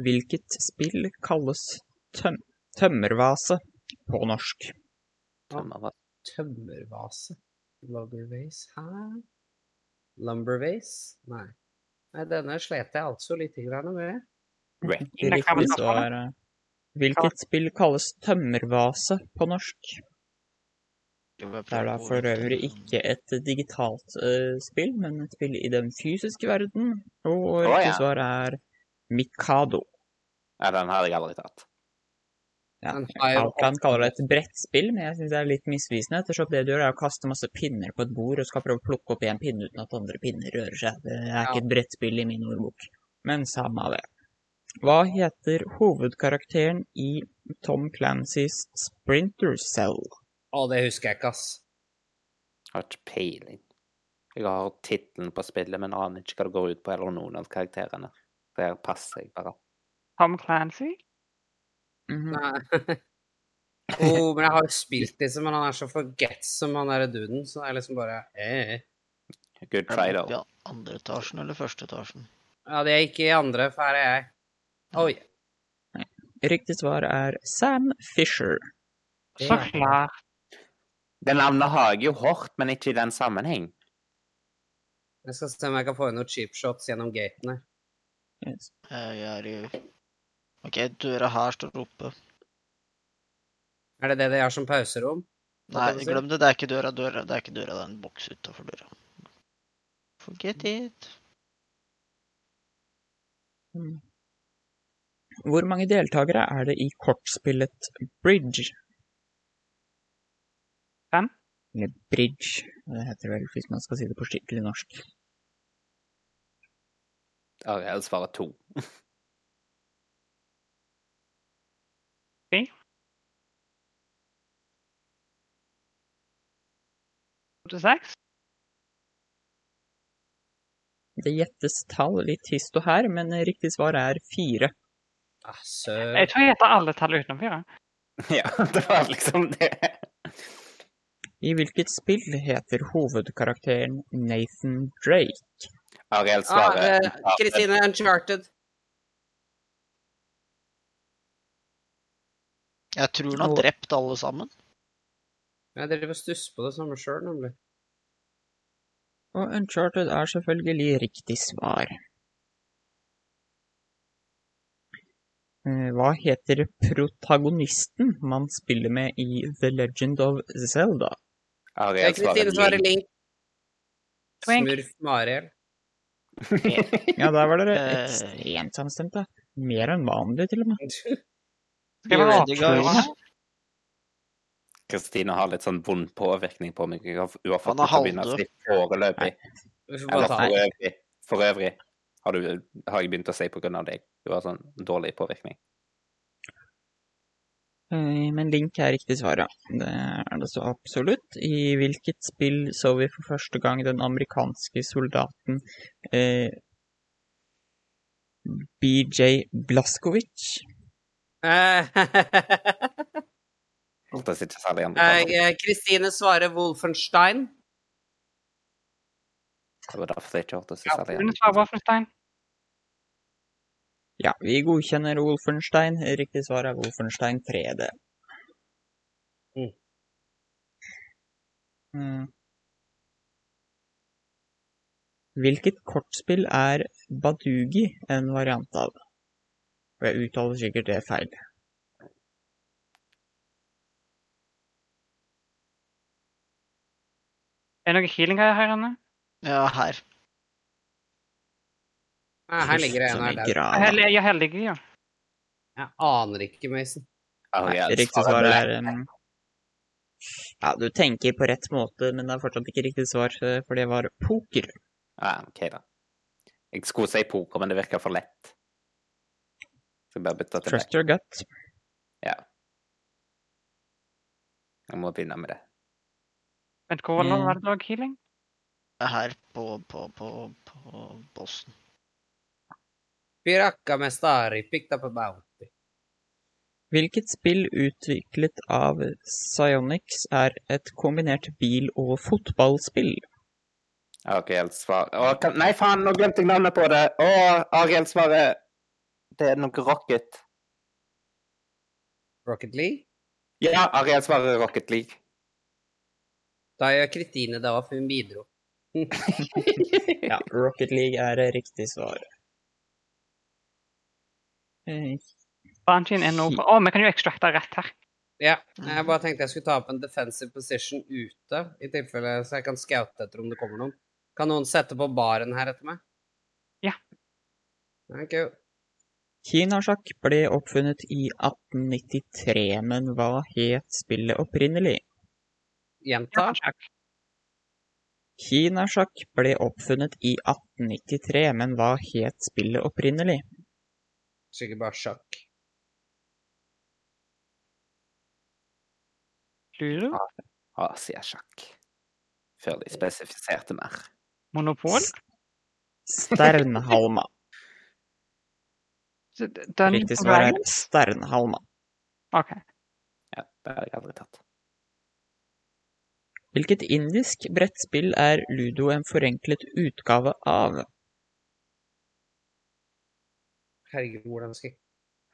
Speaker 1: hvilket spill kalles tøm tømmervase på norsk?
Speaker 2: Tømmer Sånn var-
Speaker 3: Tømmervase. Loggervase her. Lumbervase? Nei. Nei, denne slet jeg altså litt grann med.
Speaker 1: Det
Speaker 2: Wrecking.
Speaker 4: Nei, kan man
Speaker 1: riktige
Speaker 4: ta på det?
Speaker 1: svar er Hvilket spill kalles tømmervase på norsk? Det er da for øvrig ikke et digitalt eh, spill, men et spill i den fysiske verden. Og riktig
Speaker 2: ja.
Speaker 1: svar er Mikado.
Speaker 2: Ja, den hadde jeg aldri tatt.
Speaker 1: Ja.
Speaker 3: Den har jo-
Speaker 1: Outland kaller det et brettspill, men jeg syns det er litt misvisende. Ettersom det du gjør, er å kaste masse pinner på et bord og skal prøve å plukke opp én pinne uten at andre pinner rører seg. Det er ikke et brettspill i min ordbok. Men samme av det. Hva heter hovedkarakteren i Tom Clancys Sprinter Cell?
Speaker 3: Å, det husker jeg ikke, ass.
Speaker 2: Jeg har ikke peiling. Jeg har tittelen på spillet, men aner ikke hva det går ut på, eller noen av karakterene. Der passer jeg bare.
Speaker 4: Tom Clancy?
Speaker 1: Mhm.
Speaker 3: Nei. oh, men jeg har jo spilt disse, men han er så forgetsom, han derre duden, så det er liksom bare eh.
Speaker 2: Good
Speaker 7: Er
Speaker 2: try,
Speaker 7: det
Speaker 2: though.
Speaker 7: oppe i andre etasjen eller første etasjen?
Speaker 3: Ja, det er ikke i andre, for her er jeg. Oi.
Speaker 1: Riktig svar er Sam Fisher.
Speaker 4: Så klart.
Speaker 2: Det navnet har jeg jo hørt, men ikke i den sammenheng.
Speaker 3: Jeg skal se om jeg kan få inn noen cheap shots gjennom gatene.
Speaker 1: Yes.
Speaker 7: Eh, Jeg er i OK, døra her står oppe.
Speaker 3: Er det det de har som pauserom?
Speaker 7: Nei,
Speaker 3: kan du si?
Speaker 7: glem det. Det er ikke døra, døra. Det er ikke døra, det er en boks utafor døra. Forget it.
Speaker 1: Hvor mange deltakere er det i kortspillet Bridge?
Speaker 4: Fem.
Speaker 1: Eller Bridge, det heter det vel hvis man skal si det på skikkelig norsk.
Speaker 2: Ariel svarer to.
Speaker 4: Opp til seks?
Speaker 1: Det gjettes tall litt hist og her, men riktig svar er fire.
Speaker 3: Ah, søren.
Speaker 4: Jeg tror jeg gjetter alle tall utenom fire.
Speaker 2: ja, det var liksom det.
Speaker 1: I hvilket spill heter hovedkarakteren Nathan Drake?
Speaker 2: Ariel
Speaker 3: Ah,
Speaker 2: svarer
Speaker 3: eh, Kristine Uncharted.
Speaker 7: Jeg tror han har
Speaker 1: Og-
Speaker 7: drept alle sammen.
Speaker 3: Jeg driver og stusser på det samme sjøl, nemlig.
Speaker 1: Og Uncharted er selvfølgelig riktig svar. Eh, Hva heter protagonisten man spiller med i The Legend of Zelda?
Speaker 2: Ariel
Speaker 3: Kristine svarer
Speaker 2: svarer
Speaker 3: Link.
Speaker 4: Twink.
Speaker 3: Smurf Mariel.
Speaker 1: Ja, der var dere
Speaker 7: Eh.
Speaker 1: ekstremt samstemte. Mer enn vanlig, til og med.
Speaker 4: Skal jeg bare
Speaker 7: Ready, guys.
Speaker 4: avsløre?
Speaker 2: Kristine har litt sånn vond påvirkning på meg. Hun har hun har fått
Speaker 7: Han er
Speaker 2: meg til å begynne å
Speaker 7: halvdød.
Speaker 2: si foreløpig.
Speaker 3: Vi får bare
Speaker 2: Eller
Speaker 3: ta
Speaker 2: for
Speaker 3: det.
Speaker 2: øvrig. For øvrig har, du, har jeg begynt å si på grunn av deg. Du har sånn dårlig påvirkning.
Speaker 1: Eh, Men Link er riktig svar, ja. Det er det så absolutt. I hvilket spill så vi for første gang den amerikanske soldaten eh, BJ Blaskowicz?
Speaker 3: Eh,
Speaker 2: Det sitter særlig
Speaker 3: eh,
Speaker 2: andre
Speaker 3: eh, Kristine svarer Wolfenstein.
Speaker 2: Det var derfor jeg ikke hørte så
Speaker 4: Ja,
Speaker 2: særlig
Speaker 4: Rune svarer Wolfenstein.
Speaker 1: Ja, vi godkjenner Wolfenstein. Riktig svar er Wolfenstein 3D.
Speaker 3: Mm.
Speaker 1: Mm. Hvilket kortspill er Badugi en variant av? Og jeg uttaler sikkert det feil.
Speaker 4: Er det noe healing-greier her inne?
Speaker 7: Ja, her.
Speaker 3: Eh, her ligger det en
Speaker 1: Som
Speaker 3: her.
Speaker 1: i
Speaker 3: Der.
Speaker 1: grav.
Speaker 4: Jeg er hel- jeg er heldig, ja.
Speaker 3: Jeg aner ikke, Mason.
Speaker 1: Nei,
Speaker 2: Ariel
Speaker 1: riktig
Speaker 2: svarer
Speaker 1: svar
Speaker 2: black.
Speaker 1: er um, Ja, du tenker på rett måte, men det er fortsatt ikke riktig svar, eh, for det var poker.
Speaker 2: Ja, OK, da. Jeg skulle si poker, men det virker for lett. Så jeg bare bytte til black.
Speaker 1: Trust your gut.
Speaker 2: Jeg må begynne med det.
Speaker 4: Vent, hvor var det-
Speaker 1: Mm.
Speaker 4: var det lag healing?
Speaker 7: Her på, på, på, på bossen.
Speaker 3: Piraka mestari, picked up a bounty.
Speaker 1: Hvilket spill utviklet av Psyonix er et kombinert bil- og fotballspill?
Speaker 2: Ariel svarer Å, kan... Nei, faen, nå glemte jeg navnet på det! Å, Ariel svarer Det er noe rocket.
Speaker 3: Rocket League.
Speaker 2: Ja, Ariel svarer Rocket League.
Speaker 3: Da gjør Kristine det òg, for hun bidro.
Speaker 1: Ja, Rocket League er eh, riktig svar. Eh,
Speaker 4: Banjin er nå på Å, vi kan jo extracte rett her.
Speaker 3: Ja, jeg bare tenkte jeg skulle ta opp en defensive position ute, i tilfelle så jeg kan scoute etter om det kommer noen. Kan noen sette på baren her etter meg?
Speaker 4: Ja.
Speaker 3: Thank you.
Speaker 1: Kinasjakk ble oppfunnet i 1893, men hva het spillet opprinnelig?
Speaker 3: Gjenta.
Speaker 4: Ja, takk.
Speaker 1: Kinasjakk ble oppfunnet i 1893, men hva het spillet opprinnelig?
Speaker 3: Sikkert bare sjakk.
Speaker 4: Ludo?
Speaker 2: Å, sier sjakk. Før de spesifiserte mer.
Speaker 4: Monopol?
Speaker 1: Sternhalma.
Speaker 4: Så d- Dungeons
Speaker 1: Riktig
Speaker 4: and
Speaker 1: svar er
Speaker 4: Dragons?
Speaker 1: Sternhalma.
Speaker 4: OK.
Speaker 2: Ja, det har jeg aldri tatt.
Speaker 1: Hvilket indisk brettspill er Ludo en forenklet utgave av?
Speaker 3: Herregud, hvordan skal jeg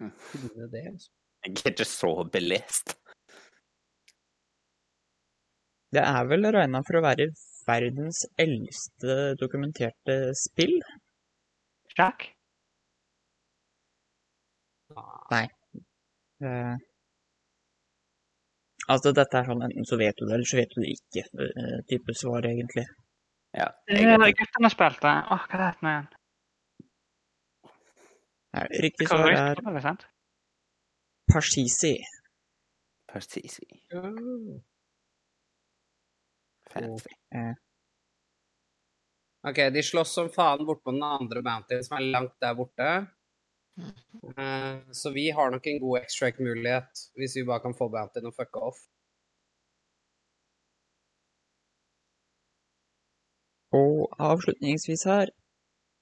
Speaker 2: Mm.
Speaker 3: finne det? altså?
Speaker 2: Jeg er ikke så belest.
Speaker 1: Det er vel regna for å være verdens eldste dokumenterte spill?
Speaker 4: Jack?
Speaker 3: Ah.
Speaker 1: Eh, altså, dette er sånn enten så vet du det, eller så vet du det ikke. eh, type svar, egentlig.
Speaker 2: Ja,
Speaker 4: Det
Speaker 2: jeg
Speaker 4: er
Speaker 2: vet
Speaker 4: guttene spilte. Åh, hva het den igjen?
Speaker 1: Ja, Riktig svar er
Speaker 4: Korrekt, sant?
Speaker 1: Parsisi.
Speaker 2: Persisi. Fancy.
Speaker 3: Ok, de slåss som faen bortpå den andre Bounty som er langt der borte. Eh, Så vi har nok en god extract-mulighet hvis vi bare kan få Bountyen å fucke off.
Speaker 1: Og avslutningsvis her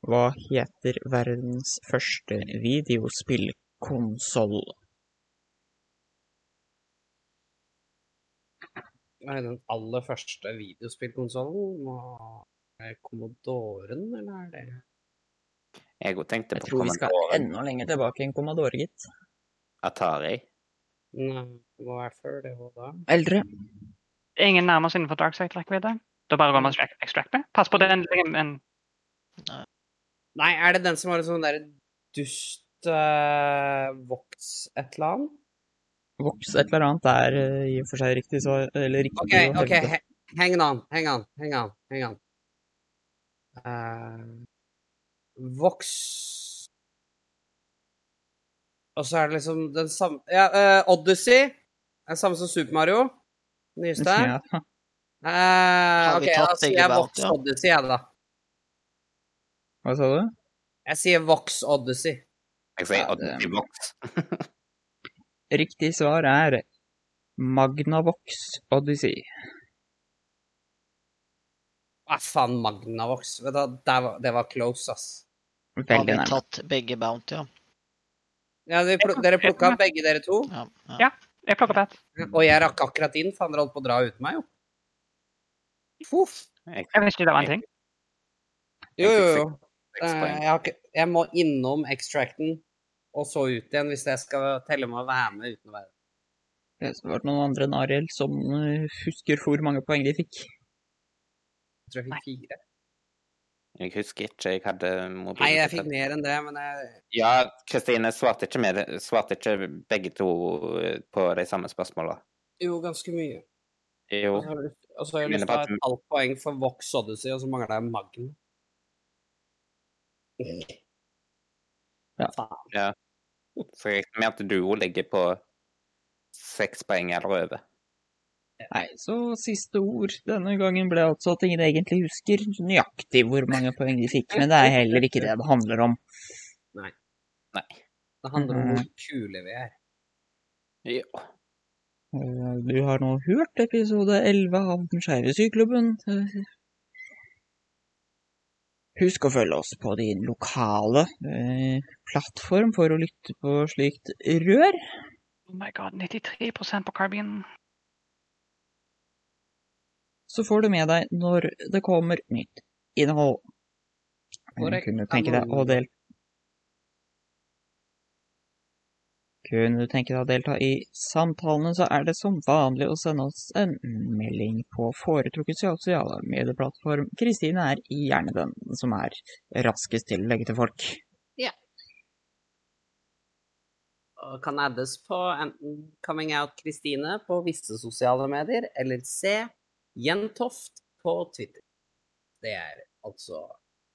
Speaker 1: Hva heter verdens første videospillkonsoll?
Speaker 3: Nei, Den aller første videospillkonsollen var er det Commodoren, eller er det
Speaker 2: Jeg òg tenkte
Speaker 1: Jeg
Speaker 2: på
Speaker 1: tror vi skal
Speaker 2: kommandoren
Speaker 1: enda lenger tilbake enn Commodore, gitt.
Speaker 2: Atari.
Speaker 3: Nei, det var før det var da.
Speaker 1: Eldre.
Speaker 4: Ingen nærmer seg innenfor darkside-rekkevidde. Da bare går man og extracter. Pass på den. En,
Speaker 3: Nei, er det den som har en sånn derre dust eh, voks et eller annet?
Speaker 1: Vox et eller annet er eh, i og for seg riktig svar Eller riktig
Speaker 3: OK,
Speaker 1: å
Speaker 3: OK,
Speaker 1: hevde.
Speaker 3: he heng on, heng on, heng on. Heng on. Eh, voks Og så er det liksom den samme Ja, eh, Odyssey. Den samme som Super Mario. Nyeste.
Speaker 1: Ja.
Speaker 3: Eh,
Speaker 7: Har
Speaker 3: OK,
Speaker 7: vi
Speaker 3: da
Speaker 7: tatt
Speaker 3: sier
Speaker 7: begge
Speaker 3: jeg
Speaker 7: valg,
Speaker 3: Vox
Speaker 7: ja?
Speaker 3: Odyssey, jeg, da.
Speaker 1: Hva sa du?
Speaker 3: Jeg sier Vox Odyssey.
Speaker 2: Jeg sier
Speaker 1: Ja, det-
Speaker 3: eh,
Speaker 2: Odyssey-boks.
Speaker 1: Riktig svar er Magnavox Odyssey.
Speaker 3: Hva Ah, faen, Magnavox? Vet du, hva, der var- det var close, ass.
Speaker 7: Har vi
Speaker 1: Veldig nærme.
Speaker 7: tatt begge Bounty, ja?
Speaker 3: Ja, de pluk dere plukka opp begge dere to,
Speaker 7: Ja. ja.
Speaker 4: Ja. jeg plukker opp ett.
Speaker 3: og jeg rakk akkurat inn, for han holdt på å dra uten meg, jo. Fuff.
Speaker 4: Jeg visste ikke det var en ting.
Speaker 3: Jo, jo, jo. Eh,
Speaker 2: Seks poeng.
Speaker 3: Jeg, har ikke, jeg må innom extracten, og så ut igjen, hvis jeg skal telle meg å være med uten å være med.
Speaker 1: Det var noen andre enn Ariel som eh, husker hvor mange poeng de fikk.
Speaker 3: Jeg tror jeg fikk fire.
Speaker 2: Jeg husker ikke, jeg hadde mobil.
Speaker 3: Nei, jeg fikk mer enn det, men jeg
Speaker 2: Ja, Kristine svarte ikke, med, det- svarte ikke begge to eh, på de samme spørsmåla.
Speaker 3: Jo, ganske mye.
Speaker 2: Jo.
Speaker 3: Og så har jeg lyst- og så har jeg
Speaker 2: Jeg
Speaker 3: lyst
Speaker 2: mener
Speaker 3: til å ha
Speaker 2: bare
Speaker 3: et halvt poeng for Vox Odyssey, og så mangler jeg Magn.
Speaker 1: Ja.
Speaker 3: Faen. Altså,
Speaker 2: Så jeg regner med at duo ligger på seks poeng eller over.
Speaker 1: Nei, så siste ord denne gangen ble altså at ingen egentlig husker nøyaktig hvor mange poeng de fikk, men det er heller ikke det det handler om.
Speaker 3: Det handler om
Speaker 1: Mm.
Speaker 3: hvor kule vi er.
Speaker 2: Jo.
Speaker 1: Eh, Du har nå hørt episode 11 av Den skeive syklubben. Eh, Husk å følge oss på din lokale eh, plattform for å lytte på slikt rør.
Speaker 4: Oh my god, 93 på carbinen.
Speaker 1: Så får du med deg når det kommer nytt innhold. Eh,
Speaker 3: Korrekt.
Speaker 1: Kunne du tenke deg å del... Kunne du tenke deg å delta i samtalene, så er det som vanlig å sende oss en melding på foretrukket sosiale medieplattform. Kristine er gjerne den som er raskest til å legge til folk.
Speaker 3: og kan addes på enten Coming Out Kristine på visse sosiale medier, eller C. Jentoft på Twitter. Det er altså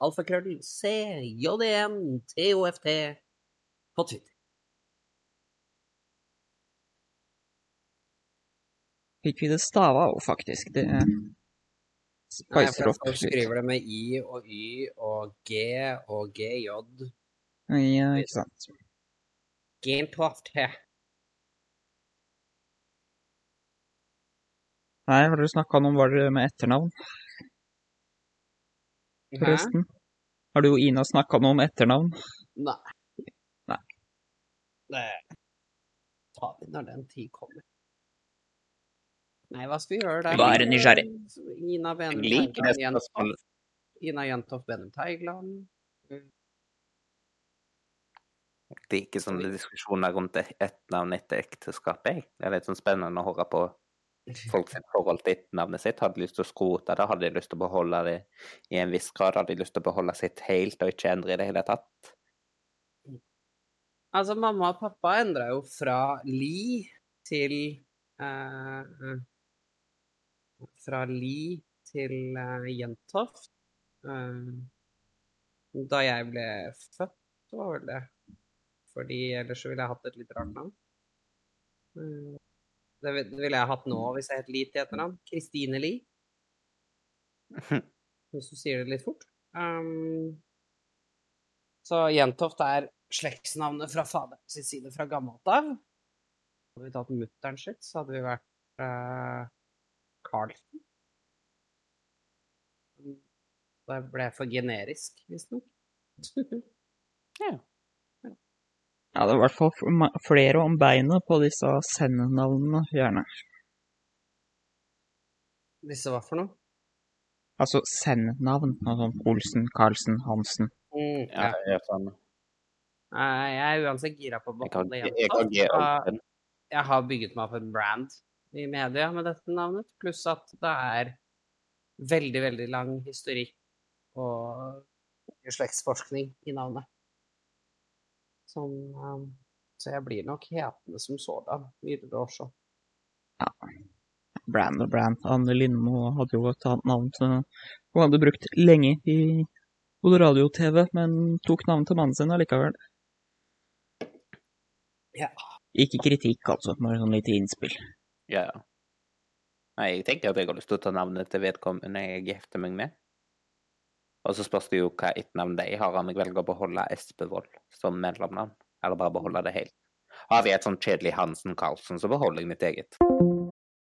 Speaker 3: alfakrøll C, JDN, TOFT på Twitter.
Speaker 1: Fikk vi det stava òg, faktisk. Det
Speaker 3: Nei, for
Speaker 1: spicer
Speaker 3: jeg
Speaker 1: opp
Speaker 3: står og
Speaker 1: litt.
Speaker 3: skriver det med I og Y og G og GJ.
Speaker 1: Ja, ikke sant.
Speaker 3: Jentoft.
Speaker 1: Nei, har dere snakka noe om hva dere med etternavn?
Speaker 3: Hæ?
Speaker 1: forresten. Har du og Ina snakka noe om etternavn?
Speaker 3: Nei.
Speaker 1: Nei.
Speaker 3: Det tar vi når den tid kommer. Nei, hva skal vi gjøre der?
Speaker 1: Bare nysgjerrig.
Speaker 3: Ina Benum
Speaker 2: Jeg liker
Speaker 3: Teigland
Speaker 2: det
Speaker 3: Jentoft.
Speaker 2: spørsmålet.
Speaker 3: Ina Jentoft Benum Teigland.
Speaker 2: Det er ikke sånne diskusjoner rundt ett navn etter ekteskapet. jeg. Det er litt sånn spennende å høre på folks forhold til etternavnet sitt. Hadde de lyst til å skrote det, hadde de lyst til å beholde det i en viss grad, hadde de lyst til å beholde sitt helt og ikke endre i det hele tatt.
Speaker 3: Altså, mamma og pappa endra jo fra Li til eh, Fra Li til eh, Jentoft. Eh, da jeg ble født, så var vel det. Fordi ellers så ville jeg hatt et litt rart navn. Eh, Det vil- det ville jeg hatt nå hvis jeg het Lee til etternavn. Kristine Lie. Hvis du sier det litt fort. Um, så Jentoft er slektsnavnet fra faderen sin side fra gammelt av. Hadde vi tatt mutter'n sitt, så hadde vi vært eh, Carlsen. Det ble for generisk, visstnok.
Speaker 1: Ja, det er i hvert fall f- ma- flere om beinet på disse sendnavnene, gjerne.
Speaker 3: Disse hva for noe?
Speaker 1: Altså sendnavn, altså Olsen, Karlsen, Hansen.
Speaker 3: Mm,
Speaker 2: Ja,
Speaker 3: ja.
Speaker 2: jeg er sånn.
Speaker 3: Nei, Jeg er uansett gira på å
Speaker 2: Jeg kan,
Speaker 3: beholde
Speaker 2: jeg, jeg kan
Speaker 3: Jentoft.
Speaker 2: gi
Speaker 3: og
Speaker 2: open.
Speaker 3: Jeg har bygget meg opp en brand i media med dette navnet, pluss at det er veldig, veldig lang historikk og mye slektsforskning i navnet. Som, um, så jeg blir nok hetende som sådan videre også.
Speaker 1: Brand og Brand. Anne Lindmo hadde jo et annet navn som hun hadde brukt lenge i både radio og TV, men tok navnet til mannen sin allikevel.
Speaker 3: Ja.
Speaker 1: Ikke kritikk, altså, bare sånn lite innspill.
Speaker 2: Ja, ja. Nei, jeg tenker at jeg har lyst til å ta navnet til vedkommende jeg gifter meg med. Og så spørs det jo hva etternavn de har, om jeg velger å beholde Espevold som mellomnavn, eller bare beholde det helt. Har vi et sånn kjedelig Hansen-Karlsen, så beholder jeg mitt eget.